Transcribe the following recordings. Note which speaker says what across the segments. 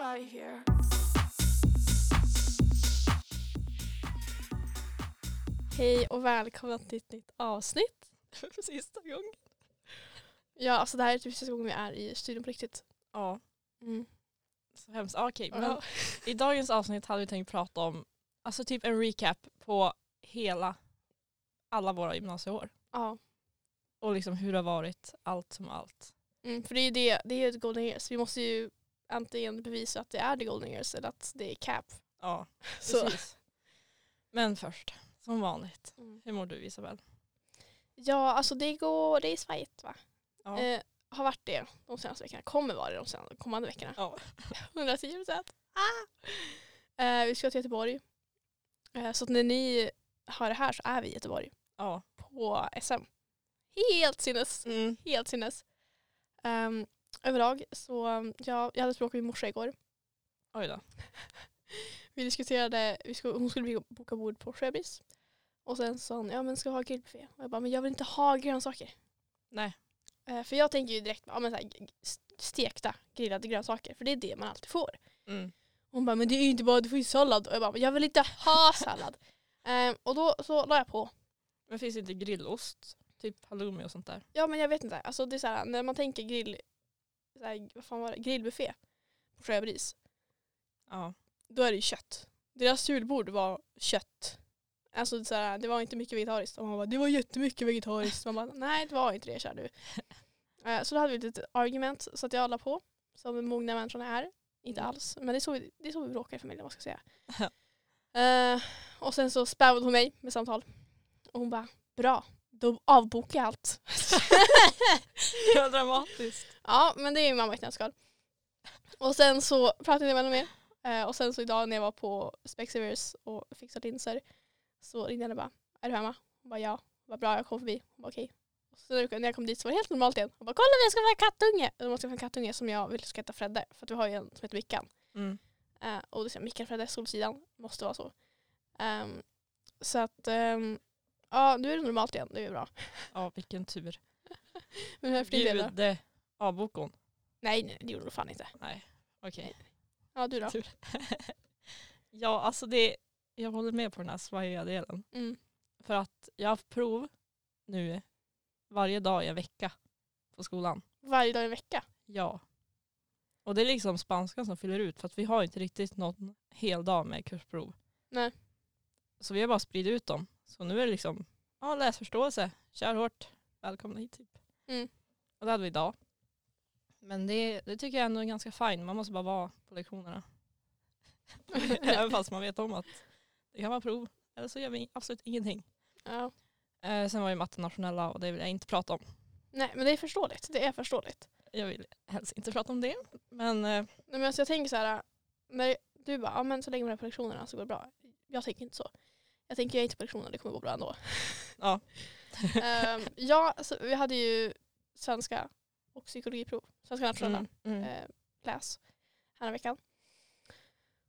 Speaker 1: out of here.
Speaker 2: Hej och välkomna till ett nytt avsnitt. För sista gången. Ja, alltså det här är typ sista gången vi är i studion på riktigt.
Speaker 3: Ja,
Speaker 2: Mm.
Speaker 3: så hemskt. Ah, Okej, men
Speaker 2: Ja.
Speaker 3: i dagens avsnitt hade vi tänkt prata om alltså typ en recap på hela, alla våra gymnasieår.
Speaker 2: ja.
Speaker 3: Och liksom hur det har varit, allt som allt.
Speaker 2: Mm, för det är ju det, det är ju ett golden years. Vi måste ju antingen bevisa att det är the golden years eller att det är cap.
Speaker 3: Ja,
Speaker 2: Så.
Speaker 3: precis. Men först, som vanligt,
Speaker 2: Mm.
Speaker 3: hur mår du Isabel?
Speaker 2: Ja, alltså det går, det är svajigt va?
Speaker 3: Ja.
Speaker 2: Eh, har varit det de senaste veckorna. Kommer vara det de senaste, kommande veckorna.
Speaker 3: Ja.
Speaker 2: 110 procent. Ah! Eh, vi ska till Göteborg. Eh, så att när ni hör det här så är vi i Göteborg
Speaker 3: ja.
Speaker 2: på SM. Helt sinnes.
Speaker 3: Mm.
Speaker 2: Helt sinnes. Ehm, överlag så, um, ja, jag hade ett bråk med min morsa igår.
Speaker 3: Oj då.
Speaker 2: Vi diskuterade, vi skulle, hon skulle boka bord på Sjöbris. Och sen sa hon, ja men ska vi ha grillbuffé? Och jag bara, men jag vill inte ha grönsaker.
Speaker 3: Nej.
Speaker 2: Eh, för jag tänker ju direkt, ja men så här, g- s- stekta grillade grönsaker. För det är det man alltid får.
Speaker 3: Mm.
Speaker 2: Hon bara, men det är ju inte bara, du får ju sallad. Och jag bara, men jag vill inte ha sallad. Ehm, och då så la jag på,
Speaker 3: Men finns det inte grillost? Typ halloumi och sånt där?
Speaker 2: ja men jag vet inte. Alltså det är så här, när man tänker grill, så här, vad fan var det, grillbuffé på Sjöbris.
Speaker 3: Ja.
Speaker 2: då är det ju kött. Deras julbord var kött. Alltså så här, det var inte mycket vegetariskt. Och man bara, det var jättemycket vegetariskt. Man bara, nej det var inte det kär du. Eh, Så då hade vi ett litet argument så att jag la på. Som den mogna människan är. Inte
Speaker 3: Mm.
Speaker 2: alls. Men det är så vi, det är så vi bråkar i familjen vad ska jag säga. Eh, och sen så spämmade hon mig med samtal. Och hon bara, bra. Då avbokar jag allt.
Speaker 3: Vad dramatiskt.
Speaker 2: Ja, men det är ju mamma i ett nötskal. Och sen så pratade jag med henne mer. Eh, och sen så idag när jag var på Specsavers och fixade linser så ringde jag henne bara, är du hemma? Hon bara ja. Hon bara bra, jag kom förbi. Hon bara okej. Och Så när jag kom dit så var det helt normalt igen. Hon bara kolla vi ska få en kattunge. Och De ska få en kattunge som jag vill ska heta Fredde. För att vi har ju en som heter Mickan.
Speaker 3: Mm.
Speaker 2: Eh, och då säger jag Mikael Fredde, Solsidan, måste vara så. Ehm, så att, ehm, ja nu är det normalt igen, det är ju bra.
Speaker 3: Ja, vilken tur.
Speaker 2: Men hur är det då?
Speaker 3: Gud, eh, avbokon.
Speaker 2: Nej, nej, det gjorde du fan inte.
Speaker 3: Okej.
Speaker 2: Ja, du då?
Speaker 3: Tur. ja, alltså det, jag håller med på den här svajiga delen.
Speaker 2: Mm.
Speaker 3: För att jag har haft prov nu varje dag i en vecka på skolan.
Speaker 2: Varje dag i en vecka.
Speaker 3: Ja. Och det är liksom spanskan som fyller ut för att vi har inte riktigt någon hel dag med kursprov.
Speaker 2: Nej.
Speaker 3: Så vi har bara spridit ut dem. Så nu är det liksom ja, läsförståelse, kör hårt, välkomna hit typ.
Speaker 2: Mm.
Speaker 3: Och det hade vi idag. Men det, det tycker jag ändå är ganska fint. Man måste bara vara på lektionerna. Även fast man vet om att det kan vara prov. Eller så gör vi absolut ingenting.
Speaker 2: Ja.
Speaker 3: Eh, sen var ju matte nationella och det vill jag inte prata om.
Speaker 2: Nej men det är förståeligt. Det är förståeligt.
Speaker 3: Jag vill helst inte prata om det. Men eh,
Speaker 2: Nej, men alltså jag tänker så här, när du bara, ja men så länge man är på lektionerna så går det bra. Jag tänker inte så. Jag tänker jag är inte på lektionerna, det kommer gå bra ändå.
Speaker 3: Ja.
Speaker 2: Ehm, ja, alltså, vi hade ju svenska och psykologiprov. Svenska nationella
Speaker 3: Mm, mm.
Speaker 2: eh, läs här veckan.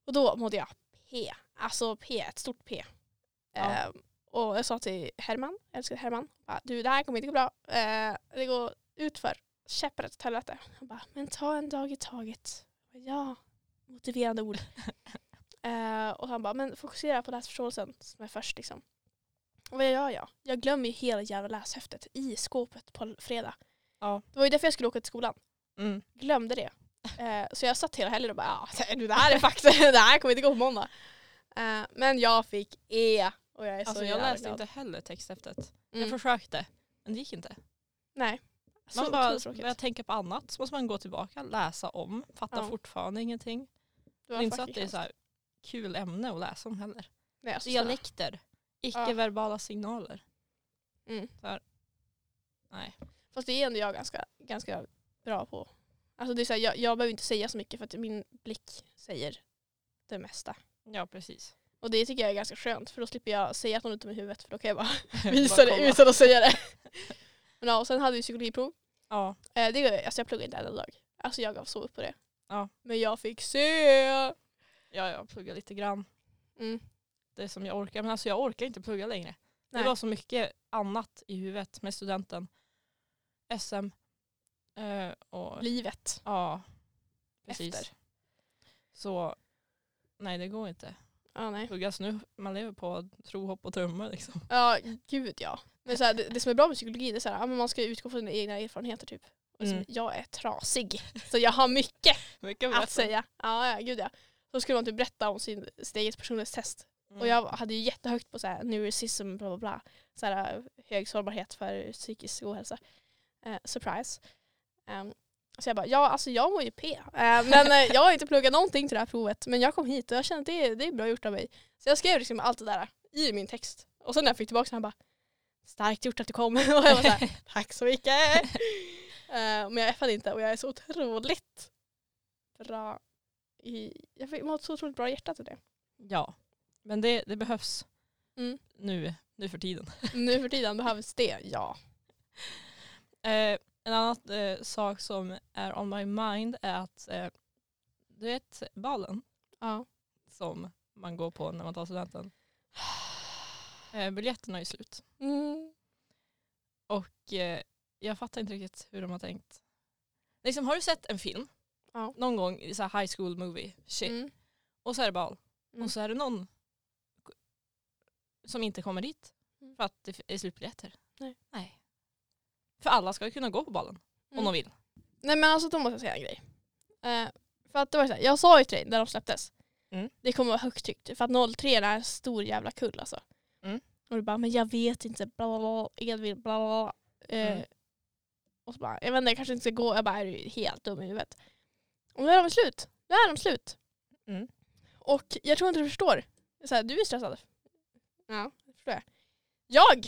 Speaker 2: Och då mådde jag P. Alltså P, ett stort P.
Speaker 3: Ja.
Speaker 2: Ehm, och jag sa till Herman, jag älskade Herman, bara, du det här kommer inte gå bra. Eh, det går utför. Käpprätt åt helvete. Han bara, men ta en dag i taget. Jag bara, Ja, motiverande ord. Eh, och han bara, men fokusera på läsförståelsen som är först liksom. Och vad gör jag? Jag glömmer ju hela jävla läshäftet i skåpet på fredag.
Speaker 3: Ja.
Speaker 2: Det var ju därför jag skulle åka till skolan
Speaker 3: Mm.
Speaker 2: glömde det. Eh, så jag satt hela helgen och bara, ja, det- det här är fakta, det här kommer inte gå på måndag. Eh, men jag fick E och jag är så
Speaker 3: Alltså, jag
Speaker 2: jävla
Speaker 3: läste
Speaker 2: glad.
Speaker 3: inte heller texthäftet.
Speaker 2: Mm.
Speaker 3: Jag försökte, men det gick inte.
Speaker 2: Nej.
Speaker 3: Man
Speaker 2: Så
Speaker 3: bara
Speaker 2: otroligt tråkigt.
Speaker 3: började tänka på annat, så måste man gå tillbaka, läsa om, fattar
Speaker 2: Ja.
Speaker 3: fortfarande ingenting.
Speaker 2: Det
Speaker 3: Det
Speaker 2: var
Speaker 3: är inte så att
Speaker 2: fucking
Speaker 3: det är
Speaker 2: hemskt.
Speaker 3: så här E kul ämne att läsa om heller.
Speaker 2: Nej, alltså, snälla.
Speaker 3: Dialekter, icke-verbala signaler.
Speaker 2: Mm.
Speaker 3: Så här. Nej.
Speaker 2: Fast det är ändå jag ganska, ganska bra på. Alltså det är så här, jag, jag behöver inte säga så mycket för att min blick säger det mesta.
Speaker 3: Ja, precis.
Speaker 2: Och det tycker jag är ganska skönt för då slipper jag säga att någon är dum i huvudet för då kan jag bara
Speaker 3: Bara
Speaker 2: visa
Speaker 3: kolla.
Speaker 2: det utan att säga det. men ja, och sen hade vi psykologiprov.
Speaker 3: Ja,
Speaker 2: Eh, det, gör- alltså jag pluggade inte en enda dag. Alltså jag gav så upp på det.
Speaker 3: Ja.
Speaker 2: Men jag fick se.
Speaker 3: ja, jag pluggar lite grann.
Speaker 2: Mm.
Speaker 3: Det är som jag orkar. Men alltså jag orkar inte plugga längre.
Speaker 2: Nej.
Speaker 3: Det var så mycket annat i huvudet med studenten. SM. eh, och
Speaker 2: Livet.
Speaker 3: Ja, precis.
Speaker 2: Efter.
Speaker 3: Så nej, det går inte.
Speaker 2: Ja, nej.
Speaker 3: Huggas nu, man lever på tro, hopp och tumme liksom.
Speaker 2: Ja, gud ja. Men så här, det, det som är bra med psykologi det är så här, ja, men man ska utgå från sina egna erfarenheter typ. Och som,
Speaker 3: Mm.
Speaker 2: jag är trasig, så jag har mycket
Speaker 3: Mycket
Speaker 2: att säga. Ja, ja, gud ja. Så skulle man typ berätta om sin, sitt eget personlighetstest.
Speaker 3: Mm.
Speaker 2: Och jag hade ju jättehögt på så här, neuroticism, bla bla bla. Så här, äh, hög sårbarhet för psykisk ohälsa. Eh, surprise. Ehm, så jag bara, ja alltså jag mår ju P. Eh, men eh, jag har inte pluggat någonting till det här provet. Men jag kom hit och jag kände att det, är- det är bra gjort av mig. Så jag skrev liksom allt det där i min text. Och sen när jag fick tillbaka så han bara, starkt gjort att du kom. och jag var så här, tack så mycket. Eh, men jag effade inte och jag är så otroligt bra i, jag fick- jag har ett så otroligt bra hjärta till det.
Speaker 3: Ja, men det, det behövs
Speaker 2: Mm.
Speaker 3: nu, nu för tiden.
Speaker 2: Nu för tiden behövs det, ja.
Speaker 3: Eh, en annan eh, sak som är on my mind är att eh, du vet ballen
Speaker 2: Ja.
Speaker 3: som man går på när man tar studenten. Eh, biljetterna är ju slut.
Speaker 2: Mm.
Speaker 3: Och eh, jag fattar inte riktigt hur de har tänkt. Liksom, har du sett en film?
Speaker 2: Ja.
Speaker 3: Någon gång i så här high school movie, shit.
Speaker 2: Mm.
Speaker 3: Och så är det bal.
Speaker 2: Mm.
Speaker 3: Och så är det någon k- som inte kommer dit
Speaker 2: Mm.
Speaker 3: för att det f- är slutbiljetter.
Speaker 2: Nej.
Speaker 3: Nej. För alla ska ju kunna gå på balen om
Speaker 2: Mm.
Speaker 3: de vill.
Speaker 2: Nej men alltså då måste jag säga en grej. Eh, för att det var så här, jag sa ju till dig när de släpptes,
Speaker 3: Mm.
Speaker 2: det kommer vara högt tryck. För att 03 är en stor jävla kull alltså.
Speaker 3: Mm.
Speaker 2: Och du bara, men jag vet inte, bla bla bla, Edvin, bla bla bla. Eh,
Speaker 3: Mm.
Speaker 2: Och så bara, jag vet inte, jag kanske inte ska gå. Jag bara, är du helt dum i huvudet? Och nu är de slut. Nu är de slut.
Speaker 3: Mm.
Speaker 2: Och jag tror inte du förstår. Så här, du är stressad. Ja, det förstår jag. Jag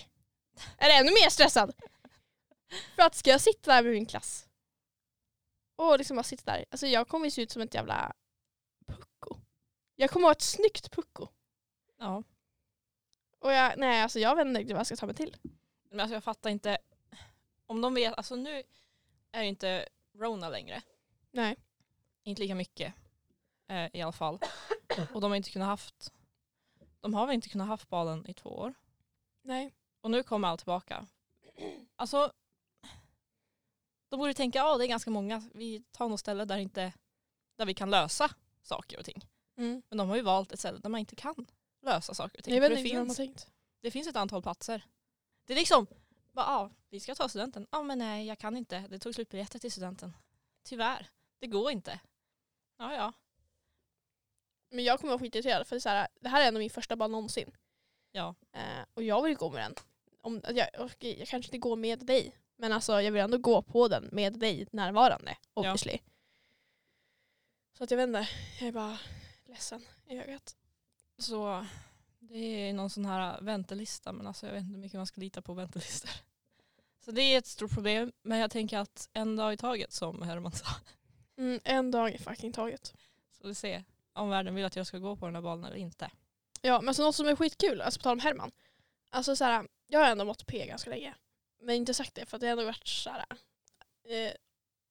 Speaker 2: är ännu mer stressad. För att ska jag sitta där med min klass och liksom bara sitta där. Alltså jag kommer ju se ut som ett jävla pucko. Jag kommer ha ett snyggt pucko.
Speaker 3: Ja.
Speaker 2: Och jag, nej alltså jag vet inte riktigt vad jag ska ta mig till.
Speaker 3: Men alltså jag fattar inte. Om de vet, alltså nu är ju inte Rona längre.
Speaker 2: Nej.
Speaker 3: Inte lika mycket eh, i alla fall. Och de har inte kunnat haft, de har väl inte kunnat haft balen i två år.
Speaker 2: Nej.
Speaker 3: Och nu kommer allt tillbaka. Alltså, då borde du tänka, ja det är ganska många, vi tar något ställe där, inte, där vi kan lösa saker och ting.
Speaker 2: Mm.
Speaker 3: Men de har ju valt ett ställe där man inte kan lösa saker och ting.
Speaker 2: Jag vet
Speaker 3: För
Speaker 2: inte
Speaker 3: det,
Speaker 2: riktigt vad de har
Speaker 3: finns,
Speaker 2: tänkt.
Speaker 3: det finns ett antal platser. Det är liksom, bara, ja, vi ska ta studenten. Ja men nej, jag kan inte. Det tog slutbiljetter till studenten. Tyvärr, det går inte. Ja ja.
Speaker 2: Men jag kommer vara skitirriterad för det, är så här, det här är ändå min första ball någonsin.
Speaker 3: Ja.
Speaker 2: Eh, och jag vill gå med den. Om, att jag, och jag kanske inte går med dig. Men alltså jag vill ändå gå på den med dig närvarande. Obviously. Så att jag vet inte. Jag är bara ledsen i ögat.
Speaker 3: Så det är någon sån här väntelista men alltså jag vet inte hur mycket man ska lita på väntelistor. Så det är ett stort problem men jag tänker att en dag i taget som Herman sa.
Speaker 2: Mm, en dag i fucking taget.
Speaker 3: Så vi ser om världen vill att jag ska gå på den här banan eller inte.
Speaker 2: Ja, men alltså något som är skitkul, alltså på tal om Herman. Alltså så här, jag har ändå mått P ganska länge. Men inte sagt det för att det har ändå varit så här, eh,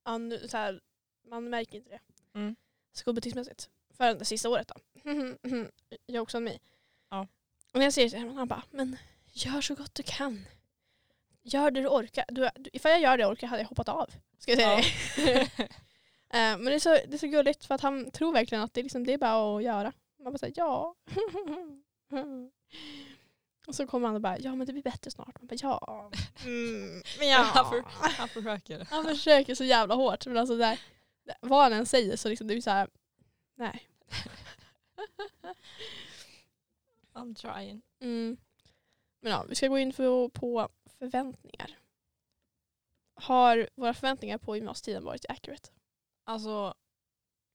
Speaker 2: an, så här man märker inte det.
Speaker 3: Mm.
Speaker 2: Skolbetygsmässigt. Förrän det sista året då. jag också en mig.
Speaker 3: Ja.
Speaker 2: Och när jag säger till Herman, han bara, men gör så gott du kan. Gör det du orkar. Du, du, ifall jag gör det jag orkar hade jag hoppat av. Ska jag säga
Speaker 3: Ja.
Speaker 2: det? Eh, men det är, så, det är så gulligt för att han tror verkligen att det, är liksom, det är bara att göra. Man bara säger ja. och så kommer han och bara ja men det blir bättre snart. Man bara ja. Mm, men
Speaker 3: Han,
Speaker 2: ja.
Speaker 3: för, han försöker.
Speaker 2: Han försöker så jävla hårt men alltså där, vad han än säger så liksom det är så här nej.
Speaker 3: I'm trying.
Speaker 2: Mm. Men ja, vi ska gå in för, på förväntningar. Har våra förväntningar på gymnasietiden varit accurate?
Speaker 3: Alltså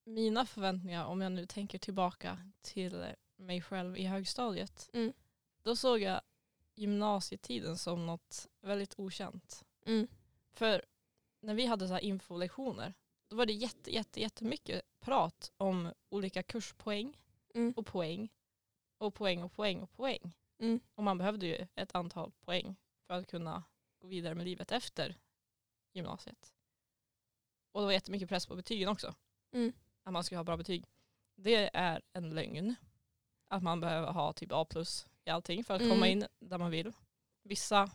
Speaker 3: mina förväntningar om jag nu tänker tillbaka till mig själv i högstadiet.
Speaker 2: Mm.
Speaker 3: Då såg jag gymnasietiden som något väldigt okänt.
Speaker 2: Mm.
Speaker 3: För när vi hade så här infolektioner, då var det jätte, jätte, jättemycket prat om olika kurspoäng
Speaker 2: Mm.
Speaker 3: och poäng och poäng och poäng och poäng.
Speaker 2: Mm.
Speaker 3: Och man behövde ju ett antal poäng för att kunna gå vidare med livet efter gymnasiet. Och det var jättemycket press på betygen också.
Speaker 2: Mm.
Speaker 3: Att man skulle ha bra betyg. Det är en lögn. Att man behöver ha typ A plus i allting för att komma
Speaker 2: Mm.
Speaker 3: in där man vill. Vissa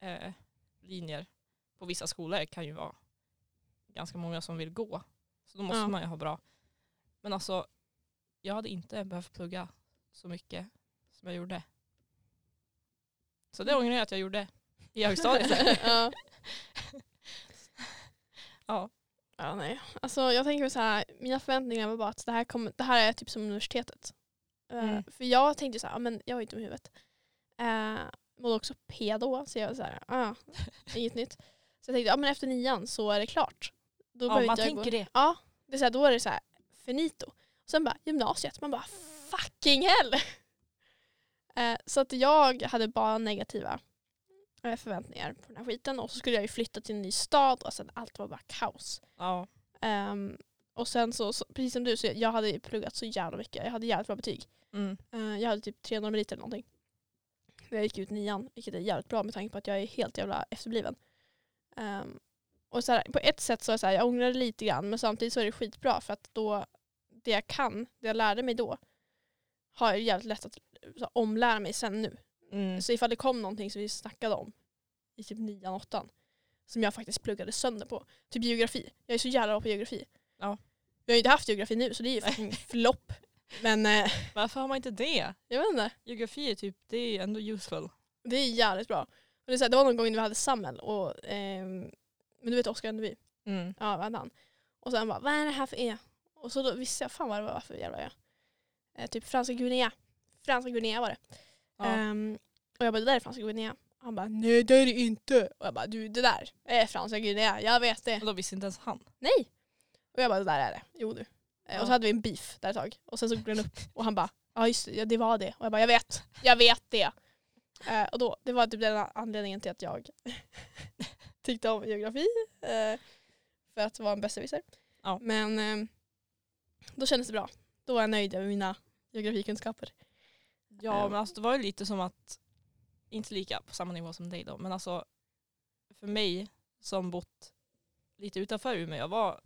Speaker 3: eh, linjer på vissa skolor kan ju vara ganska många som vill gå. Så då måste
Speaker 2: Ja.
Speaker 3: man ju ha bra. Men alltså jag hade inte behövt plugga så mycket som jag gjorde. Så det ångrar jag att jag gjorde i högstadiet.
Speaker 2: ja.
Speaker 3: ja.
Speaker 2: ja, nej. Alltså jag tänker så här, mina förväntningar var bara att det här, kommer, det här är typ som universitetet. Eh,
Speaker 3: Mm.
Speaker 2: för jag tänkte så här, "Ah, men jag är inte med huvudet. Uh, mådde också P då, så jag var så här, ah, inget nytt. Så jag tänkte, ja men efter nian så är det klart. Då
Speaker 3: ja,
Speaker 2: behöver
Speaker 3: man
Speaker 2: inte jag gå-
Speaker 3: tänker det.
Speaker 2: Ja, det är så här, då är det så här finito. Och sen bara gymnasiet, man bara fucking hell. Eh, så att jag hade bara negativa eh, förväntningar på den här skiten och så skulle jag ju flytta till en ny stad och sen allt var bara kaos.
Speaker 3: Ja.
Speaker 2: Ehm, och sen så, så, precis som du, så jag- jag hade ju pluggat så jävla mycket. Jag hade jävligt bra betyg.
Speaker 3: Mm.
Speaker 2: Eh, jag hade typ 300 meriter eller någonting. När jag gick ut nian, vilket är jävligt bra med tanke på att jag är helt jävla efterbliven. Ehm, och så här, på ett sätt så är det så här, jag ångrar det lite grann men samtidigt så är det skitbra för att då det jag kan, det jag lärde mig då har jag jävligt lätt att så här, omlära mig sen nu.
Speaker 3: Mm.
Speaker 2: Så ifall det kom någonting som vi snackade om i typ nian, åttan som jag faktiskt pluggade sönder på. Typ geografi. Jag är så jävla bra på geografi.
Speaker 3: Ja.
Speaker 2: Jag har ju inte haft geografi nu så det är ju fucking flopp. Men eh,
Speaker 3: Varför har man inte det?
Speaker 2: jag vet inte.
Speaker 3: Geografi är typ, det är ändå useful.
Speaker 2: Det är jävligt bra. Och det, är så här, det var någon gång när vi hade Samuel och ehm, men du vet Oskar Önneby,
Speaker 3: Mm.
Speaker 2: ja vad hade han? Och sen bara, vad är det här för E? Och så då visste jag fan vad det var för jävla E. Eh, typ Franska Guinea. Franska Guinea var det.
Speaker 3: Ja.
Speaker 2: Ehm, och jag bara, det där är Franska Guinea. Han bara, nej det är det inte. Och jag bara, du det där är Franska Guinea, jag vet det.
Speaker 3: Och då visste inte ens han.
Speaker 2: Nej! Och jag bara, det där är det. Jo du. Eh,
Speaker 3: Ja.
Speaker 2: Och så hade vi en beef där ett tag. Och sen så gled han upp och han bara, ja just det, ja, det var det. Och jag bara, jag vet, jag vet det. Eh, och då, det var typ den anledningen till att jag tyckte om geografi. Eh, för att vara en besserwisser.
Speaker 3: Ja.
Speaker 2: Men eh, då kändes det bra. Då var jag nöjd med mina geografikunskaper.
Speaker 3: Ja
Speaker 2: Ehm.
Speaker 3: men alltså det var ju lite som att, inte lika på samma nivå som dig då, men alltså för mig som bott lite utanför Umeå, jag var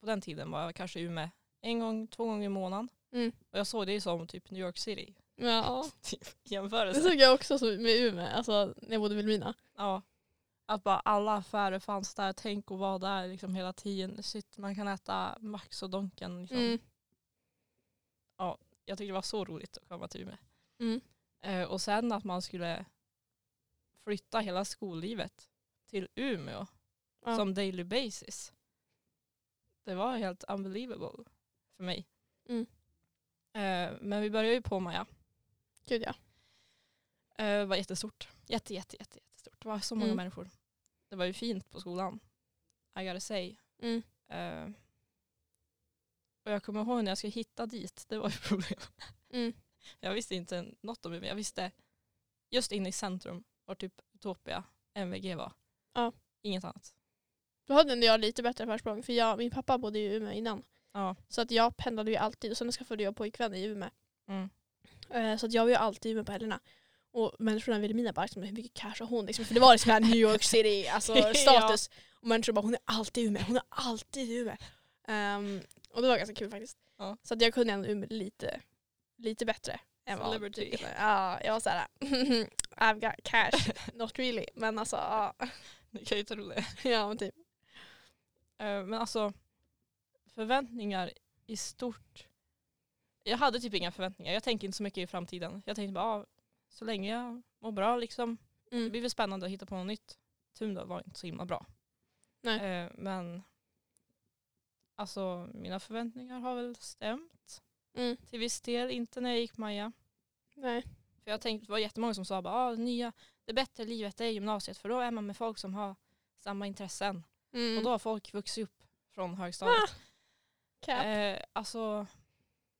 Speaker 3: på den tiden var jag kanske i Umeå en gång, två gånger i månaden.
Speaker 2: Mm.
Speaker 3: Och jag såg det ju som typ New York City
Speaker 2: Ja.
Speaker 3: i
Speaker 2: Det
Speaker 3: jämförelse.
Speaker 2: såg jag också som- med Umeå, alltså när jag bodde i Vilhelmina.
Speaker 3: Ja. Att bara alla affärer fanns där, tänk att vara där liksom hela tiden. Shit, man kan äta Max och Donken. Liksom.
Speaker 2: Mm.
Speaker 3: Jag tyckte det var så roligt att komma till Umeå.
Speaker 2: Mm.
Speaker 3: Eh, och sen att man skulle flytta hela skollivet till Umeå
Speaker 2: Ja.
Speaker 3: som daily basis. Det var helt unbelievable för mig.
Speaker 2: Mm.
Speaker 3: Eh, men vi började ju på Maja.
Speaker 2: Gud ja.
Speaker 3: Eh, det var jättestort. Jätte, jätte, jätte, jättestort. Det var så många
Speaker 2: Mm.
Speaker 3: människor. Det var ju fint på skolan. I gotta say.
Speaker 2: Mm.
Speaker 3: Eh, och jag kommer ihåg när jag skulle hitta dit, det var ju problem.
Speaker 2: Mm.
Speaker 3: Jag visste inte något om det, men jag visste just inne i centrum var typ Utopia, MVG var.
Speaker 2: Ja.
Speaker 3: Inget annat.
Speaker 2: Då hade ändå jag lite bättre försprång för jag, min pappa bodde i Umeå innan.
Speaker 3: Ja.
Speaker 2: Så att jag pendlade ju alltid och sen skaffade jag pojkvän i Umeå.
Speaker 3: Mm.
Speaker 2: Eh, Så att jag var ju alltid i Umeå på helgerna. Och människorna i Vilhelmina bara liksom, hur mycket cash har hon? Liksom, för det var liksom här New York City, alltså status. Och människor bara, hon är alltid i Umeå, hon är alltid i Umeå. Ehm, och det var ganska kul faktiskt.
Speaker 3: Ja.
Speaker 2: Så att jag kunde ändå Umeå lite, lite bättre. Än vad
Speaker 3: Celebrity.
Speaker 2: tycker- Ja, jag var såhär, I've got cash, not really. Men alltså, ja.
Speaker 3: Ni kan ju tro det.
Speaker 2: ja men typ.
Speaker 3: Eh, Men alltså förväntningar i stort. Jag hade typ inga förväntningar. Jag tänker inte så mycket i framtiden. Jag tänkte bara ah, så länge jag mår bra liksom. Det
Speaker 2: Mm.
Speaker 3: blir väl spännande att hitta på något nytt. Tumda var inte så himla bra.
Speaker 2: Nej.
Speaker 3: Eh, men alltså mina förväntningar har väl stämt.
Speaker 2: Mm.
Speaker 3: Till viss del, inte när jag gick Maja.
Speaker 2: Nej.
Speaker 3: För jag tänkte, det var jättemånga som sa bara, ah, det nya, det bättre livet är gymnasiet för då är man med folk som har samma intressen.
Speaker 2: Mm. Ah,
Speaker 3: Och då har folk vuxit upp från högstadiet.
Speaker 2: Cap.
Speaker 3: Eh, alltså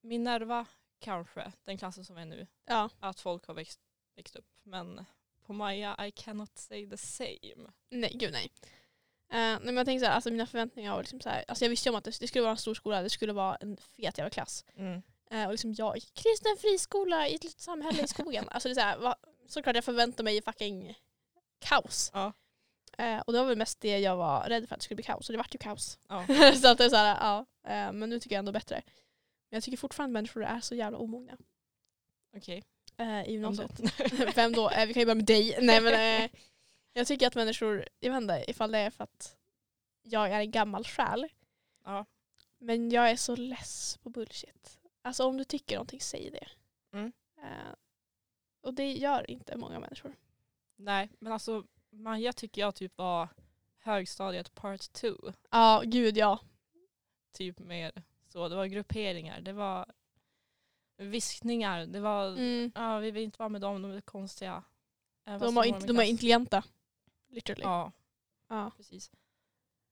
Speaker 3: min nerva kanske, den klassen som är nu,
Speaker 2: Ja.
Speaker 3: att folk har växt, växt upp. Men på Maja, I cannot say the same.
Speaker 2: Nej, gud nej. Eh, nej men jag tänker så här, alltså mina förväntningar var liksom så här, alltså jag visste ju om att det, det skulle vara en stor skola, det skulle vara en fet jävla klass. Eh, och liksom jag, kristen friskola i ett litet samhälle i skogen. alltså det är så här, va, såklart jag förväntade mig fucking kaos.
Speaker 3: Ja.
Speaker 2: Eh, och det var väl mest det jag var rädd för att det skulle bli kaos, och det vart ju kaos.
Speaker 3: Ja.
Speaker 2: så att det är så här, ja. Eh, men nu tycker jag ändå bättre. Men jag tycker fortfarande människor är så jävla omogna
Speaker 3: Okej.
Speaker 2: eh, i
Speaker 3: om
Speaker 2: gymnasiet.
Speaker 3: det.
Speaker 2: Vem då? Eh, vi kan ju börja med dig. Nej, men, eh, jag tycker att människor, jag vet inte ifall det är för att jag är en gammal själ.
Speaker 3: Ja.
Speaker 2: Men jag är så less på bullshit. Alltså om du tycker någonting, säg det.
Speaker 3: Mm.
Speaker 2: Eh, och det gör inte många människor.
Speaker 3: Nej, men alltså Maja tycker jag typ var högstadiet part two.
Speaker 2: Ja, gud ja.
Speaker 3: Typ mer så. Det var grupperingar, det var viskningar, det var
Speaker 2: Mm.
Speaker 3: ja, vi vill inte vara med dem, de är konstiga. Även
Speaker 2: De,
Speaker 3: fast
Speaker 2: var
Speaker 3: var
Speaker 2: inte,
Speaker 3: min
Speaker 2: de är
Speaker 3: klass.
Speaker 2: intelligenta. Literally. Ja.
Speaker 3: Ja, precis.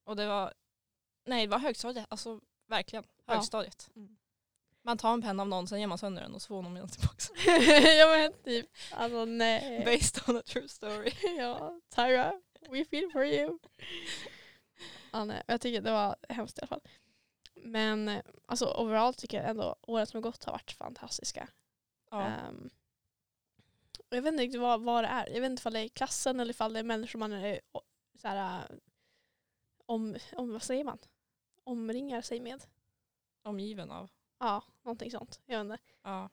Speaker 3: Och det var, nej det var högstadiet, alltså verkligen
Speaker 2: Ja.
Speaker 3: högstadiet.
Speaker 2: Mm.
Speaker 3: Man tar en penna av någon, sen ger man sönder den och så får någon med den tillbaka.
Speaker 2: ja men typ. Alltså nej.
Speaker 3: Based on a true story.
Speaker 2: ja, Tyra, we feel for you. ja, nej. Jag tycker det var hemskt i alla fall. Men eh, alltså overall tycker jag ändå året som har gått har varit fantastiska.
Speaker 3: Ja.
Speaker 2: Ehm, och jag vet inte riktigt vad, vad det är. Jag vet inte ifall det är klassen eller ifall det är människor man är o- så här, eh, om, om, vad säger man? Omringar sig med.
Speaker 3: Omgiven av.
Speaker 2: Ja, någonting sånt. Jag vet inte.
Speaker 3: Ja.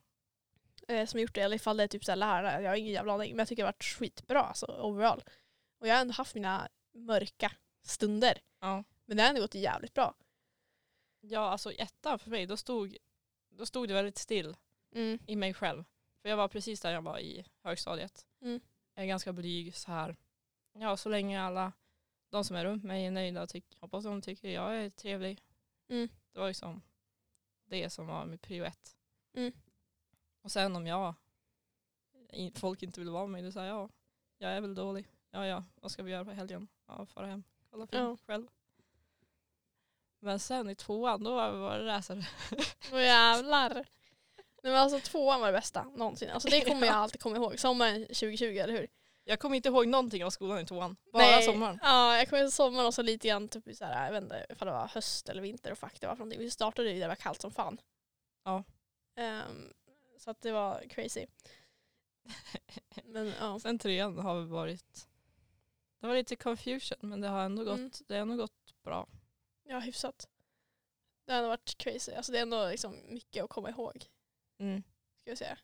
Speaker 2: Eh, som gjort det. Eller ifall det är typ så här lärare. Jag har ingen jävla aning. Men jag tycker det har varit skitbra alltså, overall. Och jag har ändå haft mina mörka stunder.
Speaker 3: Ja.
Speaker 2: Men det har ändå gått jävligt bra.
Speaker 3: ja, alltså i ettan för mig, då stod, då stod det väldigt still i mig själv. För jag var precis där jag var i högstadiet.
Speaker 2: Mm.
Speaker 3: Jag är ganska blyg så här. Ja, så länge alla de som är runt mig är nöjda och tyck, hoppas de tycker jag är trevlig.
Speaker 2: Mm.
Speaker 3: Det var liksom det som var min prio ett.
Speaker 2: Mm.
Speaker 3: Och sen om jag i- folk inte vill vara med mig, då säger jag ja, jag är väl dålig. Ja, ja, vad ska vi göra på helgen? Ja, fara hem, kolla film
Speaker 2: Ja.
Speaker 3: själv. Men sen i tvåan, då var det läsare.
Speaker 2: Åh jävlar. Nej, men alltså tvåan var det bästa någonsin. Alltså det kommer jag alltid komma ihåg. Sommaren 2020, eller hur?
Speaker 3: Jag kommer inte ihåg någonting av skolan i tvåan, bara sommaren.
Speaker 2: Ja, jag kommer ihåg sommaren och så lite grann typ i så här, jag vet inte ifall det var höst eller vinter och fuck det var för någonting. Vi startade ju där det var kallt som fan.
Speaker 3: Ja.
Speaker 2: Ehm, så att det var crazy. Men ja.
Speaker 3: Sen trean har vi varit, det var lite confusion men det har ändå gått,
Speaker 2: Mm.
Speaker 3: det har ändå gått bra.
Speaker 2: Ja, hyfsat. Det har ändå varit crazy. Alltså det är ändå liksom mycket att komma ihåg. Ska jag säga.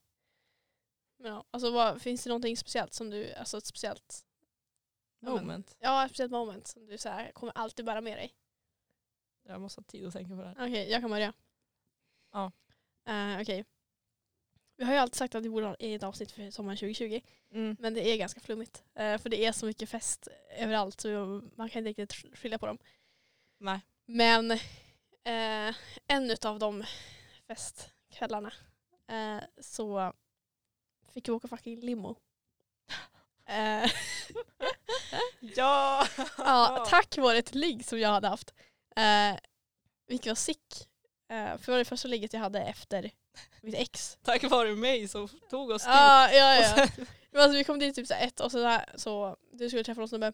Speaker 2: Men ja, alltså vad, finns det någonting speciellt som du, alltså ett speciellt, Ja, men-
Speaker 3: Moment.
Speaker 2: ja ett speciellt moment som du så här, kommer alltid bära med dig?
Speaker 3: Jag måste ha tid att tänka på det här.
Speaker 2: Okej, jag kan börja.
Speaker 3: Ja.
Speaker 2: Eh, Okej. Vi har ju alltid sagt att vi borde ha ett eget avsnitt för sommaren 2020. Men det är ganska flummigt. Eh, för det är så mycket fest överallt så man kan inte riktigt skilja på dem.
Speaker 3: Nej.
Speaker 2: Men eh, en av de festkvällarna eh, så fick vi åka fucking limo. Eh,
Speaker 3: Ja!
Speaker 2: ja, tack vare ett ligg som jag hade haft. Eh, vilket var sick. Eh, för det var det första ligget jag hade efter mitt ex.
Speaker 3: Tack vare mig som tog oss dit.
Speaker 2: Ja, ja,
Speaker 3: Och
Speaker 2: ja.
Speaker 3: sen-
Speaker 2: Men Alltså, vi kom dit typ så här ett och så, där, så du skulle träffa någon snubbe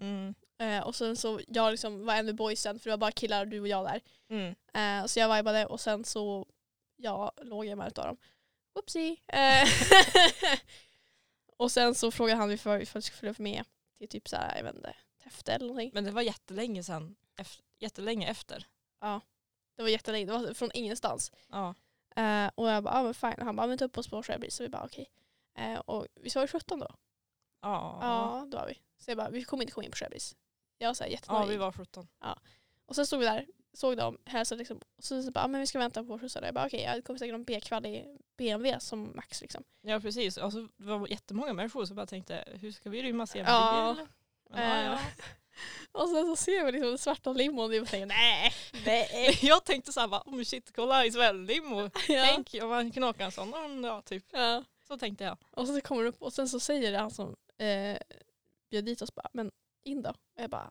Speaker 3: Mm.
Speaker 2: Eh, och sen så jag liksom var en med boysen för det var bara killar och du och jag där.
Speaker 3: Mm.
Speaker 2: Eh, så jag vibade och sen så jag låg jag med ett av dem. Whoopsie! Eh, och sen så frågade han ifall ifall jag skulle följa med till typ såhär, jag vet inte, Täfte eller någonting.
Speaker 3: Men det var jättelänge sen, ef- jättelänge efter.
Speaker 2: Det var jättelänge, det var från ingenstans.
Speaker 3: Ja.
Speaker 2: Eh, och jag bara, ja ah, men fine. Han bara, men ta upp oss på Sjöbris. Så vi bara okej. Eh, och vi var ju 17 då?
Speaker 3: Ja.
Speaker 2: Ja, då var vi. Så jag bara, vi kommer inte komma in på Sjöbris. Jag var såhär
Speaker 3: ja,
Speaker 2: jättenöjd.
Speaker 3: vi var 17.
Speaker 2: Och sen stod vi där, såg dem, hälsade liksom. Och så, så bara, ah, men vi ska vänta på skjutsar. Jag bara okej, ja, det kommer säkert någon B-kvalitet BMW som max liksom.
Speaker 3: Ja precis, alltså, det var jättemånga människor som bara tänkte hur ska vi rymma sen
Speaker 2: Ja. Eh.
Speaker 3: bil? Men, ja, ja.
Speaker 2: Och sen så ser vi liksom den svarta limon och vi bara tänker nej, nej.
Speaker 3: Jag tänkte såhär, bara, oh shit kolla Isabelle-limo.
Speaker 2: ja.
Speaker 3: Tänk om man knakar en sån, mm, ja typ.
Speaker 2: Ja.
Speaker 3: Så tänkte jag.
Speaker 2: Och så kommer det upp och sen så säger han som eh, bjöd dit oss bara, men in då. Och jag bara,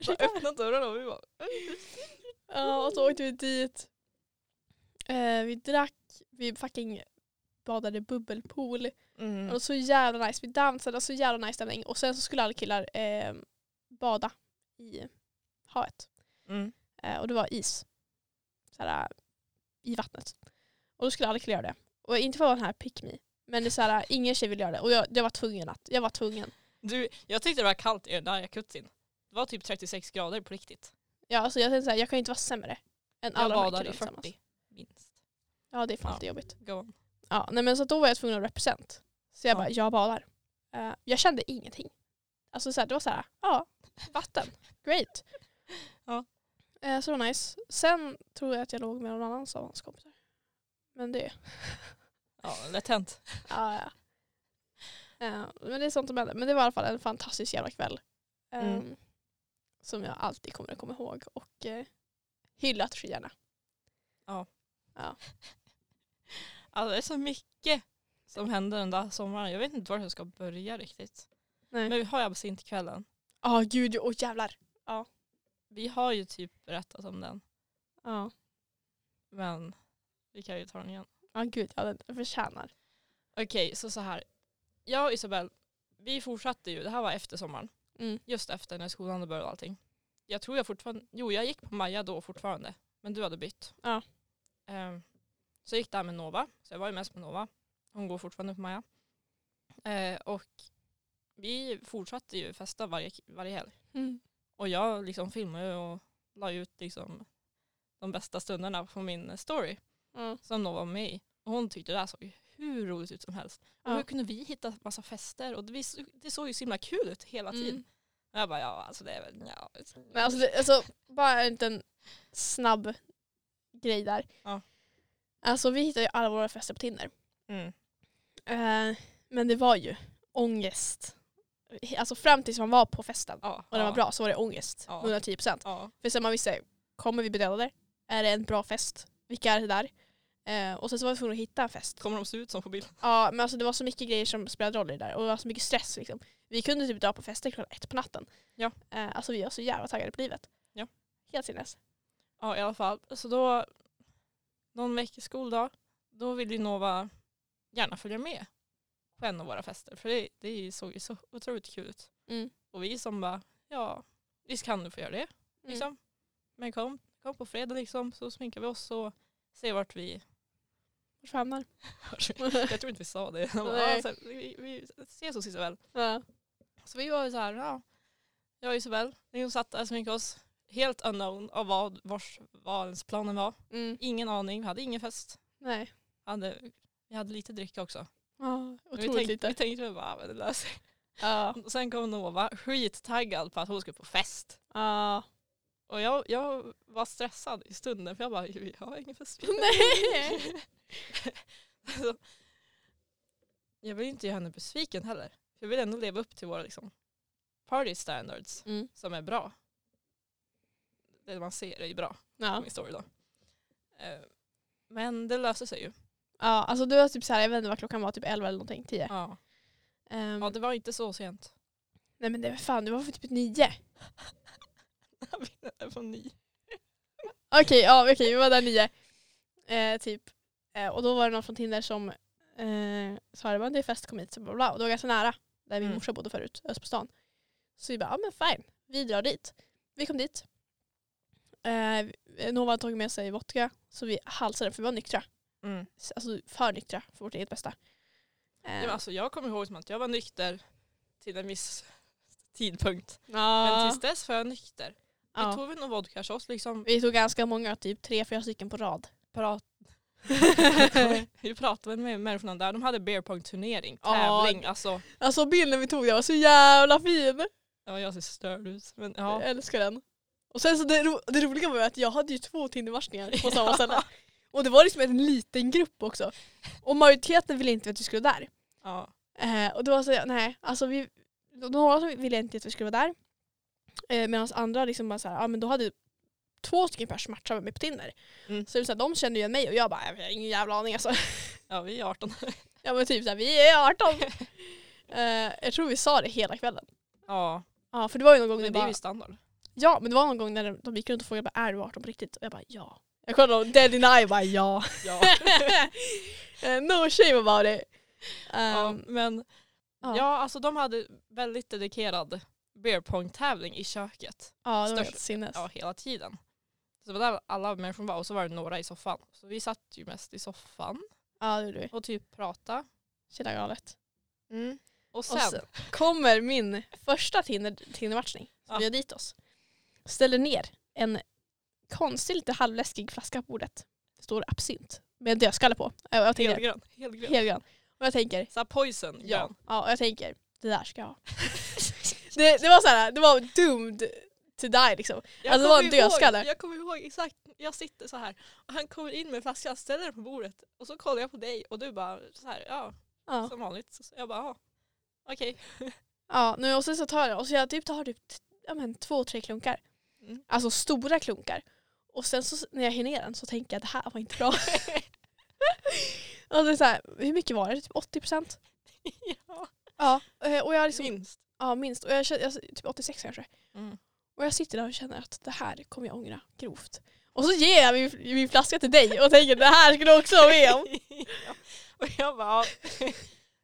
Speaker 3: Så öppnade dörren och vi bara...
Speaker 2: ja. Och så åkte vi dit. Eh, vi drack, vi fucking badade bubbelpool.
Speaker 3: Mm.
Speaker 2: Och så jävla nice. Vi dansade och så jävla nice stämning. Och sen så skulle alla killar eh, bada i havet.
Speaker 3: Mm.
Speaker 2: Eh, och det var is. Såhär, eh, I vattnet. Och då skulle alla killar göra det. Och inte för att vara den här pick me. Men det är såhär, ingen tjej vill göra det. Och jag, jag var tvungen att. Jag var tvungen.
Speaker 3: Du, jag tyckte det var kallt i den där jacuzzin. Det var typ 36 grader på riktigt.
Speaker 2: Ja, alltså jag tänkte såhär, jag kan ju inte vara sämre. Än
Speaker 3: Jag
Speaker 2: alla de här
Speaker 3: badade
Speaker 2: killarna
Speaker 3: i
Speaker 2: tillsammans.
Speaker 3: 40. Minst.
Speaker 2: Ja det är fan
Speaker 3: Ja.
Speaker 2: lite jobbigt.
Speaker 3: Go on.
Speaker 2: Ja, nej, men så då var jag tvungen att represent. Så jag
Speaker 3: Ja.
Speaker 2: bara, jag badar. Eh, jag kände ingenting. Alltså så här, det var så här, ja, vatten, great.
Speaker 3: Ja.
Speaker 2: Eh, så det var nice. Sen tror jag att jag låg med någon annan av hans kompisar. Men det,
Speaker 3: Ja, lätt hänt.
Speaker 2: ja, ja. Eh, men det är sånt som händer. Men det var i alla fall en fantastisk jävla kväll. eh,
Speaker 3: Mm.
Speaker 2: Som jag alltid kommer att komma ihåg och eh, hyllat skyarna.
Speaker 3: Alltså, det är så mycket som hände den där sommaren. Jag vet inte var jag ska börja riktigt.
Speaker 2: Nej.
Speaker 3: Men vi har ju absintkvällen.
Speaker 2: Ja gud, åh jävlar.
Speaker 3: Vi har ju typ berättat om den.
Speaker 2: Ja,
Speaker 3: Men vi kan ju ta den igen.
Speaker 2: ja gud, ja, den förtjänar.
Speaker 3: Okej, så så här. Jag och Isabel, vi fortsatte ju. Det här var efter sommaren.
Speaker 2: Mm.
Speaker 3: Just efter när skolan hade börjat och allting. Jag tror jag fortfarande, jo jag gick på Maja då fortfarande. Men du hade bytt.
Speaker 2: Ja.
Speaker 3: Ehm, så jag gick där med Nova. Så jag var ju mest med Nova. Hon går fortfarande på Maja. Eh, och vi fortsatte ju festa varje, varje helg.
Speaker 2: Mm.
Speaker 3: Och jag liksom filmade och la ut liksom de bästa stunderna på min story
Speaker 2: Ja.
Speaker 3: som de var med i. Och hon tyckte det där såg ju hur roligt ut som helst. Och
Speaker 2: Ja.
Speaker 3: hur kunde vi hitta massa fester? Och det, vi så- det såg ju så himla kul ut hela
Speaker 2: Mm.
Speaker 3: tiden. Och jag bara, ja alltså det är väl, ja.
Speaker 2: Men alltså, det, alltså bara en liten snabb grej där.
Speaker 3: Ja.
Speaker 2: Alltså vi hittar ju alla våra fester på Tinder.
Speaker 3: Mm.
Speaker 2: Eh, men det var ju ångest. Alltså fram tills man var på festen
Speaker 3: Ja,
Speaker 2: och den
Speaker 3: ja,
Speaker 2: var bra så var det ångest.
Speaker 3: Ja.
Speaker 2: 110%.
Speaker 3: Ja,
Speaker 2: För sen man visste, kommer vi bli dödade? Är det en bra fest? Vilka är det där? Eh, och sen så var vi tvungna att hitta en fest.
Speaker 3: kommer de se ut som på bilden?
Speaker 2: Ja men alltså det var så mycket grejer som spelade roll i det där och det var så mycket stress liksom. Vi kunde typ dra på fester klockan ett på natten.
Speaker 3: Ja.
Speaker 2: Eh, alltså vi var så jävla taggade på livet.
Speaker 3: Ja.
Speaker 2: Helt sinnes.
Speaker 3: Ja i alla fall. Så då, någon vecka skoldag, då ville ju Nova gärna följa med på en av våra fester. För det, det såg ju så otroligt kul ut.
Speaker 2: Mm.
Speaker 3: Och vi som bara, ja visst kan du få göra det. Liksom. Men kom, kom på fredag liksom, så sminkar vi oss och ser vart vi
Speaker 2: Vart hamnar?
Speaker 3: Jag tror inte vi sa det. De bara,
Speaker 2: Nej.
Speaker 3: "Ja, så här, vi, vi ses hos Isabel.
Speaker 2: Ja.
Speaker 3: Så vi var ju så här, ja. Jag och Isabel, vi satt där och sminkade oss. Helt unknown av vad vars vad ens planen var.
Speaker 2: Mm.
Speaker 3: Ingen aning, vi hade ingen fest.
Speaker 2: Nej.
Speaker 3: Hade, vi hade lite dricka också.
Speaker 2: Ja,
Speaker 3: Men
Speaker 2: otroligt
Speaker 3: vi tänkte,
Speaker 2: lite.
Speaker 3: Vi tänkte väl bara, "Ah, men det löser sig.
Speaker 2: Ja.
Speaker 3: Och Sen kom Nova skittaggad på att hon skulle på fest.
Speaker 2: Ja.
Speaker 3: Och jag, jag var stressad i stunden för jag bara, vi har ingen fest.
Speaker 2: Nej.
Speaker 3: Alltså, jag vill inte göra henne besviken heller. För Jag vill ändå leva upp till våra liksom, party standards
Speaker 2: Mm.
Speaker 3: som är bra. Det man ser är ju bra i
Speaker 2: Ja.
Speaker 3: min story då. Eh, Men det löser sig ju.
Speaker 2: ja, alltså du var typ såhär, jag vet inte vad klockan var, typ 11 eller någonting, 10.
Speaker 3: Ja.
Speaker 2: Ehm,
Speaker 3: ja, det var inte så sent.
Speaker 2: Nej men det var fan, det var för typ 9.
Speaker 3: Det var ni.
Speaker 2: Okej, ja okej, vi var där 9. Eh, typ. Eh, och då var det någon från Tinder som eh, sa det var en fest, kom hit, så bla bla. Och det var ganska nära där min
Speaker 3: Mm.
Speaker 2: morsa bodde förut, öst på stan. Så vi bara, ja men fine, vi drar dit. Vi kom dit. Eh, Nova hade tagit med sig vodka, så vi halsade den för vi var nyktra.
Speaker 3: Mm.
Speaker 2: Alltså för nyktra, för vårt eget bästa. Eh,
Speaker 3: Ja, men alltså, jag kommer ihåg som att jag var nykter till en viss tidpunkt. Men
Speaker 2: ja,
Speaker 3: tills dess var jag nykter. Vi
Speaker 2: ja.
Speaker 3: tog väl någon vodka shots liksom.
Speaker 2: Vi tog ganska många, typ tre, fyra stycken på rad.
Speaker 3: Prat vi pratade med människorna där. De hade beer pong turnering,
Speaker 2: Ja,
Speaker 3: tävling. Alltså,
Speaker 2: Alltså bilden vi tog där var så jävla fin.
Speaker 3: ja, jag ser störd ut. Men,
Speaker 2: Jag
Speaker 3: ja.
Speaker 2: älskar den. Och sen så det, ro, det roliga var ju att jag hade ju två Tindermatchningar på samma ställe. Och det var liksom en liten grupp också. Och majoriteten ville inte att vi skulle vara där.
Speaker 3: Ja.
Speaker 2: Eh, och då var så jag, nej, alltså vi, några som ville inte att vi skulle vara där. Eh, Medan andra liksom bara så här, ja men då hade två stycken pers matchat med mig på Tinder.
Speaker 3: Mm.
Speaker 2: Så, det var så här, de kände ju igen mig och jag bara, jag har ingen jävla aning alltså.
Speaker 3: ja, vi är 18.
Speaker 2: Ja men typ såhär, vi är 18. eh, jag tror vi sa det hela kvällen.
Speaker 3: ja,
Speaker 2: Ja för det var ju någon gång när
Speaker 3: men det
Speaker 2: bara,
Speaker 3: är ju standard.
Speaker 2: Ja, men det var någon gång när de- de gick runt och frågade bara, är du 18 på riktigt? Och jag bara ja. Jag kollade dem dead in eye och bara ja.
Speaker 3: Ja.
Speaker 2: Eh, no shame about it.
Speaker 3: ja,
Speaker 2: Ehm,
Speaker 3: men
Speaker 2: ja.
Speaker 3: ja. alltså de hade väldigt dedikerad beer pong tävling i köket.
Speaker 2: ja, det var
Speaker 3: störst-
Speaker 2: helt sinnes.
Speaker 3: Ja, hela tiden. Så det var där alla människor var och så var det några i soffan. Så vi satt ju mest i soffan
Speaker 2: Ja, det gjorde vi.
Speaker 3: och typ pratade.
Speaker 2: Shit, galet.
Speaker 3: Och sen,
Speaker 2: Mm. Och sen kommer min första Tinder- Tinder-matchning. som
Speaker 3: Ja.
Speaker 2: bjöd dit oss. Ställer ner en konstig, lite halvläskig flaska på bordet. Det står absint med en dödskalle på. Eh, och Jag tänker,
Speaker 3: helgrön. helgrön.
Speaker 2: helgrön. Och jag tänker,
Speaker 3: Så här poison
Speaker 2: Ja,
Speaker 3: grön.
Speaker 2: ja och jag tänker, det där ska jag ha. det, det var så här, det var doomed till dig liksom.
Speaker 3: Jag
Speaker 2: Alltså, det var
Speaker 3: kommer
Speaker 2: en
Speaker 3: ihåg-
Speaker 2: dödskalle.
Speaker 3: Jag kommer ihåg exakt, jag sitter så här och han kommer in med flaskan, ställer den på bordet och så kollar jag på dig och du bara så här, ja,
Speaker 2: Ja.
Speaker 3: som vanligt. Så jag bara, ja, okej.
Speaker 2: Ja, nu, och sen så tar jag, och så jag typ tar typ t- ja, men, två, tre klunkar.
Speaker 3: Mm.
Speaker 2: Alltså stora klunkar. Och sen så när jag hinner ner den så tänker jag det här var inte bra. och det är så här, hur mycket var det? Typ 80 procent?
Speaker 3: ja,
Speaker 2: Ja. eh, Och jag liksom,
Speaker 3: minst.
Speaker 2: ja, minst. Och jag, känner- jag, typ 86 kanske.
Speaker 3: Mm.
Speaker 2: Och jag sitter där och känner att det här kommer jag ångra grovt. Och så ger jag min, min flaska till dig och tänker det här ska du också ha med om.
Speaker 3: ja. Och jag bara, ja.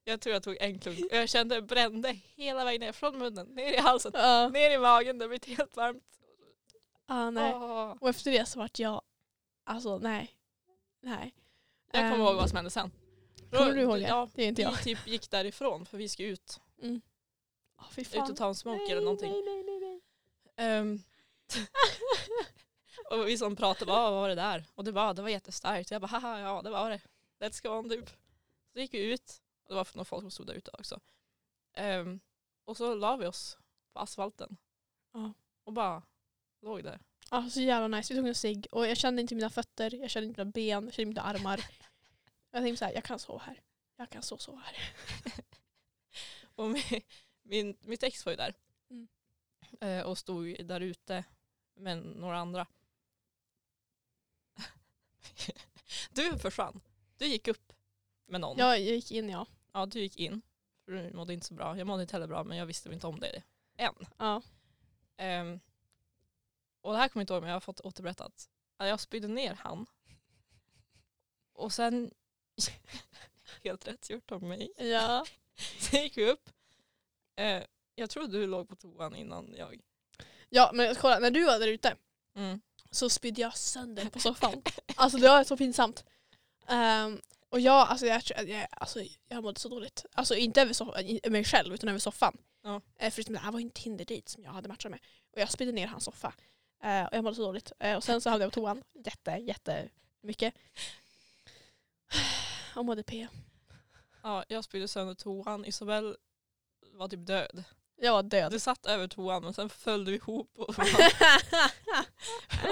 Speaker 3: jag tror jag tog en klunk och jag kände det brände hela vägen ner från munnen, ner i halsen,
Speaker 2: Ja,
Speaker 3: ner i magen, det blev helt varmt.
Speaker 2: ja, nej.
Speaker 3: Åh.
Speaker 2: Och efter det så vart jag, alltså nej. Nej.
Speaker 3: Jag kommer
Speaker 2: Ehm,
Speaker 3: ihåg vad som hände sen.
Speaker 2: Kommer du ihåg det?
Speaker 3: Ja,
Speaker 2: Det är inte
Speaker 3: vi
Speaker 2: jag.
Speaker 3: typ gick därifrån för vi ska ut,
Speaker 2: Oh, fy
Speaker 3: ut och ta en smoke eller någonting.
Speaker 2: Nej, nej, nej, nej.
Speaker 3: Ehm, och vi som pratade bara, "Ah, vad var det där? Och du bara, "Ah, det var jättestarkt. Jag bara, haha, ja det var det. Let's go on typ. Så gick vi ut, och det var några folk som stod där ute också. Ehm, och så la vi oss på asfalten.
Speaker 2: Ja.
Speaker 3: Och bara låg där.
Speaker 2: Ja, Ah, så jävla nice. Vi tog en cigg och jag kände inte mina fötter, jag kände inte mina ben, jag kände inte mina armar. Jag tänkte så här, jag kan sova här. Jag kan så sova här.
Speaker 3: Och min, min, mitt ex var ju där.
Speaker 2: Mm.
Speaker 3: Eh, och stod där ute med några andra. du försvann. Du gick upp med någon.
Speaker 2: Jag, jag gick in ja.
Speaker 3: Ja, du gick in. För Du mådde inte så bra. Jag mådde inte heller bra, men jag visste väl inte om det än.
Speaker 2: ja.
Speaker 3: Ehm, och det här kommer jag inte ihåg, men jag har fått återberättat. Ja, Jag spydde ner han. Och sen... Helt rätt gjort av mig.
Speaker 2: Ja.
Speaker 3: Sen gick vi upp. Eh, jag tror du låg på toan innan jag.
Speaker 2: Ja men kolla, när du var där ute
Speaker 3: Mm.
Speaker 2: så spydde jag sönder på soffan. Alltså det var så pinsamt. Ehm, och jag, alltså jag, tror- jag, alltså jag mådde så dåligt. Alltså inte över soffan, i- mig själv utan över soffan.
Speaker 3: Ja.
Speaker 2: Eh, förutom det här var ju en Tinder-dejt som jag hade matchat med. Och jag spydde ner hans soffa. Eh, och jag mådde så dåligt. Eh, och sen så hamnade jag på toan jätte, jätte mycket. Och mådde P.
Speaker 3: Ja, jag spydde sönder toan. Isabel var typ död.
Speaker 2: Jag var död.
Speaker 3: Du satt över toan och sen följde vi ihop. Och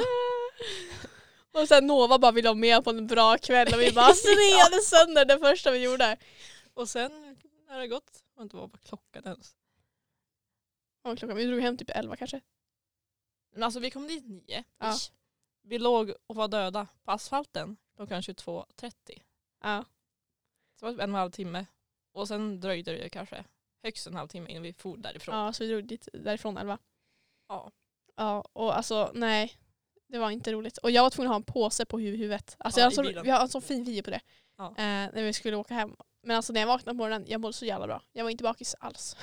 Speaker 2: och sen Nova bara ville ha med på en bra kväll och vi bara snedde sönder det första vi gjorde.
Speaker 3: Och sen när det gått, jag vet inte vad var klockan ens.
Speaker 2: Och klockan, vi drog hem typ elva kanske.
Speaker 3: Men alltså vi kom dit nio.
Speaker 2: Ja.
Speaker 3: ish. Vi låg och var döda på asfalten klockan 22.30.
Speaker 2: Ja.
Speaker 3: Så det var typ en och en halv timme. Och sen dröjde det kanske högst en halvtimme innan vi for därifrån.
Speaker 2: ja, så vi drog dit, därifrån elva.
Speaker 3: Ja.
Speaker 2: Ja, och alltså nej. Det var inte roligt. Och jag var tvungen att ha en påse på hu- huvudet. Alltså,
Speaker 3: Ja,
Speaker 2: jag har
Speaker 3: i
Speaker 2: så,
Speaker 3: bilen.
Speaker 2: vi har en sån fin video på det.
Speaker 3: Ja.
Speaker 2: Eh, när vi skulle åka hem. Men alltså när jag vaknade på morgonen, jag mådde så jävla bra. Jag var inte bakis alls.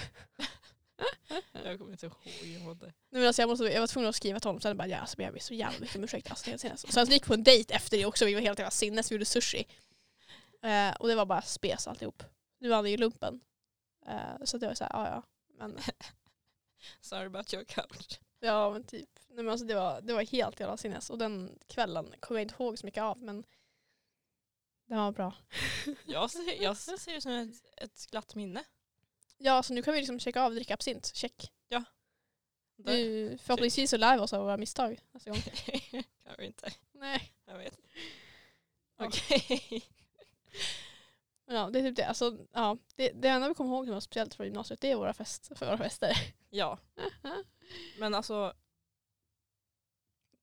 Speaker 3: Jag kommer inte ihåg hur jag mådde.
Speaker 2: Nej, men alltså, jag, måste, jag var tvungen att skriva till honom sen bara ja, alltså, jag ber så jävla mycket om ursäkt. Alltså, det är helt sinnes. och sen så gick vi på en dejt efter det också. Vi var helt jävla sinnes. Vi gjorde sushi. Eh, och det var bara spes alltihop. Du hade ju lumpen. Eh, så det var så här, ja ja. Men
Speaker 3: Sorry about your couch.
Speaker 2: Ja men typ. Nej, men alltså det, var, det var helt jävla sinnes. Och den kvällen kommer jag inte ihåg så mycket av men den var bra.
Speaker 3: Jag ser, jag ser det som ett, ett glatt minne.
Speaker 2: Ja så nu kan vi liksom checka av och dricka absint. Check.
Speaker 3: Det
Speaker 2: Du, förhoppningsvis så lär vi oss av våra misstag Alltså, nästa gång.
Speaker 3: kan vi inte.
Speaker 2: Nej.
Speaker 3: Jag vet.
Speaker 2: Ja.
Speaker 3: Okej.
Speaker 2: Men ja, det är typ det. Alltså, ja, det, det enda vi kommer ihåg som var speciellt från gymnasiet det är våra, fest, för våra fester.
Speaker 3: Ja. Men alltså.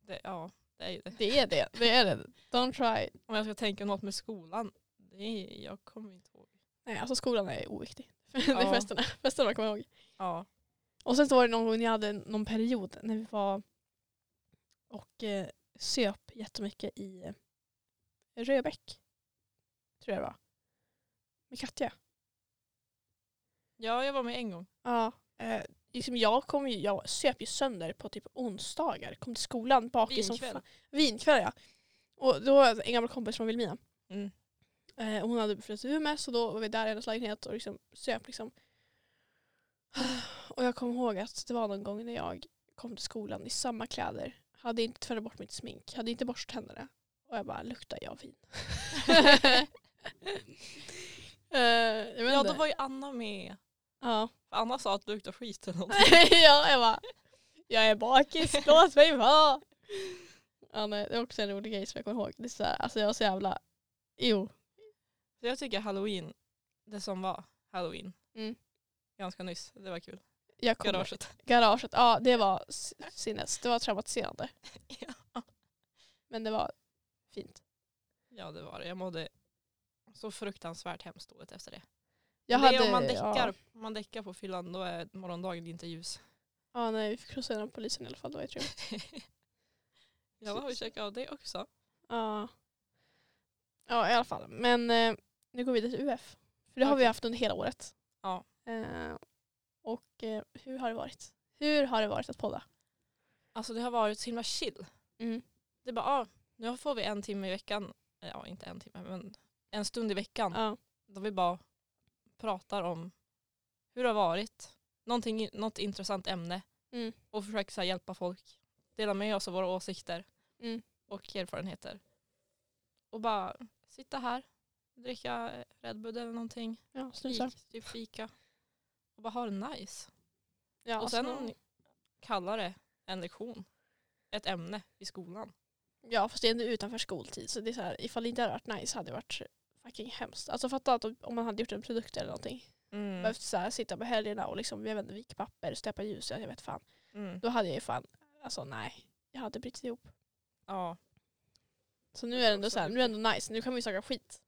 Speaker 3: Det, ja, det är ju det.
Speaker 2: Det är det. Det är det. Don't try.
Speaker 3: Om jag ska tänka något med skolan. Det är, jag kommer inte ihåg.
Speaker 2: Nej alltså skolan är oviktig. det är
Speaker 3: Ja.
Speaker 2: festerna. Festerna kommer jag ihåg.
Speaker 3: Ja.
Speaker 2: Och sen så var det någon gång när jag hade någon period när vi var och eh, söp jättemycket i eh, Röbäck. Tror jag det var. Med Katja.
Speaker 3: ja, jag var med en gång.
Speaker 2: Ja. Eh, liksom jag, kom ju, jag söp ju sönder på typ onsdagar. Kom till skolan bakis som
Speaker 3: Vinkväll.
Speaker 2: fan. Vinkväll ja. Och då var en gammal kompis från Vilhelmina.
Speaker 3: Mm.
Speaker 2: Eh, och hon hade flyttat till Umeå så då var vi där i hennes lägenhet och liksom söp. Liksom. Och jag kommer ihåg att det var någon gång när jag kom till skolan i samma kläder. Hade inte tvättat bort mitt smink, hade inte borstat tänderna. Och jag bara, luktar jag vin? Eh, jag vet
Speaker 3: Ja,
Speaker 2: inte.
Speaker 3: då var ju Anna med.
Speaker 2: ja.
Speaker 3: För Anna sa att det luktar skit eller något.
Speaker 2: ja, jag bara, Jag är bakis, låt mig vara. Ja, nej, det är också en rolig grej som jag kommer ihåg. Det är så här, alltså jag var så jävla, jo.
Speaker 3: Så jag tycker halloween, det som var halloween,
Speaker 2: Mm.
Speaker 3: ganska nyss, det var kul.
Speaker 2: Jag kommer, garaget.
Speaker 3: Garaget.
Speaker 2: garaget, ja det var s- sinnes, det var traumatiserande.
Speaker 3: Ja.
Speaker 2: Men det var fint.
Speaker 3: ja det var det. Jag mådde så fruktansvärt hemskt dåligt efter det.
Speaker 2: Jag
Speaker 3: det är
Speaker 2: hade,
Speaker 3: om man
Speaker 2: ja,
Speaker 3: däckar, om man däckar på fyllan då är morgondagen inte ljus.
Speaker 2: ja, nej vi fick krossa igenom polisen i alla fall, det var ju trevligt.
Speaker 3: Jag har försökt av det också.
Speaker 2: Ja. ja, i alla fall. Men eh, nu går vi vidare till UF. För det har vi
Speaker 3: Okej.
Speaker 2: haft under hela året.
Speaker 3: Ja.
Speaker 2: Eh, och eh, hur har det varit? Hur har det varit att podda?
Speaker 3: Alltså det har varit så himla chill.
Speaker 2: Mm.
Speaker 3: Det är bara, ah, nu får vi en timme i veckan, Eh, ja inte en timme men en stund i veckan
Speaker 2: Ja.
Speaker 3: då vi bara pratar om hur det har varit, Någonting, något intressant ämne
Speaker 2: Mm.
Speaker 3: och försöker så här, hjälpa folk, dela med oss av våra åsikter
Speaker 2: Mm.
Speaker 3: och erfarenheter. Och bara sitta här, dricka eh, Red Bull eller någonting,
Speaker 2: Ja, snusa.
Speaker 3: fik, typ fika och bara ha det nice.
Speaker 2: Ja,
Speaker 3: och sen
Speaker 2: alltså-
Speaker 3: om ni kallar det en lektion, ett ämne i skolan.
Speaker 2: Ja fast det är ändå utanför skoltid så det är så här, ifall det inte hade varit nice hade det varit fucking hemskt. Alltså fatta att om man hade gjort en produkt eller någonting.
Speaker 3: Mm.
Speaker 2: Behövt så här, sitta på helgerna och liksom, jag vet inte, vika papper, släppa ljus, jag vet fan.
Speaker 3: Mm.
Speaker 2: Då hade jag ju fan, alltså nej. Jag hade brutit ihop.
Speaker 3: Ja.
Speaker 2: Så nu är det ändå så här, nu är det ändå nice, nu kan vi snacka skit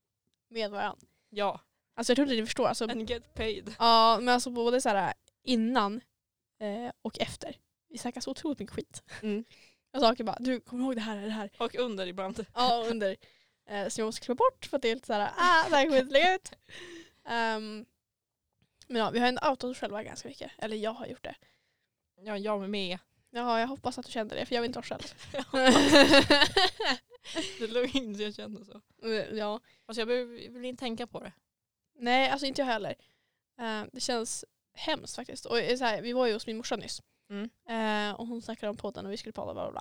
Speaker 2: med varandra.
Speaker 3: ja,
Speaker 2: Alltså jag tror inte ni förstår. Alltså,
Speaker 3: and get paid.
Speaker 2: ja men alltså både så här innan eh, och efter. Vi snackar så otroligt mycket skit.
Speaker 3: Mm.
Speaker 2: Jag saker bara, du kommer du ihåg det här, det här.
Speaker 3: Och under ibland.
Speaker 2: Ja, och under. Eh, som jag måste klippa bort för att det är lite såhär, ah, det här kommer inte lägga ut. Ehm, men ja, vi har ändå outat oss själva ganska mycket. Eller jag har gjort det.
Speaker 3: Ja, jag med.
Speaker 2: Ja, jag hoppas att du kände det för jag vill inte vara själv.
Speaker 3: Det låg in så jag kände så.
Speaker 2: Mm, ja.
Speaker 3: Alltså jag behöver- vill inte tänka på det.
Speaker 2: Nej, alltså inte jag heller. Ehm, det känns hemskt faktiskt. Och eh, så här, vi var ju hos min morsa nyss.
Speaker 3: Mm.
Speaker 2: Eh, och hon snackade om podden och vi skulle podda bla bla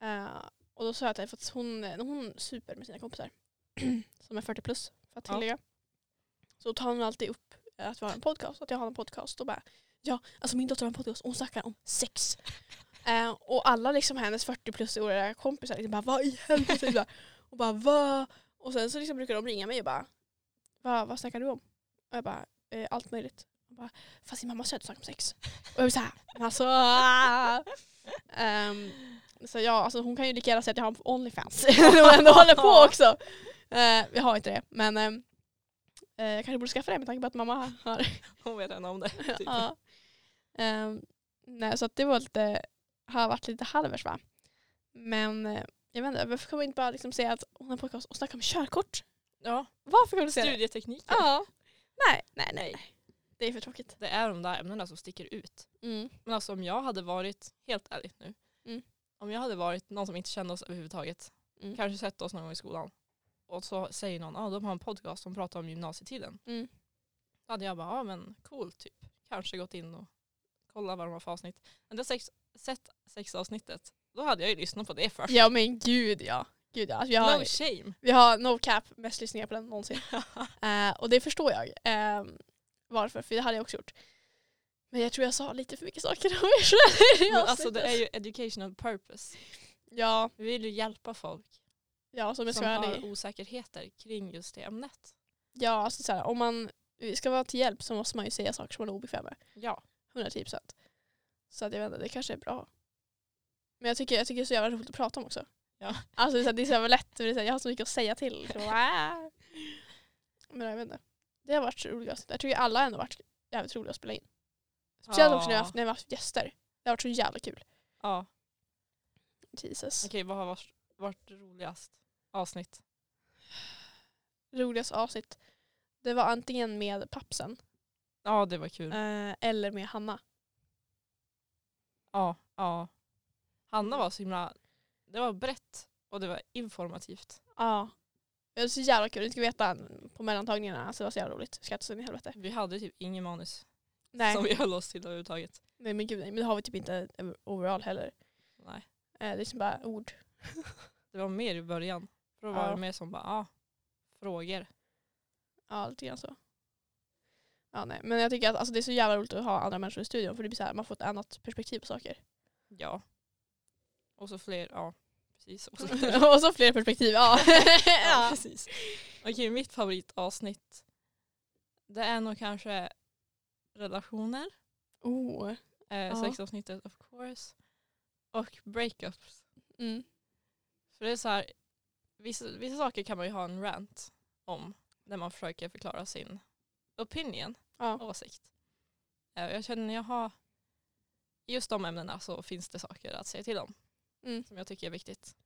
Speaker 2: bla. Eh, och då sa jag till henne, för att hon, hon super med sina kompisar som är 40 plus för att
Speaker 3: Ja.
Speaker 2: tillägga. Så tar hon alltid upp eh, att vi har en podcast, att jag har en podcast och bara ja, alltså min dotter har en podcast och hon snackar om sex. Eh, och alla liksom hennes 40 plus åriga kompisar liksom bara vad i helvete? Typ så här. och bara va? Och sen så liksom brukar de ringa mig och bara Va, vad snackar du om? Och jag bara eh, allt möjligt. Och bara, Fast din mamma sa att du snackar om sex. Och jag blir såhär, men alltså. ah. Ehm, så ja, alltså hon kan ju lika gärna säga att jag har en Onlyfans. Hon ändå håller på också. Eh, jag har inte det, men ehm, eh, jag kanske borde skaffa det med tanke på att mamma har.
Speaker 3: Hon vet redan om det. Typ.
Speaker 2: Ja. Ehm, nej, så att det var lite, har varit lite halvers va. Men eh, jag vet inte, varför kan man inte bara liksom säga att hon har podcast och snackar om körkort?
Speaker 3: ja.
Speaker 2: Varför kan du säga det?
Speaker 3: Studieteknik.
Speaker 2: Ja. Nej, nej, nej. nej. Det är för tråkigt.
Speaker 3: Det är de där ämnena som sticker ut. Men alltså om jag hade varit, helt ärligt nu,
Speaker 2: Mm.
Speaker 3: om jag hade varit någon som inte kände oss överhuvudtaget,
Speaker 2: Mm.
Speaker 3: kanske sett oss någon gång i skolan, och så säger någon, ah, de har en podcast som pratar om gymnasietiden.
Speaker 2: Mm.
Speaker 3: Då hade jag bara, ja ah, men cool typ. Kanske gått in och kollat vad de har för avsnitt. Men det sex, sett sexavsnittet, då hade jag ju lyssnat på det först.
Speaker 2: Ja men gud ja. Gud, ja. Alltså, vi, har,
Speaker 3: No shame.
Speaker 2: vi har no cap mest lyssningar på den någonsin. Eh, och det förstår jag. eh, varför, för det hade jag också gjort. Men jag tror jag sa lite för mycket saker om mig själv. i
Speaker 3: Men alltså det
Speaker 2: avsnittet.
Speaker 3: är ju educational purpose.
Speaker 2: Ja,
Speaker 3: Vi vill ju hjälpa folk
Speaker 2: ja som jag
Speaker 3: som
Speaker 2: ska vara
Speaker 3: har
Speaker 2: ärlig.
Speaker 3: osäkerheter kring just det ämnet.
Speaker 2: Ja, alltså, så här, om man ska vara till hjälp så måste man ju säga saker som man är obekväm med.
Speaker 3: Ja.
Speaker 2: 110 procent. Så att jag vet inte, det kanske är bra. Men jag tycker, jag tycker det är så jävla roligt att prata om också.
Speaker 3: Ja.
Speaker 2: Alltså det är så, här- det är så jävla lätt, för det är så här, jag har så mycket att säga till. Liksom. Ah. Men jag vet inte. Det har varit så roliga avsnitt. Jag tycker alla ändå varit jävligt roliga att spela in. Speciellt också när vi har haft, när vi har haft gäster. Det har varit så jävla kul.
Speaker 3: Ja.
Speaker 2: Jesus.
Speaker 3: Okej, vad har varit, varit roligast avsnitt?
Speaker 2: Roligaste avsnitt. Det var antingen med pappsen
Speaker 3: Ja, det var kul.
Speaker 2: eh, eller med Hanna.
Speaker 3: Ja, ja. Hanna var så himla, det var brett och det var informativt.
Speaker 2: Ja. Det var så jävla kul. Ni ska veta på mellantagningarna. Alltså det var så jävla roligt. Skrattade så in i helvete.
Speaker 3: Vi hade typ ingen manus
Speaker 2: Nej.
Speaker 3: som vi höll oss till överhuvudtaget.
Speaker 2: Nej men gud nej, men det har vi typ inte över- overall heller.
Speaker 3: Nej.
Speaker 2: Eh, det är liksom bara ord.
Speaker 3: Det var mer i början. För då var
Speaker 2: Ja.
Speaker 3: det mer som bara, ja, frågor.
Speaker 2: Ja lite grann så. Ja nej men jag tycker att alltså, det är så jävla roligt att ha andra människor i studion för det blir så här, man får ett annat perspektiv på saker.
Speaker 3: Ja. Och så fler, ja precis. Och så
Speaker 2: och så fler perspektiv. Ja.
Speaker 3: ja,
Speaker 2: ja.
Speaker 3: precis. Okej, mitt favoritavsnitt det är nog kanske relationer.
Speaker 2: Oh.
Speaker 3: Eh,
Speaker 2: Ja.
Speaker 3: Sexavsnittet of course. Och breakups.
Speaker 2: Mm.
Speaker 3: För det är så här, vissa, vissa saker kan man ju ha en rant om när man försöker förklara sin opinion,
Speaker 2: Ja.
Speaker 3: åsikt. Eh, och Jag känner jag har, i just de ämnena så finns det saker att säga till om
Speaker 2: Mm.
Speaker 3: som jag tycker är viktigt.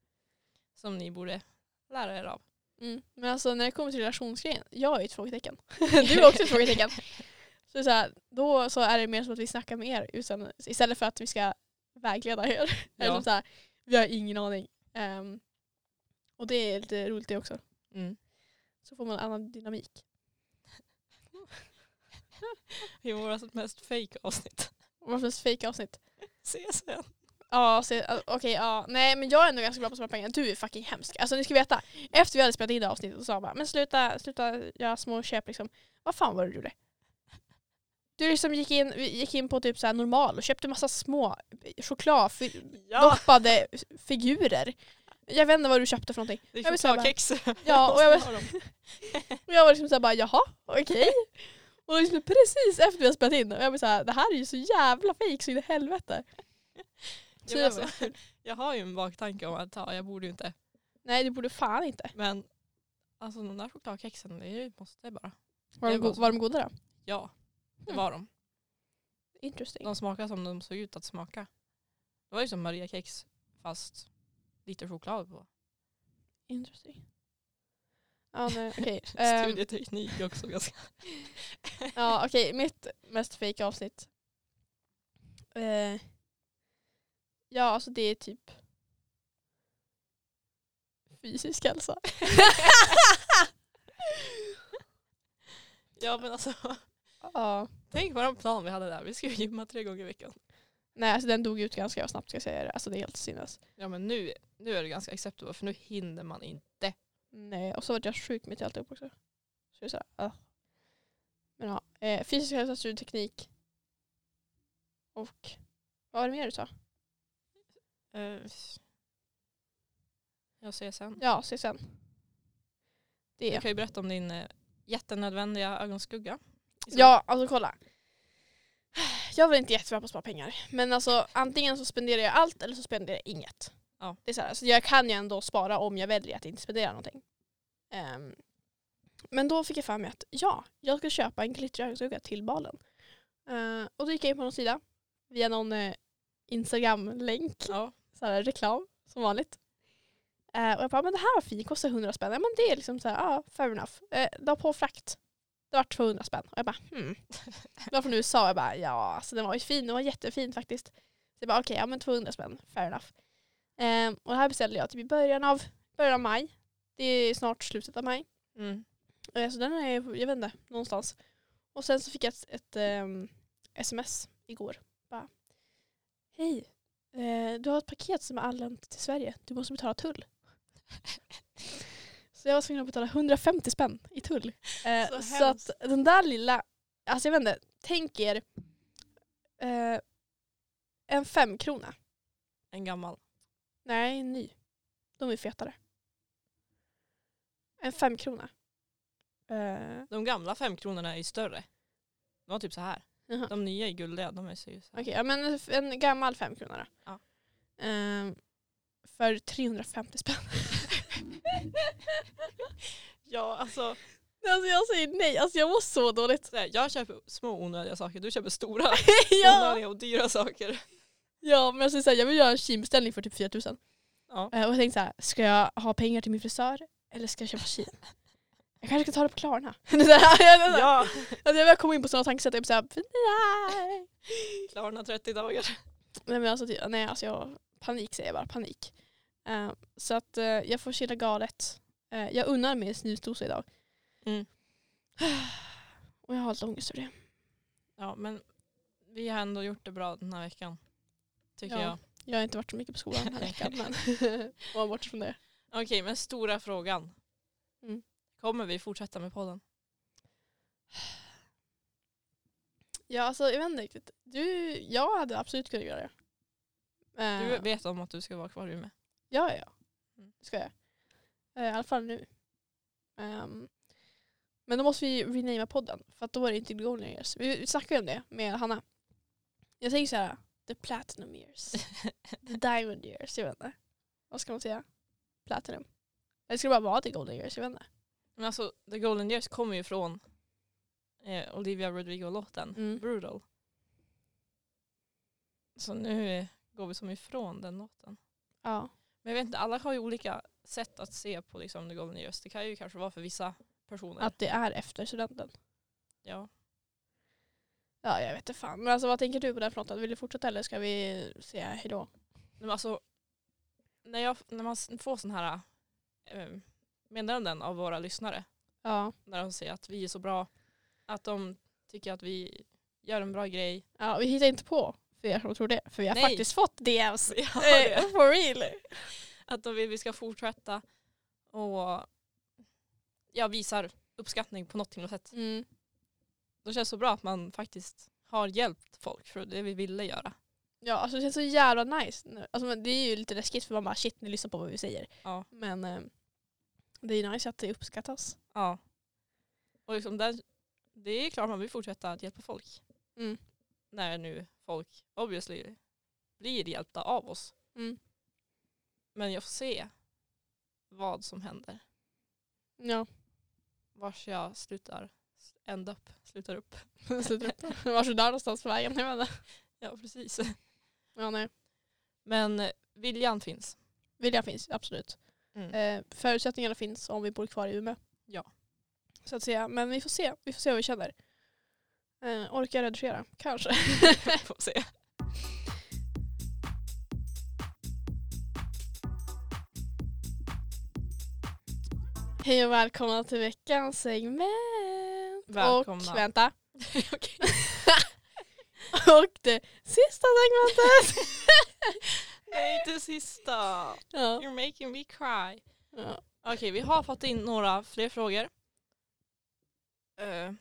Speaker 3: Som ni borde lära er av.
Speaker 2: Mm. Men alltså när det kommer till relationsgrejen, jag är ett frågetecken. du är också ett frågetecken. Så, det är så här, då så är det mer som att vi snackar med er utan, istället för att vi ska vägleda er. Eller
Speaker 3: Ja.
Speaker 2: som så här, vi har ingen aning. Ehm, och det är lite roligt det också.
Speaker 3: Mm.
Speaker 2: Så får man en annan dynamik.
Speaker 3: I vårt mest fake avsnitt.
Speaker 2: Och varför ens fejka avsnitt?
Speaker 3: Ses sen.
Speaker 2: Ja, så- ja, okej. ja. Nej, men jag är ändå ganska bra på att spara pengar. Du är fucking hemsk. Alltså ni ska veta. Efter vi hade spelat in det här avsnittet så sa han bara, men sluta, sluta göra små köp liksom. Vad fan var det du gjorde? Du liksom gick in, vi gick in på typ så här normal och köpte massa små eh, chokladdoppade figurer. Jag vet inte vad du köpte för någonting.
Speaker 3: Det
Speaker 2: Jag
Speaker 3: är
Speaker 2: vill säga bara-
Speaker 3: chokladkex.
Speaker 2: Ja, och jag,
Speaker 3: Måste ha dem.
Speaker 2: och jag var liksom såhär bara jaha, okej. Och liksom precis efter vi hade spelat in och jag var såhär det här är ju så jävla fejk så in i helvete.
Speaker 3: Ja, men alltså, jag har ju en baktanke om att ja, jag borde ju inte.
Speaker 2: Nej det borde fan inte.
Speaker 3: Men alltså de där chokladkexen, det är ju ett måste bara.
Speaker 2: Var de,
Speaker 3: Det var
Speaker 2: go-
Speaker 3: så.
Speaker 2: var de goda då?
Speaker 3: Ja, det
Speaker 2: Mm.
Speaker 3: var de.
Speaker 2: Interesting.
Speaker 3: De smakade som de såg ut att smaka. Det var ju som Maria-kex fast lite choklad på.
Speaker 2: Interesting. Ja, nej, okej.
Speaker 3: Eh,
Speaker 2: Ehm,
Speaker 3: Studieteknik också ganska.
Speaker 2: ja, okej. Mitt mest fejka avsnitt. Eh, ja, alltså det är typ fysisk hälsa.
Speaker 3: Ja men alltså,
Speaker 2: ja.
Speaker 3: tänk våran plan vi hade där. Vi skulle gymma tre gånger i veckan.
Speaker 2: Nej, alltså den dog ut ganska snabbt ska jag säga det. Alltså det är helt sinnes.
Speaker 3: Ja men nu, nu är det ganska acceptable för nu hinner man inte.
Speaker 2: Nej, och så var jag sjuk mitt i alltihop också. Så det är så här, ah. Men ja, eh, fysisk hälsa, studieteknik och vad var det mer du sa?
Speaker 3: Eh, Jag ser sen.
Speaker 2: Ja, CSN. Det.
Speaker 3: Du kan ju berätta om din eh, jättenödvändiga ögonskugga.
Speaker 2: Ja, alltså kolla. Jag var inte jättebra på att spara pengar. Men alltså antingen så spenderar jag allt eller så spenderar jag inget.
Speaker 3: Ja.
Speaker 2: Det är så här, alltså, jag kan ju ändå spara om jag väljer att inte spendera någonting. Ehm, men då fick jag för mig att ja, jag ska köpa en glittrig ögonskugga till balen. Ehm, och då gick jag in på någon sida via någon eh, Instagram-länk,
Speaker 3: Ja.
Speaker 2: så här, reklam som vanligt. Eh, och jag bara, men det här var fint, kostar 100 spänn. Ja, men det är liksom så här, ja, fair enough. Eh, la på frakt, det var 200 spänn. Och jag bara, hmm. Det var från USA, jag bara, ja, alltså den var ju fin, den var jättefin faktiskt. Så jag bara, okej, ja men 200 spänn, fair enough. Eh, och det här beställde jag typ i början av, början av maj. Det är snart slutet av maj.
Speaker 3: Mm.
Speaker 2: Eh, Så den är, jag vet inte, någonstans. Och sen så fick jag ett, ett ehm, sms igår. Bara, Hej, eh, du har ett paket som är anlänt till Sverige. Du måste betala tull. så jag var tvungen att betala 150 spänn i tull. Eh,
Speaker 3: Så
Speaker 2: så
Speaker 3: hemskt.
Speaker 2: att den där lilla, alltså jag vet inte, tänk er eh, en femkrona.
Speaker 3: En gammal.
Speaker 2: Nej, en ny. De är fetare. En femkrona. Eh,
Speaker 3: De gamla femkronorna är ju större. De var typ så här.
Speaker 2: jaha.
Speaker 3: De nya är guldiga. De är så ju så här.
Speaker 2: Okej, ja, men en gammal femkrona då.
Speaker 3: Ja.
Speaker 2: Ehm, för 350 spänn.
Speaker 3: Ja, alltså,
Speaker 2: alltså jag säger nej, alltså jag mår så dåligt.
Speaker 3: så här, jag köper små onödiga saker, du köper stora
Speaker 2: ja.
Speaker 3: onödiga och dyra saker.
Speaker 2: ja, men alltså, så här, jag vill göra en kinbeställning för typ 4000.
Speaker 3: Ja.
Speaker 2: Eh, och jag tänkte så här, ska jag ha pengar till min frisör eller ska jag köpa kin? Jag kanske ska ta det på Klarna. Det är så här, jag, ja.
Speaker 3: Ja,
Speaker 2: alltså, jag börjar komma in på sådana tankesätt. Jag blir så här, nej.
Speaker 3: Klarna 30 dagar.
Speaker 2: Nej men alltså, ty- nej, alltså jag, panik säger jag bara, panik. Eh, så att eh, jag får chilla galet. Eh, jag unnar mig en snusdosa idag.
Speaker 3: Mm.
Speaker 2: Och jag har lite ångest över det.
Speaker 3: Ja, men vi har ändå gjort det bra den här veckan. Tycker
Speaker 2: Ja.
Speaker 3: jag.
Speaker 2: Jag har inte varit så mycket på skolan den här veckan men om man bortser från det.
Speaker 3: Okej, men stora frågan.
Speaker 2: Mm.
Speaker 3: Kommer vi fortsätta med podden?
Speaker 2: Ja alltså jag vet inte riktigt. Du, jag hade absolut kunnat göra det. Eh,
Speaker 3: Du vet om att du ska vara kvar i Umeå?
Speaker 2: Ja, ja, ja.
Speaker 3: Mm.
Speaker 2: Det ska jag. Eh, I alla fall nu. Ehm, men då måste vi renama podden för att då är det inte Golden Years. Vi vi snackade ju om det med Hanna. Jag tänker så här, the platinum years, the diamond years, jag vet inte. Vad ska man säga? Platinum. Eller ska det bara vara the golden years, jag vet inte.
Speaker 3: Men alltså, The Golden Years kommer ju från eh, Olivia Rodrigo-låten
Speaker 2: Mm.
Speaker 3: Brutal. Så nu eh, går vi som ifrån den låten.
Speaker 2: Ja.
Speaker 3: Men jag vet inte, alla har ju olika sätt att se på liksom, The Golden Years. Det kan ju kanske vara för vissa personer.
Speaker 2: Att det är efter studenten.
Speaker 3: Ja.
Speaker 2: Ja, jag vet inte fan. Men alltså vad tänker du på den fronten? Vill du fortsätta eller ska vi säga hejdå?
Speaker 3: Men alltså, när, jag, när man s- får sådana här eh, meddelanden av våra lyssnare,
Speaker 2: Ja.
Speaker 3: när de säger att vi är så bra, att de tycker att vi gör en bra grej.
Speaker 2: ja. Vi hittar inte på för er som tror det. För vi har
Speaker 3: Nej.
Speaker 2: faktiskt fått DMs.
Speaker 3: Ja,
Speaker 2: Eh,
Speaker 3: det.
Speaker 2: For real.
Speaker 3: Att de vill vi ska fortsätta och ja, visar uppskattning på något himla sätt.
Speaker 2: Mm.
Speaker 3: Då känns det så bra att man faktiskt har hjälpt folk för det vi ville göra.
Speaker 2: Ja, alltså det känns så jävla nice. nu. Alltså, men det är ju lite läskigt för man bara shit, ni lyssnar på vad vi säger.
Speaker 3: Ja.
Speaker 2: Men eh, det är ju nice att det uppskattas.
Speaker 3: ja. Och liksom där, det är klart man vill fortsätta att hjälpa folk.
Speaker 2: Mm.
Speaker 3: När nu folk obviously blir hjälpta av oss.
Speaker 2: Mm.
Speaker 3: Men jag får se vad som händer.
Speaker 2: Ja,
Speaker 3: Vars jag slutar, end up, slutar upp.
Speaker 2: slutar upp. Varsågod där någonstans på vägen. Jag vet inte.
Speaker 3: Ja, precis.
Speaker 2: Ja, nej.
Speaker 3: Men eh, viljan finns.
Speaker 2: Viljan finns, absolut. Eh, förutsättningarna finns om vi bor kvar i Umeå.
Speaker 3: Mm. Ja.
Speaker 2: Så att säga. Men vi får se. Vi får se vad vi känner. Eh, orkar jag redigera? Kanske.
Speaker 3: får se.
Speaker 2: Hej och välkomna till veckans segment.
Speaker 3: Välkomna.
Speaker 2: Och vänta. och det sista segmentet.
Speaker 3: Nej, inte sista.
Speaker 2: ja.
Speaker 3: You're making me cry.
Speaker 2: Ja.
Speaker 3: Okej, vi har fått in några fler frågor. Eh,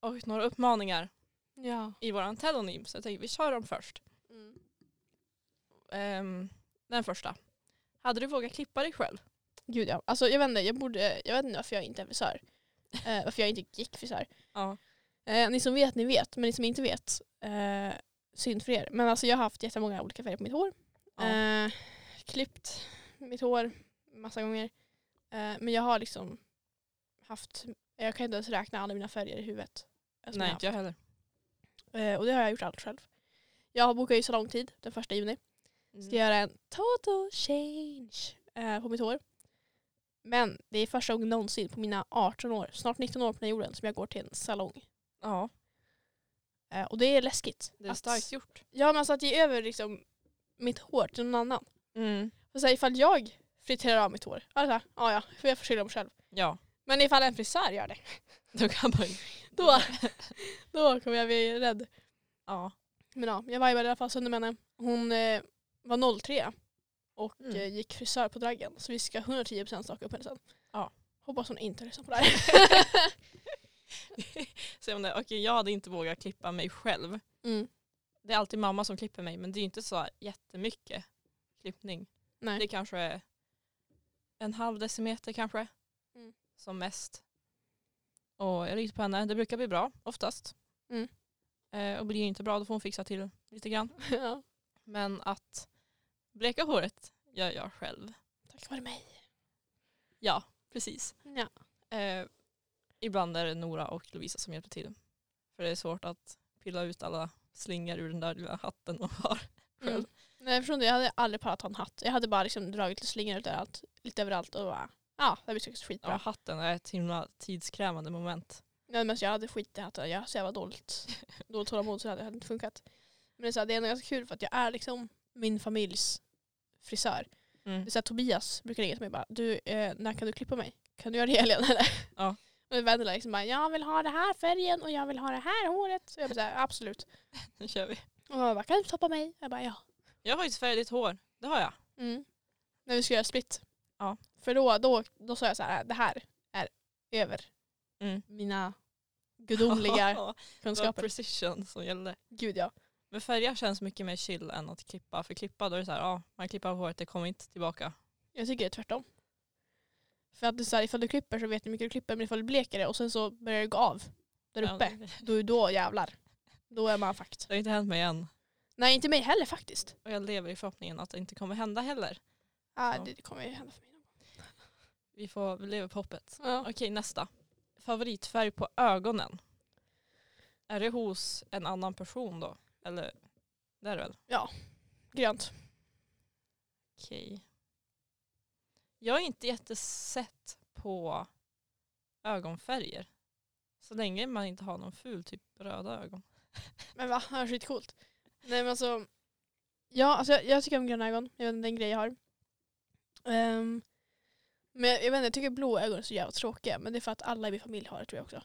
Speaker 3: och några uppmaningar
Speaker 2: ja.
Speaker 3: i vår telonym. Så jag tänker vi kör dem först.
Speaker 2: Mm.
Speaker 3: Ehm, den första. Hade du vågat klippa dig själv?
Speaker 2: Gud ja. Alltså jag vet inte, jag, borde, jag vet inte varför jag inte är frisör. Eh, varför jag inte gick frisör.
Speaker 3: Ja.
Speaker 2: Eh, ni som vet, ni vet. Men ni som inte vet, eh, synd för er. Men alltså jag har haft jättemånga olika färger på mitt hår.
Speaker 3: Ja.
Speaker 2: Eh, klippt mitt hår massa gånger. Eh, men jag har liksom haft, jag kan inte ens räkna alla mina färger i huvudet. eh, som jag
Speaker 3: Nej,
Speaker 2: haft.
Speaker 3: inte jag heller.
Speaker 2: Eh, och det har jag gjort allt själv. Jag har bokat ju salongtid den första juni.
Speaker 3: Mm.
Speaker 2: Ska göra en total change eh, på mitt hår. Men det är första gången någonsin på mina 18 år, snart 19 år på den här jorden, som jag går till en salong.
Speaker 3: Ja,
Speaker 2: Eh, och det är läskigt.
Speaker 3: det är
Speaker 2: Att-
Speaker 3: starkt gjort.
Speaker 2: Ja men alltså att ge över liksom, mitt hår till någon annan.
Speaker 3: Mm.
Speaker 2: För så här, ifall jag friterar av mitt hår, alltså, ja ja, för jag får skylla mig själv.
Speaker 3: Ja,
Speaker 2: Men ifall en frisör gör det,
Speaker 3: då kan man
Speaker 2: då, då kommer jag bli rädd.
Speaker 3: Ja.
Speaker 2: Men ja, jag vibade i alla fall sönder med henne. Hon eh, var 03 och
Speaker 3: Mm.
Speaker 2: eh, gick frisör på Draggen. Så vi ska 110% staka upp henne sen.
Speaker 3: Ja.
Speaker 2: Hoppas hon inte lyssnar på det här.
Speaker 3: Se om det. Okej, jag hade inte vågat klippa mig själv.
Speaker 2: Mm.
Speaker 3: Det är alltid mamma som klipper mig men det är inte så jättemycket klippning.
Speaker 2: Nej.
Speaker 3: Det kanske är en halv decimeter kanske.
Speaker 2: Mm.
Speaker 3: Som mest. Och jag litar på henne. Det brukar bli bra oftast.
Speaker 2: Mm.
Speaker 3: Eh, och blir det inte bra då får hon fixa till lite grann.
Speaker 2: ja.
Speaker 3: Men att bleka håret gör jag själv.
Speaker 2: Tack vare mig. Mm.
Speaker 3: Ja, precis.
Speaker 2: Ja.
Speaker 3: Eh, ibland är det Nora och Lovisa som hjälper till. För det är svårt att pilla ut alla slingor ur den där lilla hatten och har själv.
Speaker 2: Mm. Nej, förstår du, jag hade aldrig pallat ha en hatt. Jag hade bara liksom dragit lite slingor ut överallt, lite överallt och bara, ja, det blir säkert
Speaker 3: Ja,
Speaker 2: skitbra.
Speaker 3: hatten är ett himla tidskrävande moment.
Speaker 2: Nej, men så jag hade skit i hatten, jag, så jag var dåligt, dåligt tålamod så det hade hade inte funkat. Men det är, så här, det är ändå ganska kul för att jag är liksom min familjs frisör.
Speaker 3: Mm.
Speaker 2: Det är så här, Tobias brukar ringa till mig och bara, du, eh, när kan du klippa mig? Kan du göra det i helgen eller?
Speaker 3: Ja.
Speaker 2: Och Vendela liksom bara, jag vill ha den här färgen och jag vill ha det här håret. Så jag bara, så här, absolut.
Speaker 3: Nu kör vi.
Speaker 2: Och han bara, kan du toppa mig? Jag bara, ja.
Speaker 3: Jag har ju färgat ditt hår. Det har jag.
Speaker 2: Mm. När vi ska göra split.
Speaker 3: Ja.
Speaker 2: För då, då, då sa jag så här, "Äh, det här är över mina gudomliga
Speaker 3: Mm. Ja, det var
Speaker 2: kunskaper.
Speaker 3: precision som gällde.
Speaker 2: Gud ja.
Speaker 3: Men färga känns mycket mer chill än att klippa. För klippa då är det så här, ja man klipper av håret, det kommer inte tillbaka.
Speaker 2: Jag tycker det är tvärtom. För att det är så här, ifall du klipper så vet du hur mycket du klipper, men ifall du bleker det och sen så börjar det gå av där
Speaker 3: Ja,
Speaker 2: uppe,
Speaker 3: det-
Speaker 2: då, då jävlar. Då är man fucked.
Speaker 3: Det har inte hänt mig än.
Speaker 2: Nej, inte mig heller faktiskt.
Speaker 3: Och jag lever i förhoppningen att det inte kommer hända heller.
Speaker 2: Ah,
Speaker 3: Ja.
Speaker 2: Det kommer ju hända för mig.
Speaker 3: Vi får vi lever på hoppet.
Speaker 2: Ja.
Speaker 3: Okej, nästa. Favoritfärg på ögonen. Är det hos en annan person då? Eller det är det väl?
Speaker 2: Grönt.
Speaker 3: Okej. Jag är inte jättesett på ögonfärger. Så länge man inte har någon ful typ röda ögon.
Speaker 2: Men va, det var skitcoolt. Nej men alltså, ja, alltså jag, jag tycker om gröna ögon. Jag vet inte, det är en grej jag har. Ehm, men jag, jag vet inte, jag tycker blå ögon är så jävla tråkiga. Men det är för att alla i min familj har det tror jag också.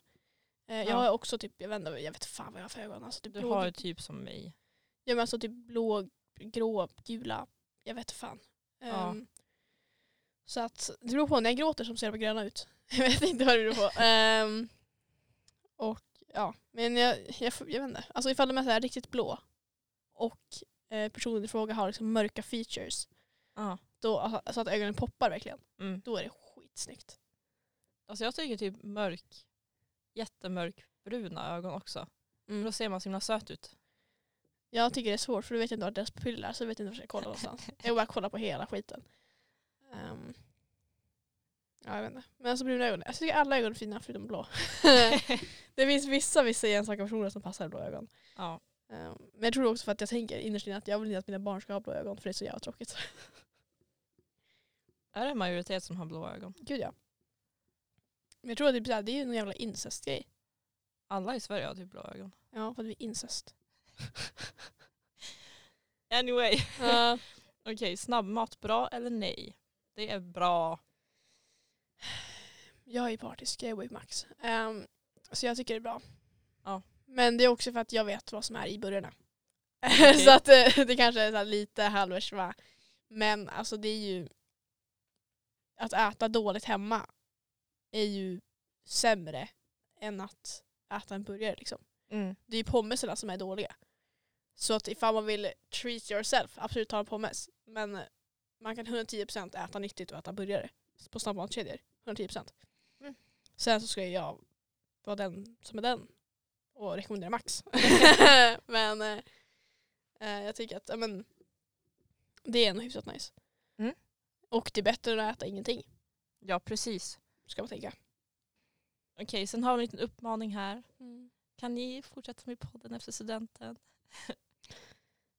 Speaker 2: Eh, Jag
Speaker 3: Ja.
Speaker 2: har också typ, jag vet inte, jag vet fan vad jag har för ögon. Alltså, typ
Speaker 3: Du
Speaker 2: blå,
Speaker 3: har ju typ som mig.
Speaker 2: Ja men alltså typ blå, grå, gula. Jag vet fan.
Speaker 3: Ja.
Speaker 2: Ehm, Så att det beror på, när jag gråter så ser jag på gröna ut. Jag vet inte vad det beror på. Ehm, och ja, men jag, jag, får- jag vet inte. Alltså ifall de är så här riktigt blå och eh, personen i fråga har liksom mörka features,
Speaker 3: Ja.
Speaker 2: då, alltså att ögonen poppar verkligen,
Speaker 3: Mm.
Speaker 2: då är det skitsnyggt.
Speaker 3: Alltså jag tycker typ mörk, jättemörk bruna ögon också. Men Då ser man så himla söt ut.
Speaker 2: Jag tycker det är svårt för du vet inte var deras pupiller är så jag vet inte var jag ska kolla någonstans. Jag bara kollar på hela skiten. Ehm, ja, jag vet inte. Men alltså bruna ögon. Jag tycker alla ögon är fina förutom blå. det finns vissa, vissa enstaka personer som passar i blå ögon.
Speaker 3: Ja.
Speaker 2: Ehm, men jag tror också för att jag tänker innerst inne att jag vill inte att mina barn ska ha blå ögon för det är så jävla tråkigt.
Speaker 3: Är det en majoritet som har blå ögon?
Speaker 2: Gud ja. Men jag tror att det, är så här, det är ju någon jävla incestgrej.
Speaker 3: Alla i Sverige har typ blå ögon.
Speaker 2: Ja, för att vi är incest.
Speaker 3: Anyway. Okej, snabbmat bra eller nej? Det är bra.
Speaker 2: Jag är partisk, jag är Wavemax. Um, så jag tycker det är bra.
Speaker 3: Ja.
Speaker 2: Men det är också för att jag vet vad som är i burgarna.
Speaker 3: Okej.
Speaker 2: så att eh, det kanske är så här lite halvers va. Men alltså det är ju att äta dåligt hemma är ju sämre än att äta en burgare liksom. Det är ju pommesarna som är dåliga. Så att ifall man vill treat yourself, absolut ta en pommes. Men eh, man kan 110% äta nyttigt och äta burgare på snabbmatskedjor. 110%.
Speaker 3: Mm.
Speaker 2: Sen så ska ju jag vara den som är den och rekommendera Max. men eh, eh, jag tycker att ja, men, det är ändå hyfsat nice.
Speaker 3: Mm.
Speaker 2: Och det är bättre än att äta ingenting,
Speaker 3: Ja, precis.
Speaker 2: ska man tänka.
Speaker 3: Okej, sen har vi en liten uppmaning här. Kan ni fortsätta med podden efter studenten?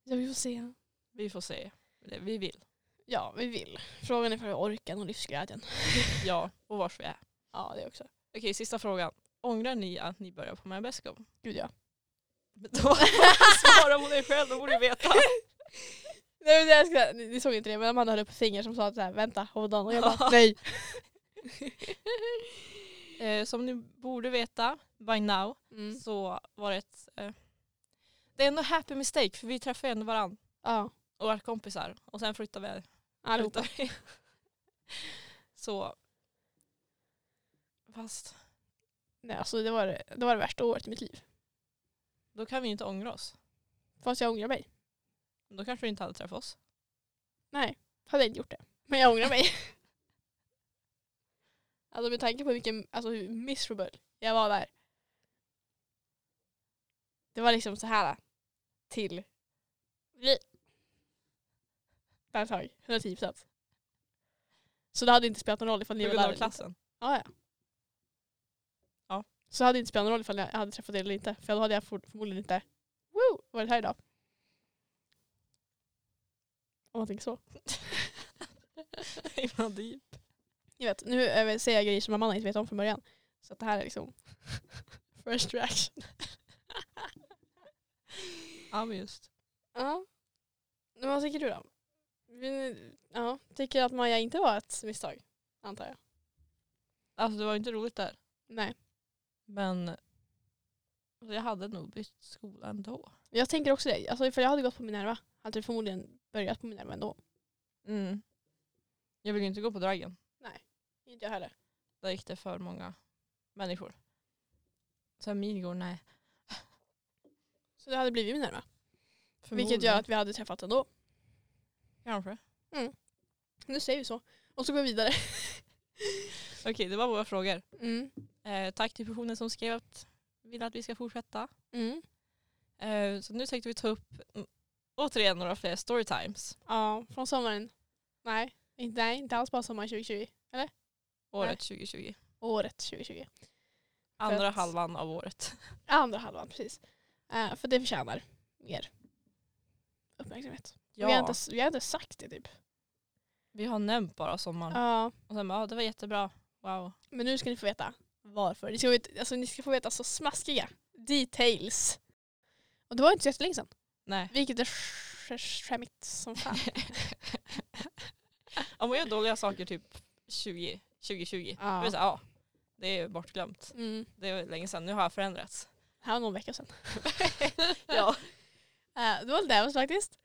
Speaker 2: Ja, vi får se.
Speaker 3: Vi får se. Eller Vi vill.
Speaker 2: Ja, vi vill. Frågan är för orken och livsglädjen.
Speaker 3: Ja, och vars vi är.
Speaker 2: Ja, det också.
Speaker 3: Okej, sista frågan. Ångrar ni att ni börjar på My Best Go?
Speaker 2: Gud ja.
Speaker 3: Men Då svarar hon dig själv, då borde du veta.
Speaker 2: Nej, men det jag ska, ni, ni såg inte det, men Amanda höll upp ett finger som sa att så här, vänta, hold on. Och jag bara, nej.
Speaker 3: Eh, som ni borde veta by now
Speaker 2: Mm.
Speaker 3: så var det ett... Eh, det är ändå happy mistake för vi träffar ju ändå varandra
Speaker 2: Ja,
Speaker 3: och våra kompisar och sen flyttar vi.
Speaker 2: allihopa.
Speaker 3: flyttar vi. så... Fast
Speaker 2: Nej, alltså, det, var, det- det var det värsta året i mitt liv.
Speaker 3: då kan vi ju inte ångra oss.
Speaker 2: Fast jag ångrar mig.
Speaker 3: Då kanske vi inte hade träffat oss.
Speaker 2: Nej, hade jag inte gjort det. Men jag ångrar mig. alltså med tanke på vilken, alltså, hur miserable jag var där. Det var liksom så här till vi. Där ett tag, 110 procent. Så det hade inte spelat någon roll ifall ni
Speaker 3: På
Speaker 2: var
Speaker 3: grund
Speaker 2: där. eller
Speaker 3: av
Speaker 2: inte.
Speaker 3: klassen.
Speaker 2: Ja, ja.
Speaker 3: Ja.
Speaker 2: Så det hade inte spelat någon roll ifall jag hade träffat er eller inte. För då hade jag for- förmodligen inte woo, varit här idag. Om man tänker så.
Speaker 3: Himla deep.
Speaker 2: Jag vet, nu eh, säger jag grejer som mamman inte vet om från början. Så att det här är liksom first reaction.
Speaker 3: Ja men just.
Speaker 2: Ja. Men vad tycker du då? Vi- Ja, tycker att Maja inte var ett misstag? Antar jag.
Speaker 3: Alltså det var ju inte roligt där.
Speaker 2: Nej.
Speaker 3: Men alltså, jag hade nog bytt skola ändå.
Speaker 2: Jag tänker också det. Alltså ifall jag hade gått på Minerva hade jag förmodligen börjat på Minerva ändå. Mm.
Speaker 3: Jag vill ju inte gå på Dragen.
Speaker 2: Inte jag heller.
Speaker 3: Där gick det för många människor. Sen Midgård, nej.
Speaker 2: Så det hade blivit Minerva. Vilket gör att vi hade träffat ändå.
Speaker 3: Kanske.
Speaker 2: Nu säger vi så. Och så går vi vidare.
Speaker 3: Okej, det var våra frågor.
Speaker 2: Mm.
Speaker 3: Eh, tack till personen som skrev att vill att vi ska fortsätta.
Speaker 2: Mm.
Speaker 3: Eh, så nu tänkte vi ta upp mm, återigen några fler storytimes.
Speaker 2: Ja, från sommaren. Nej, inte, nej, inte alls bara sommaren 2020.
Speaker 3: Året 2020.
Speaker 2: Året 2020.
Speaker 3: Andra
Speaker 2: att-
Speaker 3: halvan av året.
Speaker 2: Andra halvan, precis. Eh, för det förtjänar mer uppmärksamhet.
Speaker 3: Ja,
Speaker 2: Vi, har inte, vi har inte sagt det typ.
Speaker 3: vi har nämnt bara sommaren.
Speaker 2: Ja,
Speaker 3: Och sen bara, ja, det var jättebra. Wow.
Speaker 2: men nu ska ni få veta varför. Ni ska, veta, alltså, ni ska få veta så smaskiga details. Och det var inte så jättelänge sedan.
Speaker 3: Nej.
Speaker 2: Vilket är sk- skämmigt som fan.
Speaker 3: Om man gör dåliga saker typ 20, 2020,
Speaker 2: Ja.
Speaker 3: då är det så här, ja, det är bortglömt.
Speaker 2: Mm.
Speaker 3: Det är länge sedan, nu har jag förändrats.
Speaker 2: Det här var någon vecka sedan.
Speaker 3: ja.
Speaker 2: Eh, det var lite ävens faktiskt.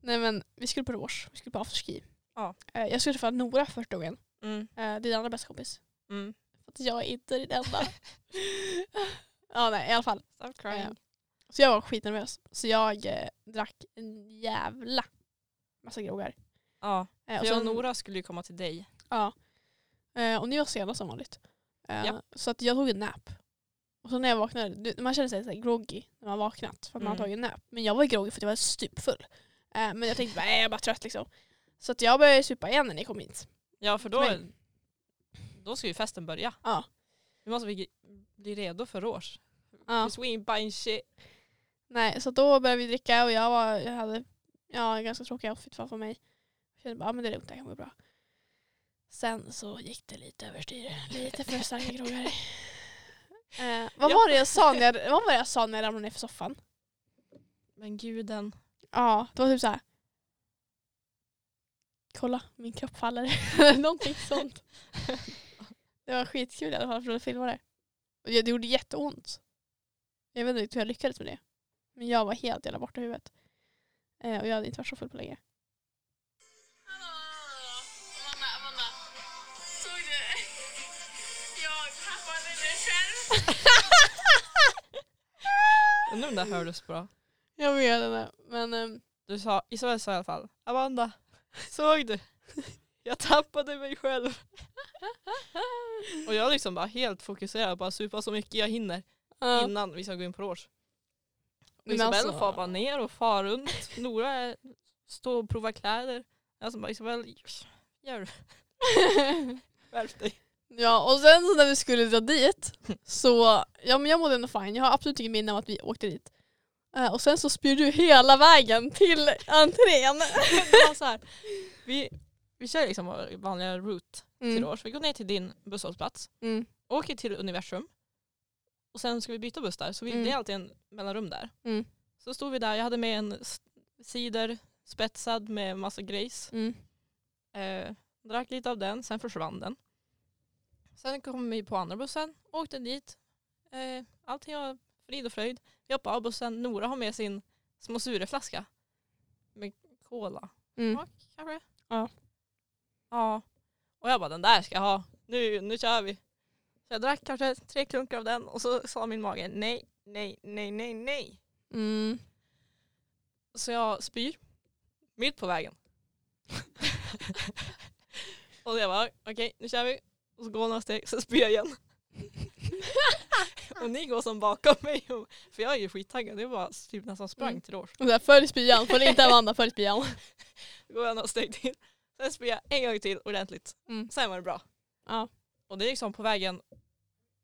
Speaker 2: Nej men vi skulle på Rås, vi skulle på afterski.
Speaker 3: Ja.
Speaker 2: Eh, jag skulle träffa Nora första gången,
Speaker 3: Mm,
Speaker 2: eh, din andra bästa kompis.
Speaker 3: mm.
Speaker 2: För att jag är inte din enda. ja nej i alla fall.
Speaker 3: Stop crying.
Speaker 2: Ja. Så jag var skitnervös. Så jag eh, drack en jävla massa groggar.
Speaker 3: Ja,
Speaker 2: Eh,
Speaker 3: för jag och Nora skulle ju komma till dig.
Speaker 2: Ja. Eh, och ni var sena som vanligt. Eh,
Speaker 3: Ja.
Speaker 2: Så att jag tog en nap. Och så när jag vaknade, du, man känner sig så här groggy när man har vaknat för att man har
Speaker 3: Mm.
Speaker 2: tagit en nap. Men jag var ju groggy för att jag var stupfull. Eh, men jag tänkte bara, "Äh, jag är bara trött liksom. Så att jag började supa igen när ni kom hit.
Speaker 3: Ja, för då,
Speaker 2: Men-
Speaker 3: då ska ju festen börja.
Speaker 2: Ja.
Speaker 3: Vi måste bli, bli redo för års.
Speaker 2: Ja.
Speaker 3: Cause we ain't buying shit.
Speaker 2: Nej, så då började vi dricka och jag, var, jag hade ja, en ganska tråkig outfit för mig. Jag kände bara, "Ja, men det är lugnt, det här kommer gå bra. Sen så gick det lite överstyr. Lite för starka groggar. Eh, vad,
Speaker 3: Ja.
Speaker 2: var det jag sa när jag, vad var det jag sa när jag ramlade ner för soffan?
Speaker 3: Men guden.
Speaker 2: Ja, det var typ så här. Kolla, min kropp faller. Någonting sånt. Det var skitkul i alla fall för att filma det. Och det det gjorde jätteont. Jag vet inte riktigt hur jag lyckades med det. Men jag var helt jävla borta i huvudet. Eh, och jag hade inte varit så full på länge.
Speaker 1: Amanda, Amanda. Såg du? Jag tappade mig själv.
Speaker 3: Undrar om det här hördes bra.
Speaker 2: Jag vet inte. Men ehm,
Speaker 3: Du sa, Isabel sa i alla fall, Amanda, såg du? Jag tappade mig själv. Och jag liksom bara helt fokuserad, bara supa så mycket jag hinner
Speaker 2: ja.
Speaker 3: innan vi ska gå in på års. Och
Speaker 2: Men
Speaker 3: Isabel
Speaker 2: alltså-
Speaker 3: far bara ner och far runt. Nora är- står och provar kläder. Jag som bara, Isabel, gör du? Skärp dig.
Speaker 2: ja, och sen så när vi skulle dra dit så, ja men jag mådde ändå fine. Jag har absolut inget minne av att vi åkte dit. Eh, och sen så spyr du hela vägen till entrén.
Speaker 3: Det var så här. Vi, vi kör liksom vår vanliga route till
Speaker 2: Mm.
Speaker 3: års. Vi går ner till din busshållplats,
Speaker 2: Mm.
Speaker 3: åker till universum och sen ska vi byta buss där. Så vi,
Speaker 2: Mm.
Speaker 3: det är alltid en mellanrum där.
Speaker 2: Mm.
Speaker 3: Så stod vi där, jag hade med en s- cider spetsad med massa grejs.
Speaker 2: Mm.
Speaker 3: Eh, drack lite av den, sen försvann den. Sen kom vi på andra bussen, åkte dit. Eh, allting var frid och fröjd. Vi hoppade av bussen, Nora har med sin små sureflaska med cola.
Speaker 2: Mm.
Speaker 3: smak kanske.
Speaker 2: Ja.
Speaker 3: Ja. Och jag bara den där ska jag ha. Nu, nu kör vi. Så jag drack kanske tre klunkar av den och så sa min mage nej, nej, nej, nej, nej.
Speaker 2: Mm.
Speaker 3: Så jag spyr. Mitt på vägen. och jag bara okej nu kör vi. Och så går jag några steg så spyr jag igen. och ni går som bakom mig. och- För jag är ju skittaggad. Det var typ nästan sprang
Speaker 2: Mm.
Speaker 3: till års.
Speaker 2: Och så här, Följ spyan, följ inte Amanda, följ spyan.
Speaker 3: Då går jag några steg till. Sen spyr jag en gång till ordentligt.
Speaker 2: Mm.
Speaker 3: Sen var det bra.
Speaker 2: Ja.
Speaker 3: Och det är liksom på vägen,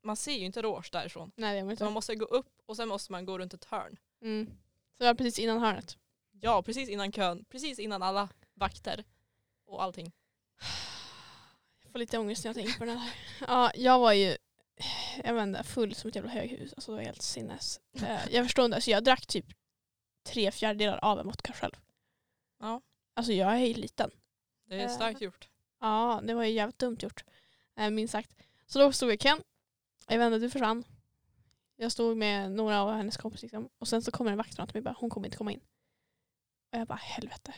Speaker 3: man ser ju inte Rås därifrån.
Speaker 2: Nej det gör man
Speaker 3: Så man
Speaker 2: inte.
Speaker 3: måste gå upp och sen måste man gå runt ett hörn.
Speaker 2: Mm. Så det var precis innan hörnet.
Speaker 3: Ja, precis innan kön, precis innan alla vakter och allting.
Speaker 2: Jag får lite ångest när jag tänker på den här. Ja, jag var ju jag vet inte, full som ett jävla höghus. Alltså det var helt sinnes. Eh, Jag förstår inte, alltså, jag drack typ tre fjärdedelar av en vodka själv.
Speaker 3: Ja.
Speaker 2: Alltså jag är ju liten.
Speaker 3: Det är
Speaker 2: Äh.
Speaker 3: starkt gjort.
Speaker 2: Ja, det var ju jävligt dumt gjort. Eh, Minst sagt. Så då stod jag i kön. Jag vände, du försvann. Jag stod med några av hennes kompisar. Liksom. Och sen så kommer en vakt fram till mig och bara, hon kommer inte komma in. Och jag bara, helvete.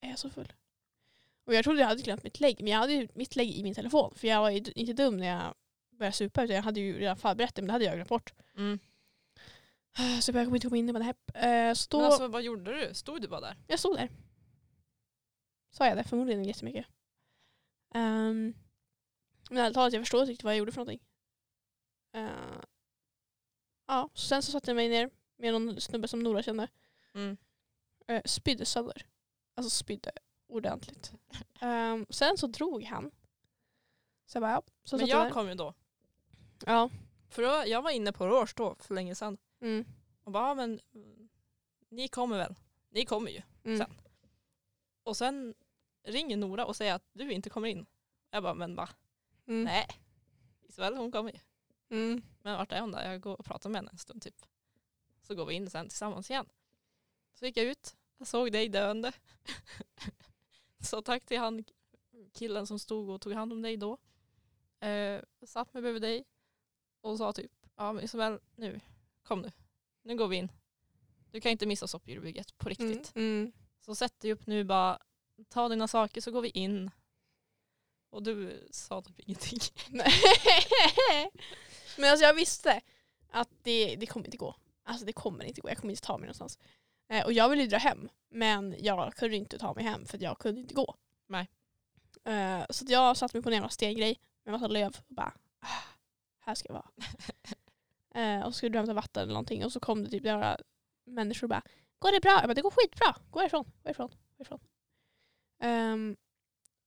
Speaker 2: Är jag så full? Och jag trodde jag hade glömt mitt lägg. Men jag hade ju mitt lägg i min telefon. För jag var ju d- inte dum när jag började supa. Utan jag hade ju redan förberett det. Men det hade jag glömt bort.
Speaker 3: Mm.
Speaker 2: Ah, Så jag kommer inte komma in på det här. Eh, Så då,
Speaker 3: Men alltså vad gjorde du? Stod du bara där?
Speaker 2: jag stod där. Sa jag det? Förmodligen jättemycket. Um, men ärligt talat, jag förstod inte riktigt vad jag gjorde för någonting. Eh, ja, så sen så satte jag mig ner med någon snubbe som Nora kände. Eh, spydde sönder. Alltså spydde ordentligt. Ehm, sen så drog han. Så jag bara, ja. Så
Speaker 3: Men
Speaker 2: satt jag
Speaker 3: jag
Speaker 2: där.
Speaker 3: kom ju då.
Speaker 2: Ja.
Speaker 3: För då, jag var inne på Rås då för länge sedan.
Speaker 2: Mm.
Speaker 3: Och bara, ja, men mm, ni kommer väl? Ni kommer ju.
Speaker 2: Mm.
Speaker 3: Sen. Och sen ringer Nora och säger att du inte kommer in. Jag bara, men va?
Speaker 2: Mm.
Speaker 3: Nej. Isabel hon kommer ju.
Speaker 2: Mm.
Speaker 3: Men vart är hon då? Jag går och pratar med henne en stund typ. Så går vi in sen tillsammans igen. Så gick jag ut. Jag såg dig döende. så tack till han killen som stod och tog hand om dig då. Eh, satt mig bredvid dig och sa typ, ja men Isabel nu, kom nu. Nu går vi in. Du kan inte missa soppdjurbygget på riktigt.
Speaker 2: Mm.
Speaker 3: Så sätt dig upp nu bara, ta dina saker så går vi in. Och du sa typ ingenting.
Speaker 2: Nej. Men alltså jag visste att det, det kommer inte gå. Alltså det kommer inte gå. Jag kommer inte ta mig någonstans. Eh, och jag ville ju dra hem. Men jag kunde inte ta mig hem för att jag kunde inte gå.
Speaker 3: Nej.
Speaker 2: Eh, så att jag satte mig på en jävla stengrej med massa löv och bara ah, här ska jag vara. Eh, och så skulle du hämta vatten eller någonting och så kom det typ några människor och bara går det bra? Jag bara det går skitbra. Gå härifrån, gå härifrån, gå härifrån. Ehm,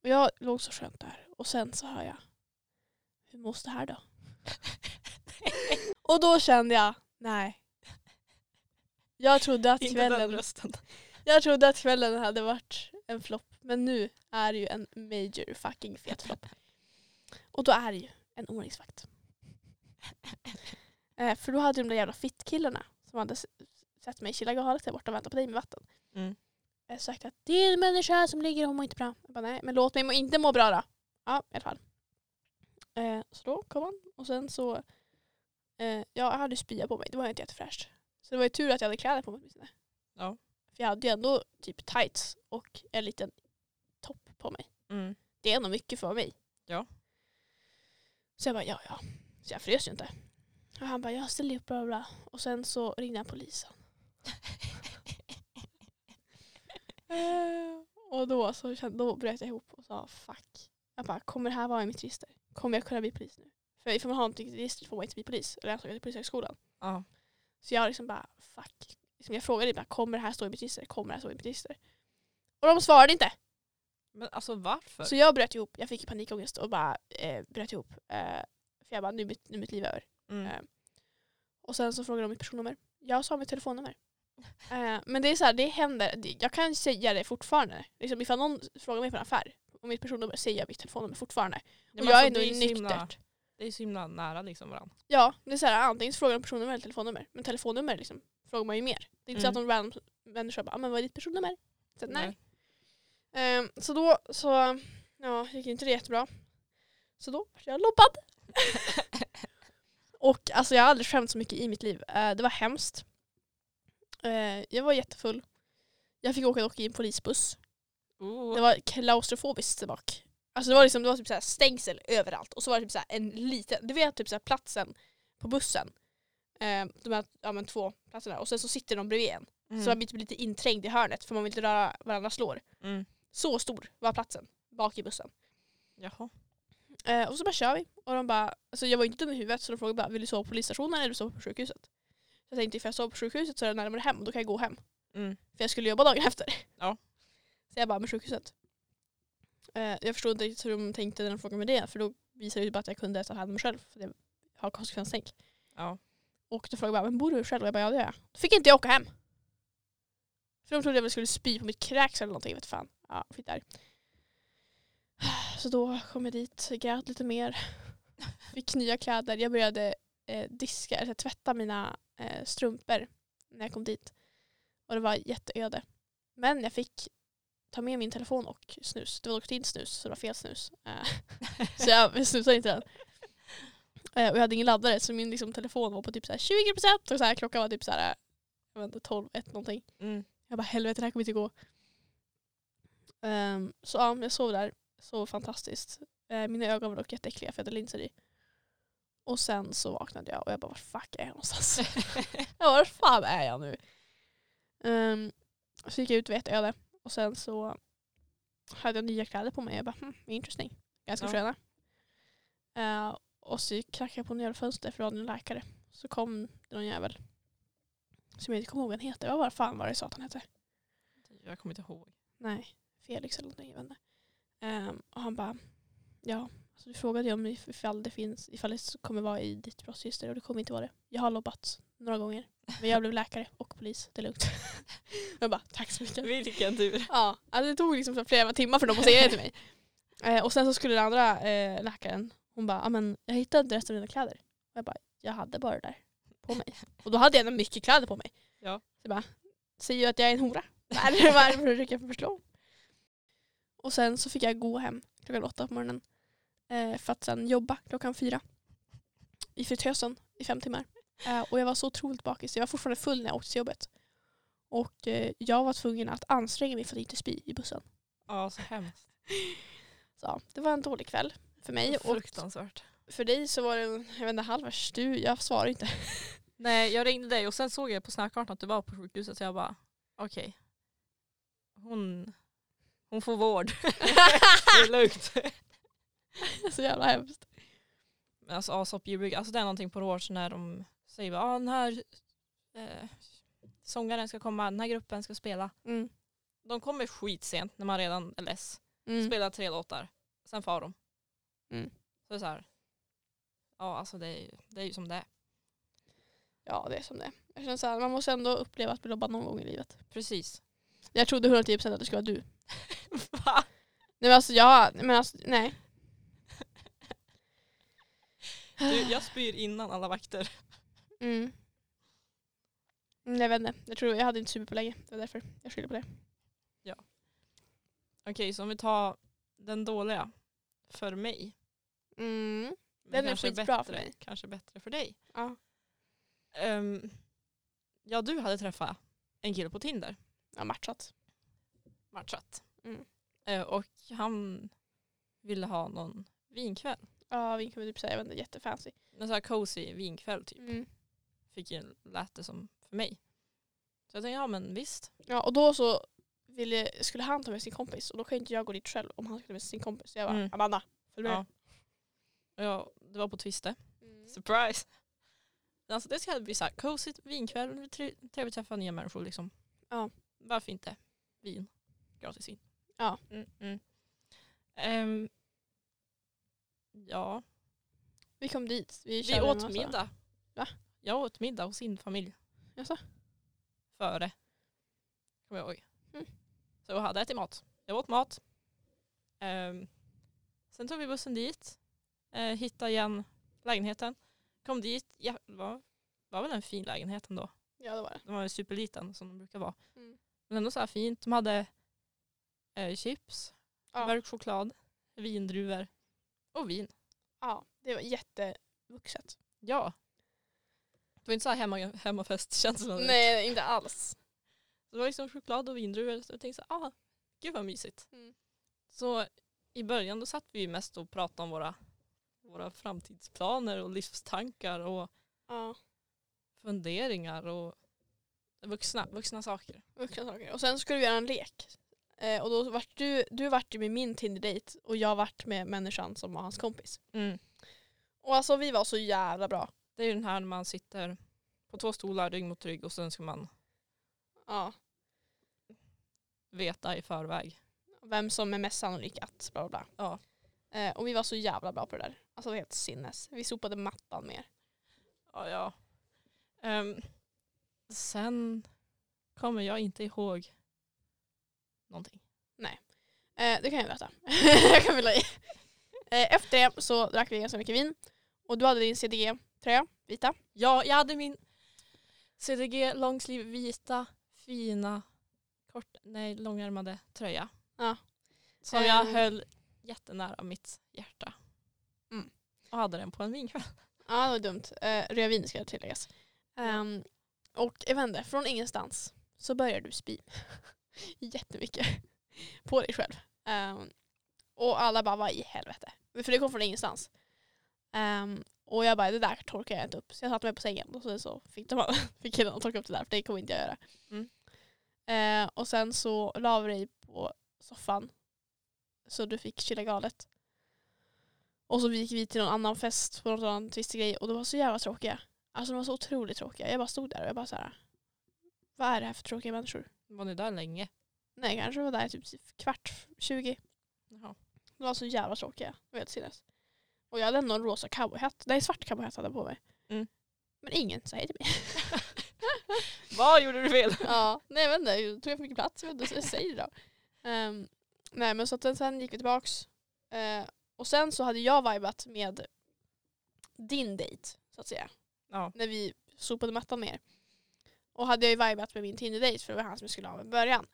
Speaker 2: och jag låg så skönt där och sen så hör jag hur måste här då? och då kände jag, nej. Jag trodde att
Speaker 3: inte den
Speaker 2: kvällen,
Speaker 3: rösten.
Speaker 2: jag trodde att kvällen hade varit en flopp men nu är det ju en major fucking fet flopp. Och då är det ju en ordningsvakt. Eh, för då hade de där jävla fittkillarna som hade s- sett mig chilla galet där borta och väntat på dig med vatten.
Speaker 3: Mm.
Speaker 2: Eh, sagt att det är en människa som ligger och mår inte bra. Jag bara, nej, men låt mig må inte må bra då. Ja, i alla fall. Eh, så då kom han och sen så, eh, jag hade ju spya på mig, det var ju inte jättefräscht. Så det var ju tur att jag hade kläder på mig åtminstone.
Speaker 3: Ja.
Speaker 2: För jag hade ju ändå typ tights och en liten topp på mig.
Speaker 3: Mm.
Speaker 2: Det är ändå mycket för mig.
Speaker 3: Ja.
Speaker 2: Så jag bara, ja ja. Så jag frös ju inte. Och han bara, jag ställer upp, bla bla, bla. Och sen så ringde han polisen. Eh, och då, så kände, då bröt jag ihop och sa fuck. Jag bara, kommer det här vara i mitt register? Kommer jag kunna bli polis nu? För ifall man har någonting i registret får man inte bli polis. Eller ansöka till polishögskolan.
Speaker 3: Ja.
Speaker 2: Så jag liksom bara, fuck. Liksom jag frågade bara, kommer det här stå i mitt register? Kommer det här stå i mitt register? Och de svarade inte.
Speaker 3: Men alltså varför?
Speaker 2: Så jag bröt ihop, jag fick panikångest och bara eh, bröt ihop. Eh, för jag bara, nu är mitt, nu är mitt liv över.
Speaker 3: Mm.
Speaker 2: Eh, och sen så frågade de mitt personnummer. Jag sa mitt telefonnummer. Eh, men det är så här, det händer, det- jag kan säga det fortfarande. Liksom, ifall någon frågar mig på en affär om mitt personnummer säger jag mitt telefonnummer fortfarande.
Speaker 3: Ja,
Speaker 2: och
Speaker 3: men
Speaker 2: jag
Speaker 3: alltså,
Speaker 2: är nog
Speaker 3: det så himla-
Speaker 2: nyktert.
Speaker 3: Det är så himla nära liksom varandra.
Speaker 2: Ja, det är så här, antingen så frågar de personnummer eller telefonnummer. Men telefonnummer liksom, frågar man ju mer. Det är inte så att
Speaker 3: Mm.
Speaker 2: någon random människa bara, ah, men vad är ditt personnummer? Så, att, nej. Ehm, så då så, ja, gick inte det jättebra. Så då var jag lobbad. och alltså jag har aldrig skämt så mycket i mitt liv. Eh, det var hemskt. Eh, jag var jättefull. Jag fick åka dock i en polisbuss.
Speaker 3: Oh.
Speaker 2: Det var klaustrofobiskt där bak. Alltså det var liksom det var typ så här stängsel överallt och så var det typ så här en liten, du vet typ så här platsen på bussen. Eh, de här ja, men två platserna och sen så sitter de bredvid en.
Speaker 3: mm.
Speaker 2: Så man blir typ lite inträngd i hörnet för man vill inte röra varandras lår.
Speaker 3: mm.
Speaker 2: Så stor var platsen bak i bussen.
Speaker 3: Jaha.
Speaker 2: Eh, och så bara kör vi. Och de bara, alltså jag var inte dum i huvudet så de frågade bara, vill du sova på polisstationen eller vill du sova på sjukhuset? Så jag tänkte ifall jag sover på sjukhuset så är det närmare hem och då kan jag gå hem.
Speaker 3: Mm.
Speaker 2: För jag skulle jobba dagen efter.
Speaker 3: Ja.
Speaker 2: Så jag bara, med sjukhuset. Eh, jag förstod inte riktigt hur de tänkte när de frågade mig det för då visade det ju bara att jag kunde ta hand om mig själv. För jag har konsekvenstänk.
Speaker 3: Ja.
Speaker 2: Och då frågade jag bara, men bor du själv? Och jag bara, ja det gör jag. Då fick inte jag åka hem. För de trodde jag väl skulle spy på mitt kräks eller någonting, jag vet fan. Ja, fick där. Så då kom jag dit, grät lite mer. Fick nya kläder. Jag började eh, diska, alltså tvätta mina eh, strumpor när jag kom dit. Och det var jätteöde. Men jag fick ta med min telefon och snus. Det var dock din snus, så det var fel snus. Eh, så jag snusade inte den. Eh, och jag hade ingen laddare så min liksom, telefon var på typ så här 20% och så här, klockan var typ så här, jag vet inte, 12, 1 någonting.
Speaker 3: Mm.
Speaker 2: Jag bara helvete det här kommer inte gå. Ehm, så ja, jag sov där. Sov fantastiskt. Eh, mina ögon var dock jätteäckliga för jag hade linser i. Och sen så vaknade jag och jag bara, var fuck är jag någonstans? jag bara, var fan är jag nu? Um, så gick jag ut vetade jag det. Och sen så hade jag nya kläder på mig. Jag bara, hmm, interesting. Ganska
Speaker 3: Ja.
Speaker 2: sköna. Eh, och så knackade jag på några fönster för det var en läkare. Så kom det någon jävel. Som jag inte kommer ihåg vad han heter. Vad var fan var det jag sa att han hette?
Speaker 3: Jag kommer inte ihåg.
Speaker 2: Nej, Felix eller någonting. Jag vet inte. Ehm, och han bara, ja. Så du frågade ju om if- ifall det finns, ifall det kommer vara i ditt brottsregister och det kommer inte vara det. Jag har lobbat några gånger. Men jag blev läkare och polis, det är lugnt. jag bara, tack så mycket.
Speaker 3: Vilken tur.
Speaker 2: Ja, alltså det tog liksom så flera timmar för dem att säga det till mig. Eh, och sen så skulle den andra eh, läkaren, hon bara, "Ja, men jag hittade inte resten av dina kläder. Och jag bara, jag hade bara det där på mig. Och då hade jag ändå mycket kläder på mig.
Speaker 3: Ja.
Speaker 2: Så jag bara, säger du att jag är en hora? Vad är det- vad är det för uttryck jag förstår? Och sen så fick jag gå hem klockan åtta på morgonen. Eh, för att sen jobba klockan fyra. I fritösen i fem timmar. Eh, och jag var så otroligt bakis. Jag var fortfarande full när jag åkte till jobbet. Och eh, jag var tvungen att anstränga mig för att inte spy i bussen.
Speaker 3: Ja, så hemskt.
Speaker 2: Så ja, det var en dålig kväll för mig. Och
Speaker 3: Fruktansvärt.
Speaker 2: för dig så var det en jag vet inte, halv värst. du, jag svarar inte.
Speaker 3: Nej, jag ringde dig och sen såg jag på snökartan att du var på sjukhuset så jag bara okej. Hon, hon får vård. det är lugnt.
Speaker 2: så jävla hemskt.
Speaker 3: Men alltså Asop julbrygga, alltså det är någonting på Rås när de säger bara ah, den här eh, sångaren ska komma, den här gruppen ska spela.
Speaker 2: Mm.
Speaker 3: De kommer skitsent när man redan är less.
Speaker 2: Mm.
Speaker 3: Spelar tre låtar, sen far de.
Speaker 2: Mm.
Speaker 3: Så det är så här. Ja alltså det är, ju- det är ju som det är.
Speaker 2: Ja, det är som det är. jag känner så här, Man måste ändå uppleva att bli lobbad någon gång i livet.
Speaker 3: Precis.
Speaker 2: Jag trodde 110% att det skulle vara du.
Speaker 3: Va?
Speaker 2: Nej men alltså jag, men alltså, nej.
Speaker 3: Du, jag spyr innan alla vakter.
Speaker 2: Mm. Mm, Jag vet inte, jag, tror, jag hade inte supit på länge. Det var därför jag skyller på det.
Speaker 3: Okej så om vi tar den dåliga. För mig.
Speaker 2: Mm.
Speaker 3: Men
Speaker 2: Den är
Speaker 3: kanske
Speaker 2: skitbra
Speaker 3: bättre,
Speaker 2: för mig.
Speaker 3: Kanske bättre för dig.
Speaker 2: Ja.
Speaker 3: Ehm, ja, du hade träffat en kille på Tinder,
Speaker 2: Ja, matchat.
Speaker 3: matchat.
Speaker 2: Mm.
Speaker 3: Eh, och han ville ha någon vinkväll.
Speaker 2: Ja, vi kan väl typ säga, jag vet inte, jättefancy.
Speaker 3: En sån här cozy vinkväll typ.
Speaker 2: Mm.
Speaker 3: Fick ju, lät det som för mig. Så jag tänkte, ja men visst.
Speaker 2: Ja, och då så ville, skulle han ta med sin kompis och då kan ju inte jag gå dit själv om han skulle med sin kompis. Så jag bara,
Speaker 3: Mm.
Speaker 2: Amanda, följ med.
Speaker 3: Ja. Ja, det var på Twiste.
Speaker 2: Mm.
Speaker 3: Surprise! Alltså det ska bli så här cozy vinkväll, tre- trevligt att träffa nya människor liksom.
Speaker 2: Ja.
Speaker 3: Varför inte? Vin. Gratis vin.
Speaker 2: Ja.
Speaker 3: Mm, mm. Ehm, ja,
Speaker 2: Vi kom dit. Vi,
Speaker 3: vi
Speaker 2: körde en
Speaker 3: åt
Speaker 2: massa.
Speaker 3: middag.
Speaker 2: Va?
Speaker 3: Jag åt middag hos sin familj.
Speaker 2: Jaså?
Speaker 3: Före. Kommer jag ihåg.
Speaker 2: Mm.
Speaker 3: Så jag hade ätit mat. Jag åt mat. Ehm, sen tog vi bussen dit. Eh, hittade igen lägenheten. Kom dit. Ja, det var, var väl en fin lägenhet ändå.
Speaker 2: Ja, det var det.
Speaker 3: Den var ju superliten som de brukar vara.
Speaker 2: Mm.
Speaker 3: Men ändå så här fint. De hade eh, chips,
Speaker 2: Ja.
Speaker 3: mörk choklad, vindruvor och vin.
Speaker 2: Ja, det var jättevuxet.
Speaker 3: Ja. Det var inte så här hemma, hemmafestkänsla. direkt.
Speaker 2: Nej, inte alls.
Speaker 3: Det var liksom choklad och vindruvor. Så jag tänkte så här, ah, gud vad mysigt.
Speaker 2: Mm.
Speaker 3: Så i början då satt vi ju mest och pratade om våra, våra framtidsplaner och livstankar och
Speaker 2: Ja,
Speaker 3: funderingar och vuxna, vuxna saker.
Speaker 2: vuxna saker. Och sen skulle vi göra en lek. Eh, och då vart du, du vart ju med min Tinder-date och jag vart med människan som var hans kompis. Och alltså vi var så jävla bra.
Speaker 3: Det är ju den här när man sitter på två stolar rygg mot rygg och sen ska man
Speaker 2: Ja,
Speaker 3: veta i förväg.
Speaker 2: vem som är mest sannolik att bla bla bla.
Speaker 3: Ja.
Speaker 2: Eh, och vi var så jävla bra på det där. Alltså det var helt sinnes. Vi sopade mattan mer.
Speaker 3: Ja, ja. Ehm, sen kommer jag inte ihåg någonting.
Speaker 2: Eh, det kan jag berätta. jag kan fylla i. Eh, efter det så drack vi ganska mycket vin. Och du hade din CDG-tröja, vita.
Speaker 3: Ja, jag hade min CDG långsliv vita fina kort, nej, långärmade tröja.
Speaker 2: Ja.
Speaker 3: Som jag
Speaker 2: Ehm.
Speaker 3: höll jättenära mitt hjärta.
Speaker 2: Mm.
Speaker 3: Och hade den på en vinkväll.
Speaker 2: Ja, det var dumt. Eh, rödvin ska tilläggas. Ehm, och jag vet inte, från ingenstans så börjar du spy. Jättemycket. På dig själv. Ehm, och alla bara, vad i helvete? För det kom från ingenstans. Ehm, Och jag bara, det där torkar jag inte upp. Så jag satte mig på sängen och så, så fick, de, fick killarna torka upp det där för det kommer inte jag göra.
Speaker 3: Mm.
Speaker 2: Eh, och sen så la vi dig på soffan. Så du fick chilla galet. Och så gick vi till någon annan fest på någon annan twistig grej och de var så jävla tråkiga. Alltså de var så otroligt tråkiga. Jag bara stod där och jag bara så här. Vad är det här för tråkiga människor?
Speaker 3: Var ni där länge?
Speaker 2: Nej kanske var där typ kvart, 20.
Speaker 3: Jaha.
Speaker 2: De var så jävla tråkiga. Jag vet sinnes. Och jag hade ändå en rosa cowboyhatt. Nej, en svart cowboyhatt hade jag på mig.
Speaker 3: Mm.
Speaker 2: Men ingen sa hej till mig.
Speaker 3: Vad gjorde du fel?
Speaker 2: ja, nej jag vet inte. Jag tog jag för mycket plats? Jag vet inte, så säg det då. Ehm, nej men så att sen gick vi tillbaks. Eh, och sen så hade jag vibat med din dejt, så att säga.
Speaker 3: Ja.
Speaker 2: När vi sopade mattan ner. Och hade jag ju vibat med min Tinder-dejt för det var han som jag skulle ha med i början.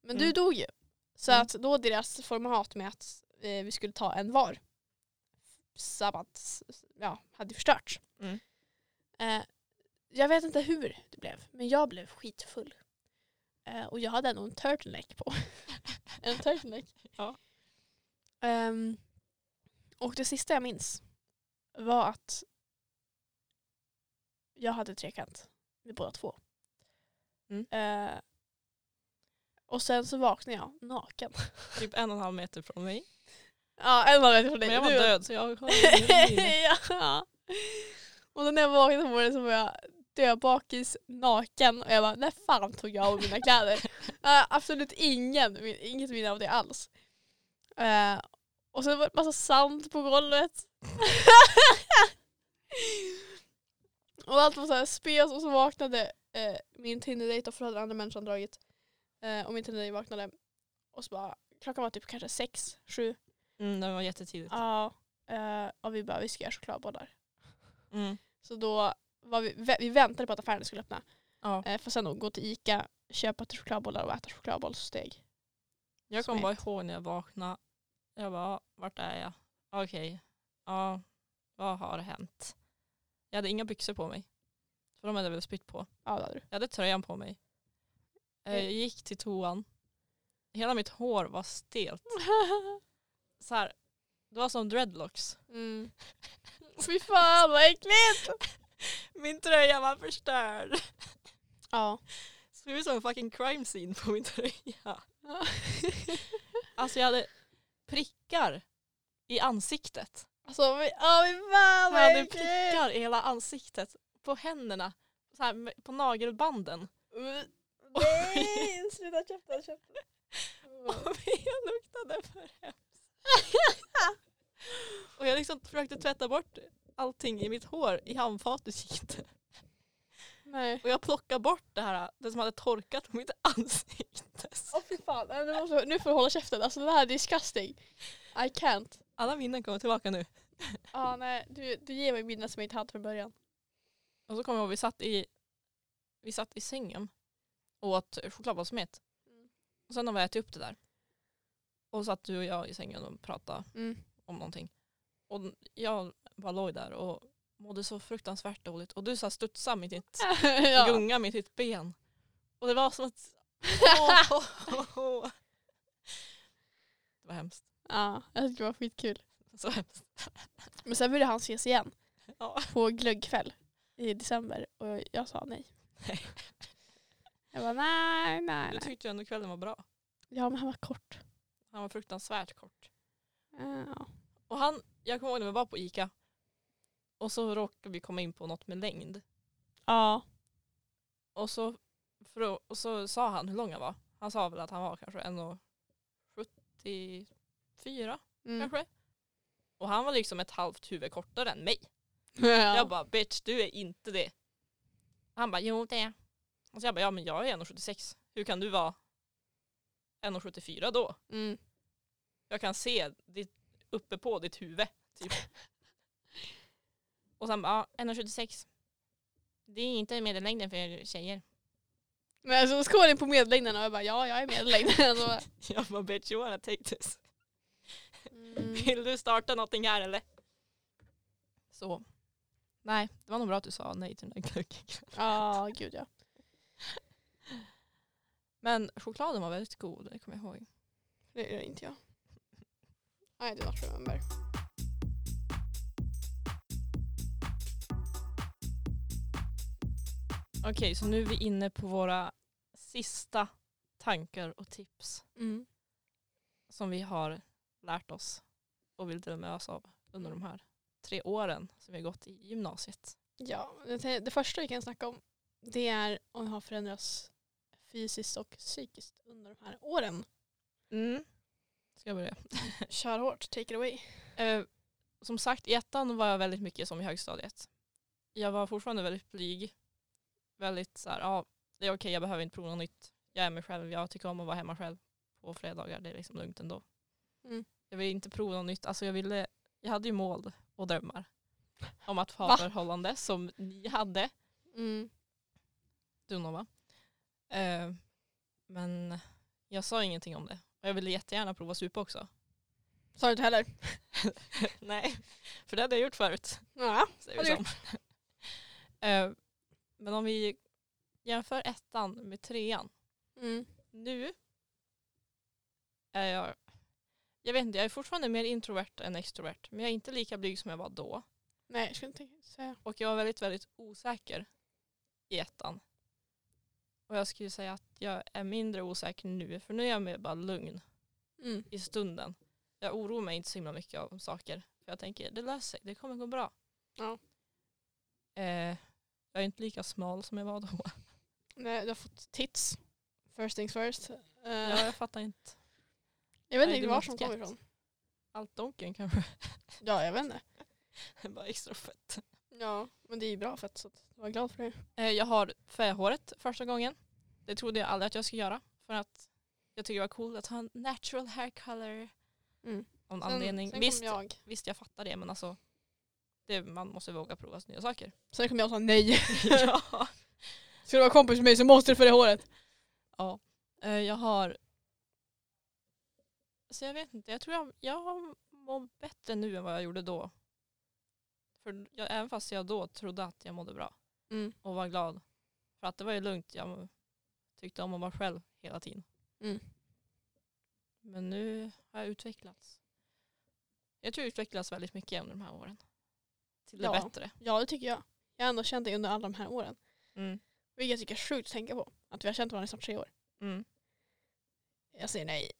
Speaker 2: Men du
Speaker 3: Mm.
Speaker 2: dog ju. Så
Speaker 3: Mm.
Speaker 2: att då deras format med att eh, vi skulle ta en var sabbat, ja, hade förstörts.
Speaker 3: Mm.
Speaker 2: Eh, jag vet inte hur det blev, men jag blev skitfull. Eh, och jag hade ändå en turtleneck på. en turtleneck.
Speaker 3: Ja.
Speaker 2: Ehm, och det sista jag minns var att jag hade trekant med båda två.
Speaker 3: Mm.
Speaker 2: Eh, och sen så vaknade jag naken.
Speaker 3: Typ en och en halv meter från mig.
Speaker 2: ja, en var rätt för dig.
Speaker 3: Men jag var
Speaker 2: Du-
Speaker 3: död så jag har ingen minne.
Speaker 2: ja. Och då när jag vaknade på morgonen så var jag döbakis, naken och jag bara när fan tog jag av mina kläder? jag har absolut ingen, min- inget minne av det alls. Eh, och så var det massa sand på golvet. och allt var så här spes och så vaknade eh, min Tinder-dejt och för hade andra människan dragit. Eh, och min Tinder-dejt vaknade och så bara, klockan var typ kanske sex, sju.
Speaker 3: Mm, det var jättetidigt.
Speaker 2: Ja, eh, och vi bara vi ska göra chokladbollar.
Speaker 3: Mm.
Speaker 2: Så då var vi, vä- vi väntade på att affären skulle öppna.
Speaker 3: Ja.
Speaker 2: Eh, för sen då gå till Ica, köpa till chokladbollar och äta chokladbollssteg.
Speaker 3: Jag
Speaker 2: som
Speaker 3: kommer bara
Speaker 2: ett.
Speaker 3: ihåg när jag vaknade. Jag bara, "Ah, vart är jag? Okej, ja, vad har hänt? Jag hade inga byxor på mig. För de hade jag väl spytt på.
Speaker 2: Ja, det hade du.
Speaker 3: Jag hade tröjan på mig. Eh, Jag gick till toan. Hela mitt hår var stelt. Så här, det var som dreadlocks.
Speaker 2: Mm. Fy fan vad äckligt!
Speaker 3: Min tröja var förstörd.
Speaker 2: Ja.
Speaker 3: Såg ut som en fucking crime scene på min tröja. Alltså jag hade prickar i ansiktet.
Speaker 2: Alltså, vi, ja fy fan
Speaker 3: Jag
Speaker 2: vad
Speaker 3: hade
Speaker 2: äckligt!
Speaker 3: prickar i hela ansiktet. På händerna. Så här, med- på nagelbanden.
Speaker 2: Mm. Nej, sluta köpa, köpa.
Speaker 3: Och jag luktade för hemskt. Och jag liksom försökte tvätta bort allting i mitt hår i handfatet gick inte.
Speaker 2: Nej.
Speaker 3: Och jag plockade bort det här, det som hade torkat på mitt ansikte.
Speaker 2: Åh fy fan, Nej, nu, måste, nu får du hålla käften. Alltså det här är disgusting. I can't.
Speaker 3: Alla minnen kommer tillbaka nu.
Speaker 2: Ja, nej, du, du ger mig minnen som jag inte hade från början.
Speaker 3: Och så kommer jag ihåg, vi satt i, vi satt i sängen och åt chokladbollsmet.
Speaker 2: Mm.
Speaker 3: Och sen har vi ätit upp det där. Och satt du och jag i sängen och pratade
Speaker 2: Mm.
Speaker 3: om någonting. Och jag bara låg där och mådde så fruktansvärt dåligt. Och du så här studsade mitt i ett,
Speaker 2: ja.
Speaker 3: gungade mitt i ett ben. Och det var som att... Åh, åh, åh. Det var hemskt.
Speaker 2: ja, jag tyckte det var skitkul.
Speaker 3: Så hemskt.
Speaker 2: Men sen ville han ses igen
Speaker 3: Ja.
Speaker 2: på glöggkväll i december och jag sa nej.
Speaker 3: Nej.
Speaker 2: Jag bara nej, nej,
Speaker 3: Du
Speaker 2: nej.
Speaker 3: tyckte ju ändå kvällen var bra.
Speaker 2: Ja, men han var kort.
Speaker 3: Han var fruktansvärt kort.
Speaker 2: Ja.
Speaker 3: Och han, jag kommer ihåg när vi var på Ica. Och så råkade vi komma in på något med längd.
Speaker 2: Ja.
Speaker 3: Och så, frå- och så sa han hur lång han var. Han sa väl att han var kanske 1,74
Speaker 2: Mm.
Speaker 3: kanske. Och han var liksom ett halvt huvud kortare än mig. Jag
Speaker 2: ja.
Speaker 3: bara bitch du är inte det. Han bara jo det är jag." Och så jag bara ja men jag är 1,76. Hur kan du vara 1,74 då?
Speaker 2: Mm.
Speaker 3: jag kan se ditt, uppe på ditt huvud. Typ. och sen bara, ja, 1,76. Det är inte medellängden för tjejer.
Speaker 2: Men alltså, så skål in på medellängden och jag bara ja, jag är Alltså. medellängden. Och bara,
Speaker 3: Jag bara, bitch you wanna take this.
Speaker 2: mm.
Speaker 3: Vill du starta någonting här eller? Så. Nej, det var nog bra att du sa nej till den där glöggen.
Speaker 2: Ja, gud ja.
Speaker 3: Men chokladen var väldigt god, det kommer jag ihåg.
Speaker 2: Det gör inte jag. Nej, det var november.
Speaker 3: Okej, så nu är vi inne på våra sista tankar och tips
Speaker 2: Mm.
Speaker 3: som vi har lärt oss och vill dela med oss av under de här tre åren som vi har gått i gymnasiet.
Speaker 2: Ja, jag tänkte- det första vi kan snacka om det är om vi har förändrats fysiskt och psykiskt under de här åren.
Speaker 3: Mm. Ska jag börja?
Speaker 2: Kör hårt, take it away.
Speaker 3: Eh, som sagt, i ettan var jag väldigt mycket som i högstadiet. Jag var fortfarande väldigt blyg. Väldigt så här, ja, det är okej, jag behöver inte prova något nytt. Jag är mig själv, jag tycker om att vara hemma själv på fredagar. Det är liksom lugnt ändå.
Speaker 2: Mm.
Speaker 3: Jag ville inte prova något nytt. Alltså jag, ville, jag hade ju mål och drömmar om att få
Speaker 2: Va?
Speaker 3: ha förhållande som ni hade.
Speaker 2: Mm.
Speaker 3: Du Nova. Eh, men jag sa ingenting om det. Och jag ville jättegärna prova supa också.
Speaker 2: Sa du inte heller?
Speaker 3: Nej, för det hade jag gjort förut.
Speaker 2: Ja.
Speaker 3: säger
Speaker 2: Har
Speaker 3: vi
Speaker 2: du
Speaker 3: som. Eh, Men om vi jämför ettan med trean.
Speaker 2: Mm.
Speaker 3: Nu är jag, jag vet inte, jag är fortfarande mer introvert än extrovert. Men jag är inte lika blyg som jag var då.
Speaker 2: Nej, jag skulle inte tänka säga.
Speaker 3: Och jag var väldigt, väldigt osäker i ettan. Och jag skulle säga att jag är mindre osäker nu. För nu är jag mer bara lugn
Speaker 2: Mm.
Speaker 3: i stunden. Jag oroar mig inte så himla mycket av saker. För jag tänker, det löser sig, det kommer gå bra.
Speaker 2: Ja.
Speaker 3: Eh, jag är inte lika smal som jag var då.
Speaker 2: Nej, du har fått tits. First things first. Eh,
Speaker 3: Ja, jag fattar inte.
Speaker 2: jag vet
Speaker 3: nej,
Speaker 2: inte
Speaker 3: det
Speaker 2: var
Speaker 3: var
Speaker 2: som
Speaker 3: skett.
Speaker 2: kommer ifrån.
Speaker 3: Allt donken kanske.
Speaker 2: Ja, jag vet inte.
Speaker 3: Bara extra fett.
Speaker 2: Ja, men det är ju bra fett så att jag var glad för det.
Speaker 3: Eh, jag har färghåret första gången. Det trodde jag aldrig att jag skulle göra. För att jag tycker det var coolt att ha en natural hair color.
Speaker 2: Mm.
Speaker 3: Av någon anledning.
Speaker 2: sen
Speaker 3: visst,
Speaker 2: kom jag.
Speaker 3: visst, jag fattar det men alltså. Det, man måste våga prova nya saker.
Speaker 2: Sen kom jag och sa nej.
Speaker 3: ja.
Speaker 2: Ska du vara kompis med mig så måste du följa håret.
Speaker 3: Ja. Eh, jag har... Så jag vet inte, jag tror jag, jag har- mår bättre nu än vad jag gjorde då. För jag, även fast jag då trodde att jag mådde bra
Speaker 2: Mm.
Speaker 3: och var glad. För att det var ju lugnt, jag tyckte om att vara själv hela tiden.
Speaker 2: Mm.
Speaker 3: Men nu har jag utvecklats. Jag tror jag utvecklats väldigt mycket under de här åren. Till det
Speaker 2: Ja.
Speaker 3: bättre.
Speaker 2: Ja, det tycker jag. Jag har ändå känt dig under alla de här åren.
Speaker 3: Mm.
Speaker 2: Vilket jag tycker är sjukt att tänka på. Att vi har känt varandra i snart tre år.
Speaker 3: Mm.
Speaker 2: Jag säger nej.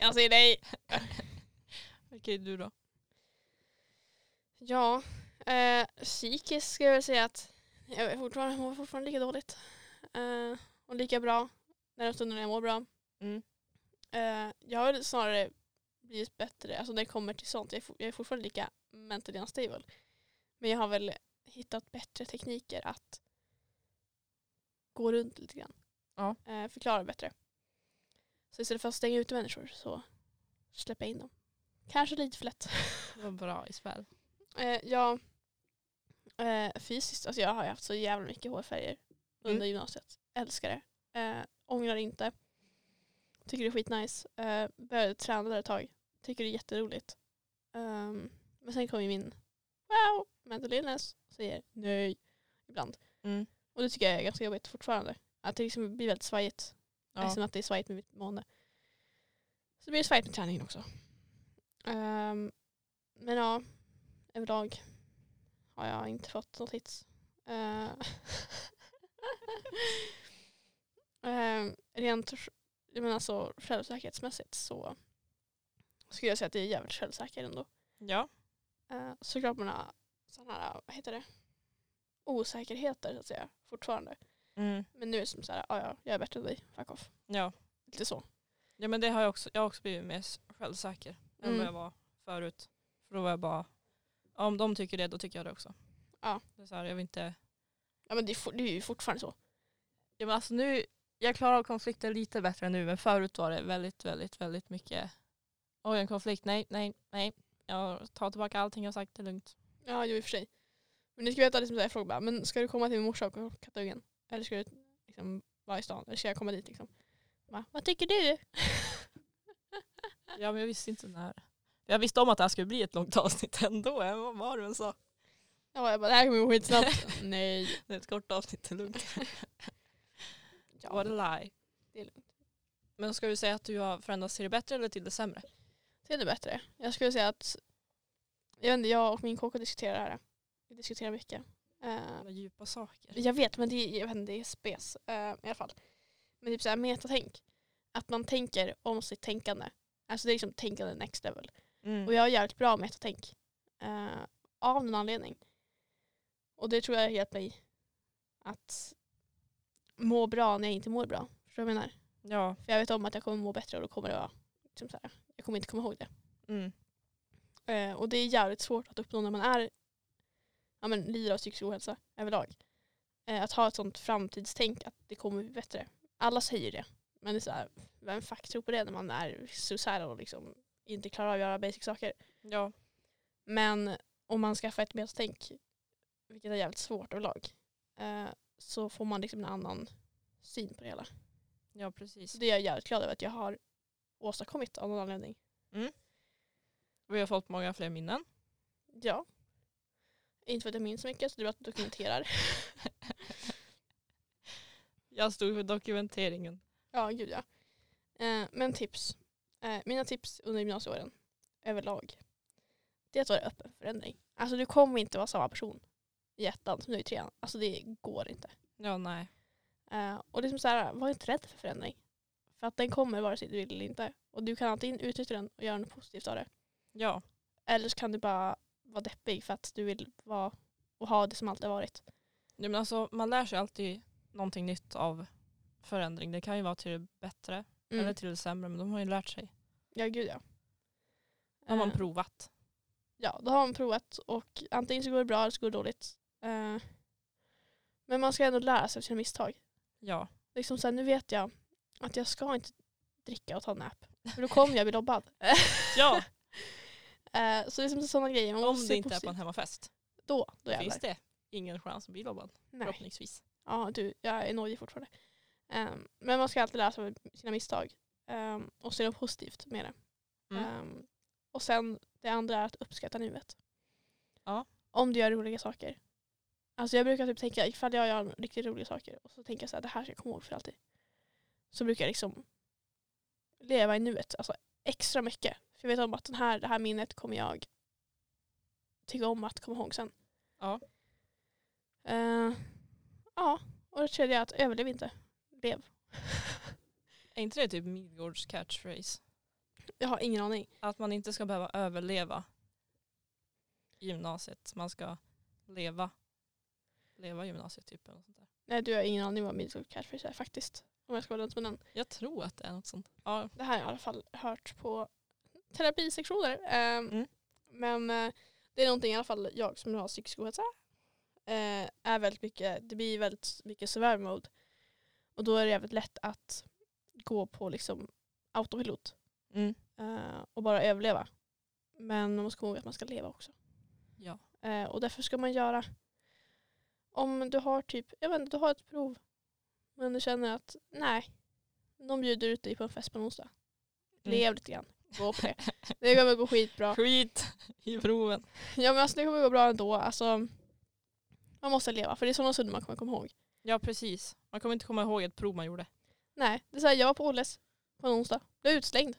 Speaker 2: Jag säger nej.
Speaker 3: Okej, du då?
Speaker 2: Ja, eh, psykiskt skulle jag väl säga att jag är fortfarande, mår fortfarande lika dåligt. Eh, och lika bra när de stunder när jag mår bra.
Speaker 3: Mm.
Speaker 2: Eh, jag har väl snarare blivit bättre, alltså när det kommer till sånt. Jag är, for, jag är fortfarande lika mentally unstable. Men jag har väl hittat bättre tekniker att gå runt lite grann.
Speaker 3: Ja.
Speaker 2: Eh, förklara bättre. Så istället för att stänga ut människor så släppa in dem. Kanske lite för lätt.
Speaker 3: Det var bra i spel.
Speaker 2: Eh, ja, eh, fysiskt. Alltså jag har ju haft så jävla mycket hårfärger under
Speaker 3: Mm.
Speaker 2: gymnasiet. Älskar det. Eh, ångrar inte. Tycker det är skitnice. Eh, började träna där ett tag. Tycker det är jätteroligt. Ehm, men sen kom ju min wow, mental illness och säger nej ibland.
Speaker 3: Mm.
Speaker 2: Och det tycker jag är ganska jobbigt fortfarande. Att det liksom blir väldigt svajigt.
Speaker 3: Ja.
Speaker 2: Eftersom att det är svajigt med mitt mående. Så det blir det svajigt med träningen också. Ehm, men ja, överlag har jag inte fått något hits. Eh, ehm, rent jag menar så, självsäkerhetsmässigt så skulle jag säga att det är jävligt självsäker ändå.
Speaker 3: ja.
Speaker 2: Eh, såklart mina sådana här, vad heter det, osäkerheter så att säga fortfarande.
Speaker 3: Mm.
Speaker 2: Men nu är det som såhär, ja ja, jag är bättre än dig, fuck off.
Speaker 3: Ja.
Speaker 2: Lite så.
Speaker 3: Ja men det har jag också, jag har också blivit mer s- självsäker än
Speaker 2: Mm.
Speaker 3: vad jag var förut. För då var jag bara, ja, om de tycker det då tycker jag det också.
Speaker 2: Ja.
Speaker 3: Det är så här, jag vill inte,
Speaker 2: Ja men det är, for, det är ju fortfarande så.
Speaker 3: ja, men alltså nu, jag klarar av konflikter lite bättre nu men förut var det väldigt, väldigt, väldigt mycket, oj en konflikt, nej, nej, nej. Jag tar tillbaka allting jag har sagt, det är lugnt.
Speaker 2: Ja, jo i och för sig. Men ni ska veta, liksom, så här, jag frågar bara, men ska du komma till min morsa och kattungen? Eller ska du liksom, vara i stan? Eller ska jag komma dit liksom? Va? Vad tycker du?
Speaker 3: Ja men jag visste inte när. Jag visste om att det här skulle bli ett långt avsnitt ändå, även vad var det än sa.
Speaker 2: Ja, jag bara, det här kommer gå skitsnabbt. Nej.
Speaker 3: Det är ett kort avsnitt, det är lugnt.
Speaker 2: Ja,
Speaker 3: What a lie.
Speaker 2: det är lugnt.
Speaker 3: Men ska du säga att du har förändrats till det bättre eller till det sämre?
Speaker 2: Det är det bättre. Jag skulle säga att jag, vet inte, jag och min kåk diskuterar det här. Vi diskuterar mycket. Eh,
Speaker 3: Alla djupa saker.
Speaker 2: Jag vet, men det, är- jag vet inte, det är spes eh, i alla fall. Men typ såhär metatänk. Att man tänker om sitt tänkande. Alltså det är liksom tänkande next level.
Speaker 3: Mm.
Speaker 2: Och jag är jävligt bra med metatänk. Eh, av någon anledning. Och det tror jag har hjälpt mig att må bra när jag inte mår bra. Förstår du vad jag menar?
Speaker 3: Ja.
Speaker 2: För jag vet om att jag kommer må bättre och då kommer det vara liksom så här, jag kommer inte komma ihåg det.
Speaker 3: Mm.
Speaker 2: Eh, och det är jävligt svårt att uppnå när man är ja, men, lider av psykisk ohälsa överlag. Eh, att ha ett sånt framtidstänk att det kommer bli bättre. Alla säger det. Men det är så här, vem fuck tror på det när man är suicidal och liksom inte klarar av att göra basic saker.
Speaker 3: Ja.
Speaker 2: Men om man skaffar ett metatänk, vilket är jävligt svårt överlag, eh, så får man liksom en annan syn på det hela.
Speaker 3: ja, precis.
Speaker 2: Så det är jag jävligt glad över att jag har åstadkommit av någon anledning.
Speaker 3: Och jag har fått många fler minnen.
Speaker 2: Ja. Inte för att jag minns så mycket så det är bra att du dokumenterar.
Speaker 3: Jag stod för dokumenteringen.
Speaker 2: Ja, gud ja. Eh, men tips. Eh, mina tips under gymnasieåren överlag. Det är att vara öppen för förändring. Alltså du kommer inte vara samma person i ettan som du är i trean. Alltså det går inte.
Speaker 3: Ja, nej.
Speaker 2: Eh, och liksom så här, var inte rädd för förändring. För att den kommer vare sig du vill eller inte. Och du kan antingen utnyttja den och göra något positivt av det.
Speaker 3: Ja.
Speaker 2: Eller så kan du bara vara deppig för att du vill vara och ha det som alltid har varit.
Speaker 3: Nej, men alltså, man lär sig alltid någonting nytt av förändring. Det kan ju vara till det bättre
Speaker 2: Mm.
Speaker 3: eller till det sämre, men de har ju lärt sig.
Speaker 2: Ja, gud ja.
Speaker 3: har man
Speaker 2: Eh,
Speaker 3: provat.
Speaker 2: ja, då har man provat och antingen så går det bra eller så går det dåligt. Eh, men man ska ändå lära sig av sina misstag.
Speaker 3: Ja.
Speaker 2: Liksom så här, nu vet jag att jag ska inte dricka och ta en nap. För då kommer jag bli lobbad.
Speaker 3: ja,
Speaker 2: Eh, så liksom sådana grejer. Man måste
Speaker 3: om det
Speaker 2: se
Speaker 3: inte är på en
Speaker 2: positivt.
Speaker 3: hemmafest.
Speaker 2: Då, då
Speaker 3: Finns
Speaker 2: jävlar.
Speaker 3: det ingen chans att bli lobbad,
Speaker 2: Nej.
Speaker 3: förhoppningsvis.
Speaker 2: Ja, du, jag är nojig fortfarande. Ehm, men man ska alltid lära sig av sina misstag. ehm, och se något positivt med det.
Speaker 3: Mm.
Speaker 2: Ehm, och sen det andra är att uppskatta nuet.
Speaker 3: Ja.
Speaker 2: Om du gör roliga saker. Alltså jag brukar typ tänka ifall jag gör riktigt roliga saker och så tänker jag så här, det här ska jag komma ihåg för alltid. Så brukar jag liksom leva i nuet alltså extra mycket. För jag vet om att den här, det här minnet kommer jag tycka om att komma ihåg sen.
Speaker 3: Ja.
Speaker 2: Eh, ja, och det tredje är att överlev inte. Lev.
Speaker 3: Är inte det typ Midgårds catchphrase?
Speaker 2: Jag har ingen aning.
Speaker 3: Att man inte ska behöva överleva i gymnasiet. Man ska leva. Leva gymnasiet typ. Eller något sånt där.
Speaker 2: Nej, du har ingen aning vad midsommar catchphrase är faktiskt. Om jag ska vara lönt med den.
Speaker 3: Jag tror att det är något sånt. Ja,
Speaker 2: Det här har jag i alla fall hört på terapisektioner. Ehm,
Speaker 3: Mm.
Speaker 2: Men eh, det är någonting i alla fall jag som nu har psykisk ohälsa eh, är väldigt mycket, det blir väldigt mycket survival mode. Och då är det jävligt lätt att gå på liksom autopilot
Speaker 3: mm.
Speaker 2: eh, och bara överleva. Men man måste komma ihåg att man ska leva också.
Speaker 3: ja.
Speaker 2: Eh, och därför ska man göra, om du har typ, jag vet inte, du har ett prov men du känner att nej, de bjuder ut dig på en fest på en onsdag.
Speaker 3: Mm.
Speaker 2: Lev lite grann, gå på det. Det kommer gå skitbra.
Speaker 3: Skit i proven.
Speaker 2: Ja men alltså det kommer gå bra ändå. Alltså, man måste leva för det är sådana stunder man kommer komma ihåg.
Speaker 3: Ja, precis. Man kommer inte komma ihåg ett prov man gjorde.
Speaker 2: Nej, det är så här, jag var på Olles på en onsdag, blev utslängd.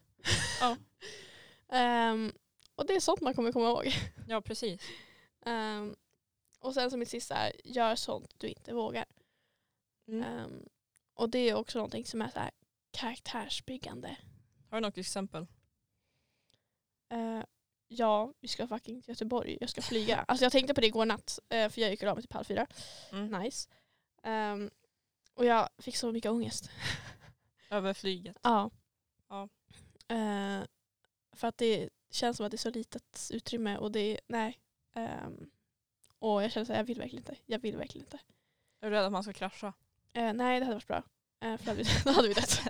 Speaker 3: Ja.
Speaker 2: Ehm, och det är sånt man kommer komma ihåg.
Speaker 3: Ja, precis.
Speaker 2: Ehm, och sen som mitt sista är, gör sånt du inte vågar.
Speaker 3: Mm.
Speaker 2: Ehm, och det är också någonting som är så här karaktärsbyggande.
Speaker 3: Har du något exempel?
Speaker 2: Eh, ja, vi ska fucking till Göteborg. Jag ska flyga. alltså jag tänkte på det igår natt. eh, för jag gick och la mig typ halv fyra.
Speaker 3: Mm.
Speaker 2: Nice. Ehm, och jag fick så mycket ångest.
Speaker 3: Över flyget.
Speaker 2: ja.
Speaker 3: Ja.
Speaker 2: Eh, för att det känns som att det är så litet utrymme. Och det, nej. Ehm, och jag känner så här, jag vill verkligen inte. Jag vill verkligen inte.
Speaker 3: Är du rädd att man ska krascha?
Speaker 2: Eh, nej, det hade varit bra. Eh, för då hade vi- då hade vi dött.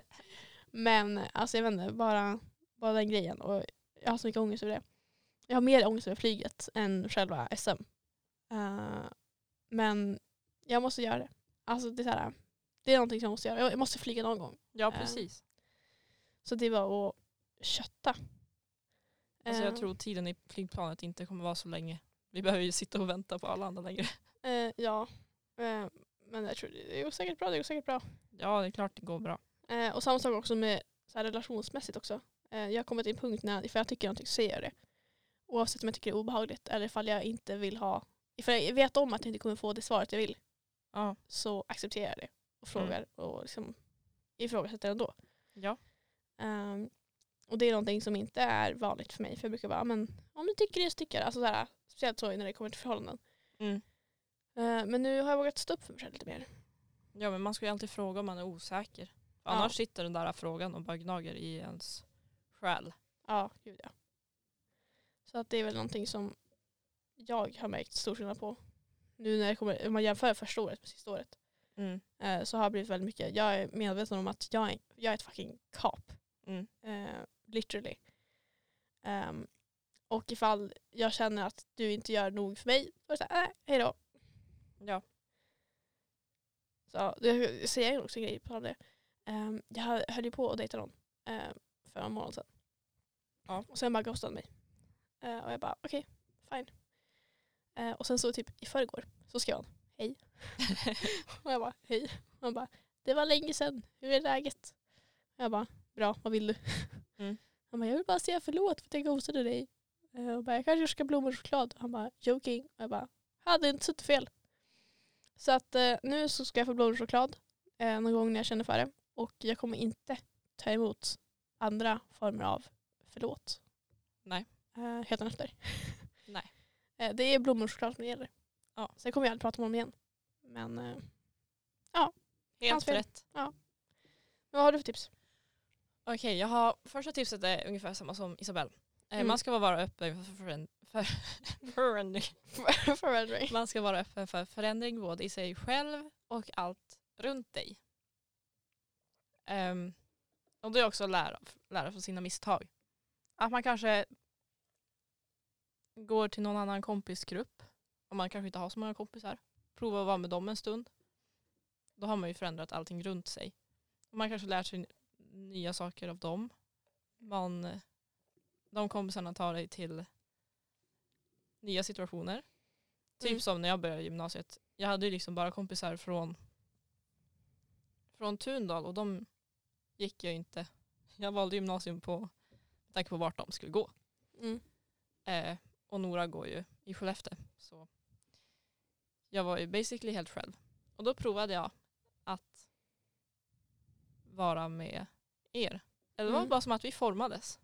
Speaker 2: Men alltså jag vet inte, bara, bara den grejen. Och jag har så mycket ångest över det. Jag har mer ångest över flyget än själva SM. Eh, men jag måste göra det. Alltså det är, så här, det är någonting som jag måste göra. Jag jag måste flyga någon gång.
Speaker 3: Ja,
Speaker 2: Eh,
Speaker 3: precis.
Speaker 2: Så det var att kötta.
Speaker 3: Alltså, jag
Speaker 2: Eh,
Speaker 3: tror tiden i flygplanet inte kommer vara så länge. Vi behöver ju sitta och vänta på Arlanda längre.
Speaker 2: eh, ja. Eh, men jag tror det går säkert bra. Det går säkert bra.
Speaker 3: Ja, det är klart det går bra.
Speaker 2: Eh, och samma sak också med så här, relationsmässigt också. Eh, jag har kommit till en punkt när ifall jag tycker någonting så säger jag det. Oavsett om jag tycker det är obehagligt eller ifall jag inte vill ha För jag vet om att jag inte kommer få det svaret jag vill
Speaker 3: Ja.
Speaker 2: så accepterar jag det och frågar och liksom ifrågasätter ändå.
Speaker 3: Ja.
Speaker 2: Ehm, och det är någonting som inte är vanligt för mig för jag brukar bara, men om du tycker det så tycker jag det." alltså så här, Speciellt så när det kommer till förhållanden.
Speaker 3: Mm.
Speaker 2: Ehm, men nu har jag vågat stå upp för mig själv lite mer.
Speaker 3: ja men man ska ju alltid fråga om man är osäker.
Speaker 2: Ja.
Speaker 3: Annars sitter den där frågan och bara gnager i ens själ.
Speaker 2: Ja, gud ja. Så att det är väl någonting som jag har märkt stor skillnad på. Nu när jag kommer, om man jämför första året med sista året
Speaker 3: Mm.
Speaker 2: eh, så har jag blivit väldigt mycket, jag är medveten om att jag är, jag är ett fucking kap.
Speaker 3: Mm.
Speaker 2: Eh, literally. Ehm, och ifall jag känner att du inte gör nog för mig, då är det såhär, äh, hej då.
Speaker 3: Ja.
Speaker 2: Så jag säger också en grej på det. Ehm, jag höll ju på att dejta någon eh, för en månad sedan.
Speaker 3: Ja.
Speaker 2: Och sen bara ghostade han mig. Eh, och jag bara okej, fine. Eh, och sen så typ i förrgår så skrev han hej. och jag bara hej. Och han bara det var länge sedan, hur är läget? Och jag bara bra, vad vill du?
Speaker 3: Mm.
Speaker 2: Han bara jag vill bara säga förlåt för att jag ghostade dig. Eh, och bara, jag kanske ska ha blommor och choklad. Och han bara joking. Och jag bara hade inte suttit fel. Så att eh, nu så ska jag få blommor och choklad eh, någon gång när jag känner för det. Och jag kommer inte ta emot andra former av förlåt.
Speaker 3: Nej.
Speaker 2: Eh, helt efter.
Speaker 3: Nej.
Speaker 2: Eh, det är blommor och choklad som det gäller.
Speaker 3: Ja.
Speaker 2: Sen kommer jag aldrig prata med honom igen. Men eh, Hans
Speaker 3: Helt
Speaker 2: fel.
Speaker 3: rätt.
Speaker 2: vad har du för tips?
Speaker 3: Okej, jag har, första tipset är ungefär samma som Isabel. Eh,
Speaker 2: Mm.
Speaker 3: Man ska vara öppen för, föränd- för, förändring.
Speaker 2: Förändring.
Speaker 3: Man ska vara öppen för förändring både i sig själv och allt runt dig. Ehm, och det är också att lära, lära från sina misstag. Att man kanske går till någon annan kompisgrupp om man kanske inte har så många kompisar. Prova att vara med dem en stund. Då har man ju förändrat allting runt sig. Och man kanske lär sig n- nya saker av dem. Man, de kompisarna tar dig till nya situationer. Typ
Speaker 2: Mm.
Speaker 3: som när jag började gymnasiet. Jag hade ju liksom bara kompisar från, från Tundal och de gick jag inte. Jag valde gymnasium på med tanke på vart de skulle gå.
Speaker 2: Mm.
Speaker 3: Eh, och Nora går ju i Skellefteå. Så jag var ju basically helt själv. Och då provade jag att vara med er. Eller det var
Speaker 2: Mm.
Speaker 3: bara som att vi formades.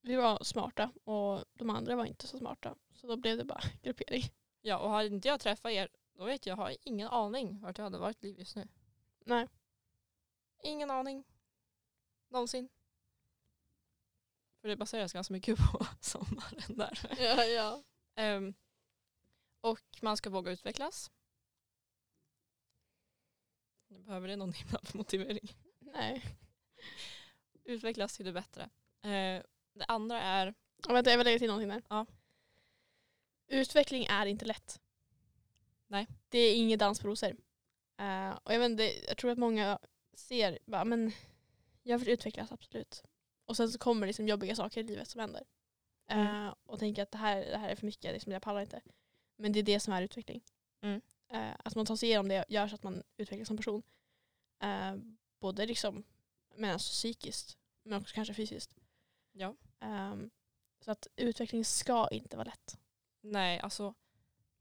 Speaker 2: Vi var smarta och de andra var inte så smarta. Så då blev det bara gruppering.
Speaker 3: Ja, och hade inte jag träffat er, då vet jag, jag har ingen aning vart jag hade varit i livet just nu.
Speaker 2: Nej.
Speaker 3: Ingen aning. Någonsin. För det baseras ganska mycket på sommaren där.
Speaker 2: Ja, ja.
Speaker 3: Ehm, och man ska våga utvecklas. Behöver det någon himla motivering?
Speaker 2: Nej.
Speaker 3: Utvecklas till det bättre. Eh, det andra är,
Speaker 2: Och vänta, jag vill lägga till någonting där.
Speaker 3: Ja.
Speaker 2: Utveckling är inte lätt.
Speaker 3: Nej.
Speaker 2: Det är ingen dans på rosor. Eh, och jag, vet, inte, jag tror att många ser, bara, men jag vill utvecklas absolut. Och sen så kommer liksom jobbiga saker i livet som händer. Eh,
Speaker 3: Mm.
Speaker 2: och tänker att det här, det här är för mycket, liksom, jag pallar inte. Men det är det som är utveckling.
Speaker 3: Mm.
Speaker 2: Eh, att man tar sig igenom det gör så att man utvecklas som person. Eh, både liksom, men alltså psykiskt men också kanske fysiskt.
Speaker 3: ja,
Speaker 2: Ehm, så att utveckling ska inte vara lätt.
Speaker 3: nej alltså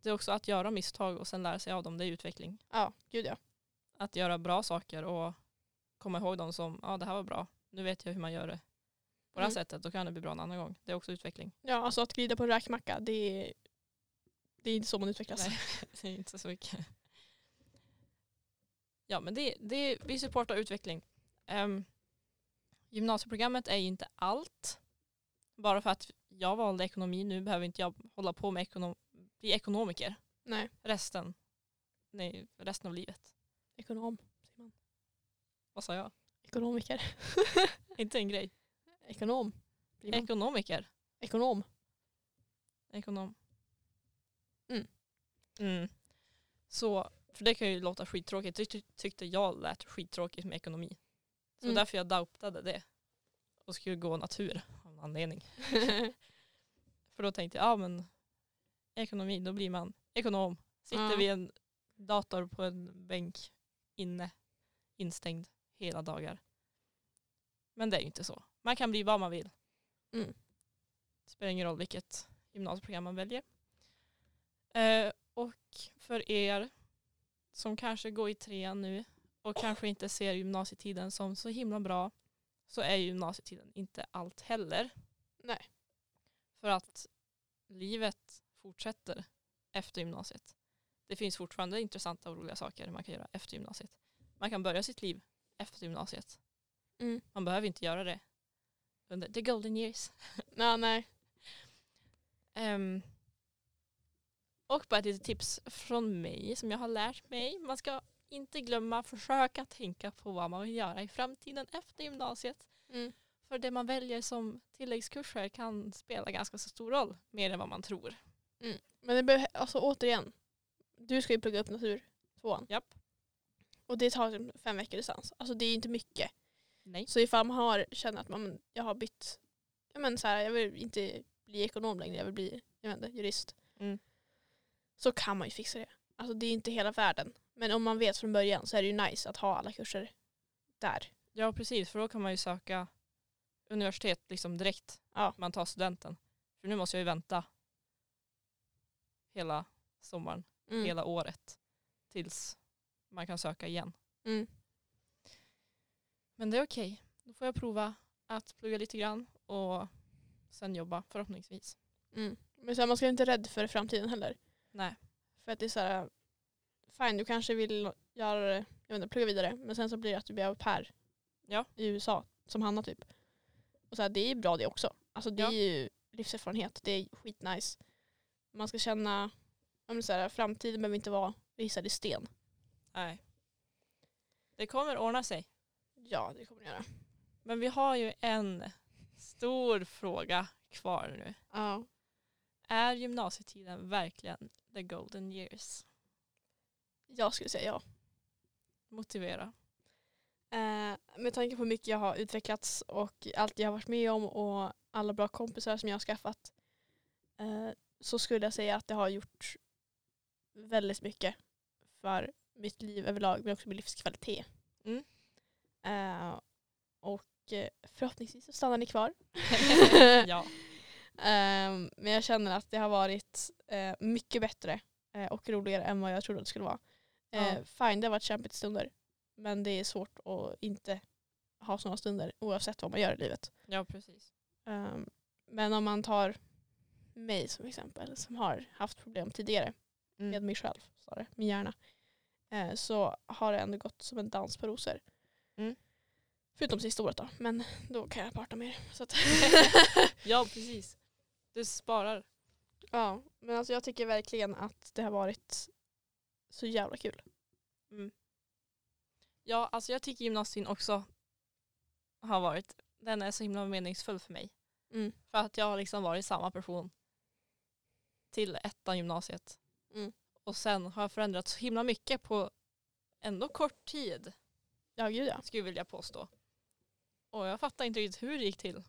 Speaker 3: det är också att göra misstag och sen lära sig av dem, det är utveckling.
Speaker 2: Ja, gud ja.
Speaker 3: Att göra bra saker och komma ihåg dem som, ja det här var bra, nu vet jag hur man gör det. På det här
Speaker 2: Mm.
Speaker 3: sättet, då kan det bli bra en annan gång. Det är också utveckling.
Speaker 2: Ja, alltså att glida på en räkmacka, det är, det är inte så man utvecklas.
Speaker 3: Nej, det är inte så mycket. Ja, men det, det, vi supportar utveckling. Ehm, gymnasieprogrammet är ju inte allt. Bara för att jag valde ekonomi nu behöver inte jag hålla på med ekonom bli ekonomiker
Speaker 2: Nej,
Speaker 3: resten, nej, resten av livet.
Speaker 2: ekonom. Säger man.
Speaker 3: Vad sa jag?
Speaker 2: Ekonomiker.
Speaker 3: Inte en grej.
Speaker 2: Ekonom. Blir man.
Speaker 3: Ekonomiker.
Speaker 2: Ekonom.
Speaker 3: Ekonom.
Speaker 2: Mm.
Speaker 3: Mm. Så, för det kan ju låta skittråkigt. Tyckte, tyckte jag lät skittråkigt med ekonomi. Så
Speaker 2: Mm.
Speaker 3: därför jag doubtade det. Och skulle gå natur av en anledning. För då tänkte jag, ja men ekonomi, då blir man ekonom. Sitter
Speaker 2: Ja.
Speaker 3: vid en dator på en bänk inne, instängd hela dagar. Men det är ju inte så. Man kan bli vad man vill.
Speaker 2: Mm.
Speaker 3: Spelar ingen roll vilket gymnasieprogram man väljer. Eh, Och för er som kanske går i trean nu och kanske inte ser gymnasietiden som så himla bra så är gymnasietiden inte allt heller.
Speaker 2: Nej.
Speaker 3: För att livet fortsätter efter gymnasiet. Det finns fortfarande intressanta och roliga saker man kan göra efter gymnasiet. Man kan börja sitt liv efter gymnasiet.
Speaker 2: Mm.
Speaker 3: Man behöver inte göra det under the golden years.
Speaker 2: Ja, nej.
Speaker 3: Ehm, och bara ett litet tips från mig som jag har lärt mig. Man ska inte glömma försöka tänka på vad man vill göra i framtiden efter gymnasiet.
Speaker 2: Mm.
Speaker 3: För det man väljer som tilläggskurser kan spela ganska så stor roll, mer än vad man tror.
Speaker 2: Men det behöver, alltså återigen. Du ska ju plugga upp natur tvåan.
Speaker 3: Japp.
Speaker 2: Och det tar typ fem veckor distans. Alltså det är inte mycket.
Speaker 3: Nej.
Speaker 2: Så ifall man har, känner att man, jag har bytt, ja men så här, jag vill inte bli ekonom längre, jag vill bli jag vet inte, jurist.
Speaker 3: Mm.
Speaker 2: Så kan man ju fixa det. Alltså det är inte hela världen. Men om man vet från början så är det ju nice att ha alla kurser där.
Speaker 3: Ja, precis. För då kan man ju söka universitet liksom direkt.
Speaker 2: Ja.
Speaker 3: Man tar studenten. För nu måste jag ju vänta hela sommaren, hela året tills man kan söka igen.
Speaker 2: Mm.
Speaker 3: Men det är okej. Då får jag prova att plugga lite grann och sen jobba förhoppningsvis.
Speaker 2: Mm. Men så här, man ska inte vara rädd för framtiden heller.
Speaker 3: Nej.
Speaker 2: För att det är så här, fine du kanske vill göra det, jag vet inte, plugga vidare. Men sen så blir det att du blir au pair
Speaker 3: Ja.
Speaker 2: i USA, som Hanna typ. Och så här, det är bra det också. Alltså det
Speaker 3: Ja.
Speaker 2: är ju livserfarenhet, det är skitnice. Man ska känna, ja, men så här, framtiden behöver inte vara visad i sten.
Speaker 3: Nej. Det kommer ordna sig.
Speaker 2: Ja det kommer det göra.
Speaker 3: Men vi har ju en stor fråga kvar nu.
Speaker 2: Ja.
Speaker 3: Är gymnasietiden verkligen the golden years?
Speaker 2: Jag skulle säga ja.
Speaker 3: Motivera.
Speaker 2: Eh, med tanke på hur mycket jag har utvecklats och allt jag har varit med om och alla bra kompisar som jag har skaffat eh, så skulle jag säga att det har gjort väldigt mycket för mitt liv överlag men också min livskvalitet.
Speaker 3: Mm.
Speaker 2: Eh, och eh, förhoppningsvis så stannar ni kvar. Eh.
Speaker 3: ja.
Speaker 2: Ehm, men jag känner att det har varit eh, mycket bättre eh, och roligare än vad jag trodde det skulle vara. Eh,
Speaker 3: Ja.
Speaker 2: Fine, det har varit kämpigt i stunder. Men det är svårt att inte ha sådana stunder oavsett vad man gör i livet.
Speaker 3: ja, precis.
Speaker 2: Ehm, men om man tar mig som exempel som har haft problem tidigare med
Speaker 3: Mm.
Speaker 2: mig själv, sa det, min hjärna, eh, så har det ändå gått som en dans på rosor.
Speaker 3: Mm.
Speaker 2: Förutom sista året då, men då kan jag parta mer. Så att
Speaker 3: Ja, precis. Du sparar.
Speaker 2: Ja, men alltså jag tycker verkligen att det har varit så jävla kul.
Speaker 3: Ja, alltså jag tycker gymnastin också har varit, den är så himla meningsfull för mig.
Speaker 2: Mm.
Speaker 3: För att jag har liksom varit samma person till ettan gymnasiet.
Speaker 2: Mm.
Speaker 3: Och sen har jag förändrats så himla mycket på ändå kort tid,
Speaker 2: Ja, gud ja.
Speaker 3: skulle jag vilja påstå. Och jag fattar inte riktigt hur det gick till.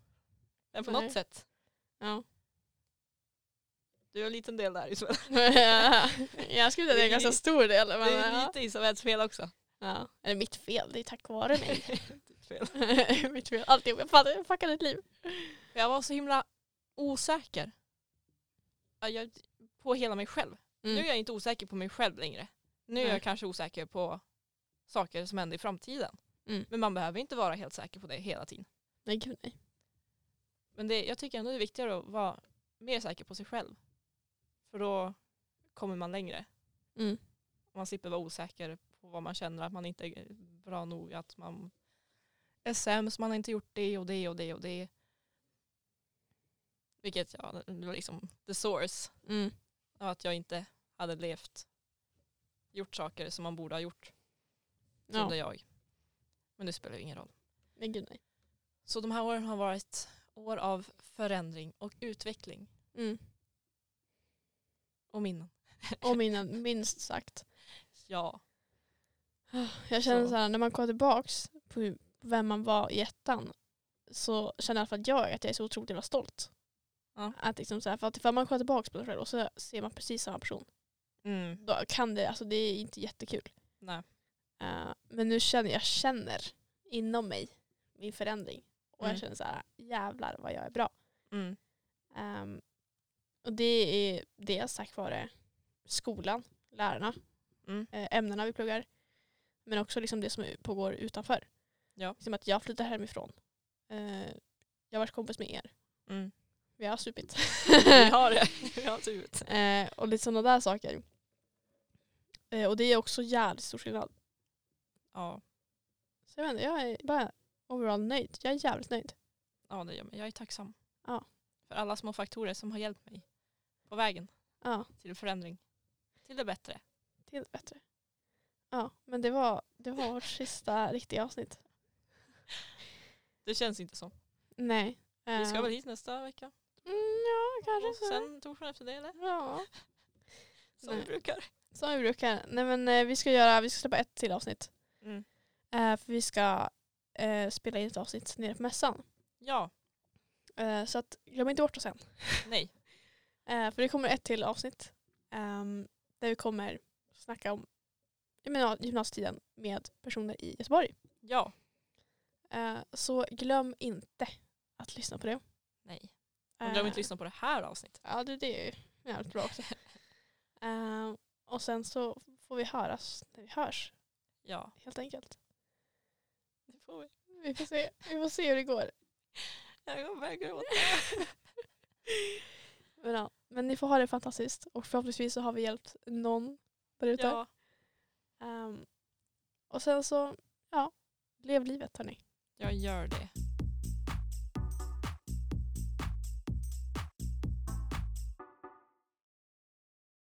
Speaker 3: Men på
Speaker 2: Nej.
Speaker 3: något sätt.
Speaker 2: ja.
Speaker 3: Du har en liten del där Isabel.
Speaker 2: jag skulle säga att det är en ganska stor del. Men,
Speaker 3: Det är
Speaker 2: ja.
Speaker 3: lite Isabels fel också.
Speaker 2: Ja. Eller mitt fel, det är tack vare mig.
Speaker 3: Ditt fel.
Speaker 2: mitt fel, alltihop. Jag fuckade- Jag fuckade ett liv.
Speaker 3: För Jag var så himla osäker. Ja, Jag, på hela mig själv.
Speaker 2: Mm.
Speaker 3: Nu är jag inte osäker på mig själv längre. Nu är
Speaker 2: Nej.
Speaker 3: jag kanske osäker på saker som händer i framtiden.
Speaker 2: Mm.
Speaker 3: Men man behöver inte vara helt säker på det hela tiden.
Speaker 2: Nej, gud nej.
Speaker 3: Men det, jag tycker ändå det är viktigare att vara mer säker på sig själv. För då kommer man längre.
Speaker 2: Mm.
Speaker 3: Man slipper vara osäker på vad man känner att man inte är bra nog. Att man är sämst, man har inte gjort det och det och det och det. Vilket ja, det var liksom the source
Speaker 2: Mm.
Speaker 3: av att jag inte hade levt, gjort saker som man borde ha gjort, trodde
Speaker 2: Ja.
Speaker 3: jag. Men det spelar ju ingen roll.
Speaker 2: Nej, gud nej.
Speaker 3: Så de här åren har varit år av förändring och utveckling
Speaker 2: Mm.
Speaker 3: och minnen.
Speaker 2: Och mina, minst sagt.
Speaker 3: Ja,
Speaker 2: Jag känner
Speaker 3: Så.
Speaker 2: så här, när man kollar tillbaks på hur- på vem man var i ettan så känner i alla fall jag att jag är så otroligt jävla stolt.
Speaker 3: Ja.
Speaker 2: Att liksom så här, för att ifall man kollar tillbaka på sig själv och så ser man precis samma person
Speaker 3: mm.
Speaker 2: då kan det, alltså det är inte jättekul.
Speaker 3: nej.
Speaker 2: Eh, men nu känner jag känner inom mig min förändring. Och
Speaker 3: Mm.
Speaker 2: jag känner så här, jävlar vad jag är bra.
Speaker 3: Mm.
Speaker 2: Ehm, och det är dels tack vare skolan, lärarna,
Speaker 3: Mm.
Speaker 2: eh, ämnena vi pluggar. Men också liksom det som pågår utanför.
Speaker 3: Ja.
Speaker 2: Liksom att jag flyttar hemifrån. Eh, jag var kompis med er.
Speaker 3: Mm.
Speaker 2: Vi har supit.
Speaker 3: Vi har det. Vi har tur.
Speaker 2: Eh, och lite sådana där saker. Eh, och det är också jävligt stor skillnad.
Speaker 3: Ja,
Speaker 2: Så jag vet inte, jag är bara overall nöjd. Jag är jävligt nöjd.
Speaker 3: ja det gör mig. Jag är tacksam.
Speaker 2: Ja.
Speaker 3: För alla små faktorer som har hjälpt mig på vägen
Speaker 2: Ja,
Speaker 3: till förändring. Till det bättre.
Speaker 2: det är bättre. Ja, men det var, det var vårt sista riktiga avsnitt.
Speaker 3: Det känns inte så.
Speaker 2: Nej.
Speaker 3: Vi ska
Speaker 2: Eh,
Speaker 3: väl hit nästa vecka.
Speaker 2: Mm, ja,
Speaker 3: Och
Speaker 2: kanske.
Speaker 3: sen torsdagen efter det eller?
Speaker 2: Ja,
Speaker 3: Som vi
Speaker 2: Nej.
Speaker 3: brukar.
Speaker 2: som vi brukar. Nej men eh, vi ska göra, vi ska släppa ett till avsnitt.
Speaker 3: Mm.
Speaker 2: Eh, för vi ska eh, spela in ett avsnitt nere på mässan.
Speaker 3: Ja,
Speaker 2: Eh, så att, glöm inte bort oss än.
Speaker 3: nej.
Speaker 2: Eh, för det kommer ett till avsnitt. ehm, där vi kommer snacka om jag menar, gymnasietiden med personer i Göteborg.
Speaker 3: Ja,
Speaker 2: Eh, så glöm inte att lyssna på det.
Speaker 3: nej. Och glöm inte att
Speaker 2: Eh,
Speaker 3: lyssna på det här avsnittet.
Speaker 2: Ja, du, det är ju jävligt bra också. Ehm, och sen så får vi höras när vi hörs,
Speaker 3: Ja,
Speaker 2: helt enkelt.
Speaker 3: det får vi.
Speaker 2: Vi får se, vi får se hur det går.
Speaker 3: Jag börjar gråta.
Speaker 2: Men, ja, men ni får ha det fantastiskt och förhoppningsvis så har vi hjälpt någon där ute.
Speaker 3: Ja,
Speaker 2: Ehm, och sen så, ja, lev livet hörni.
Speaker 3: jag gör det.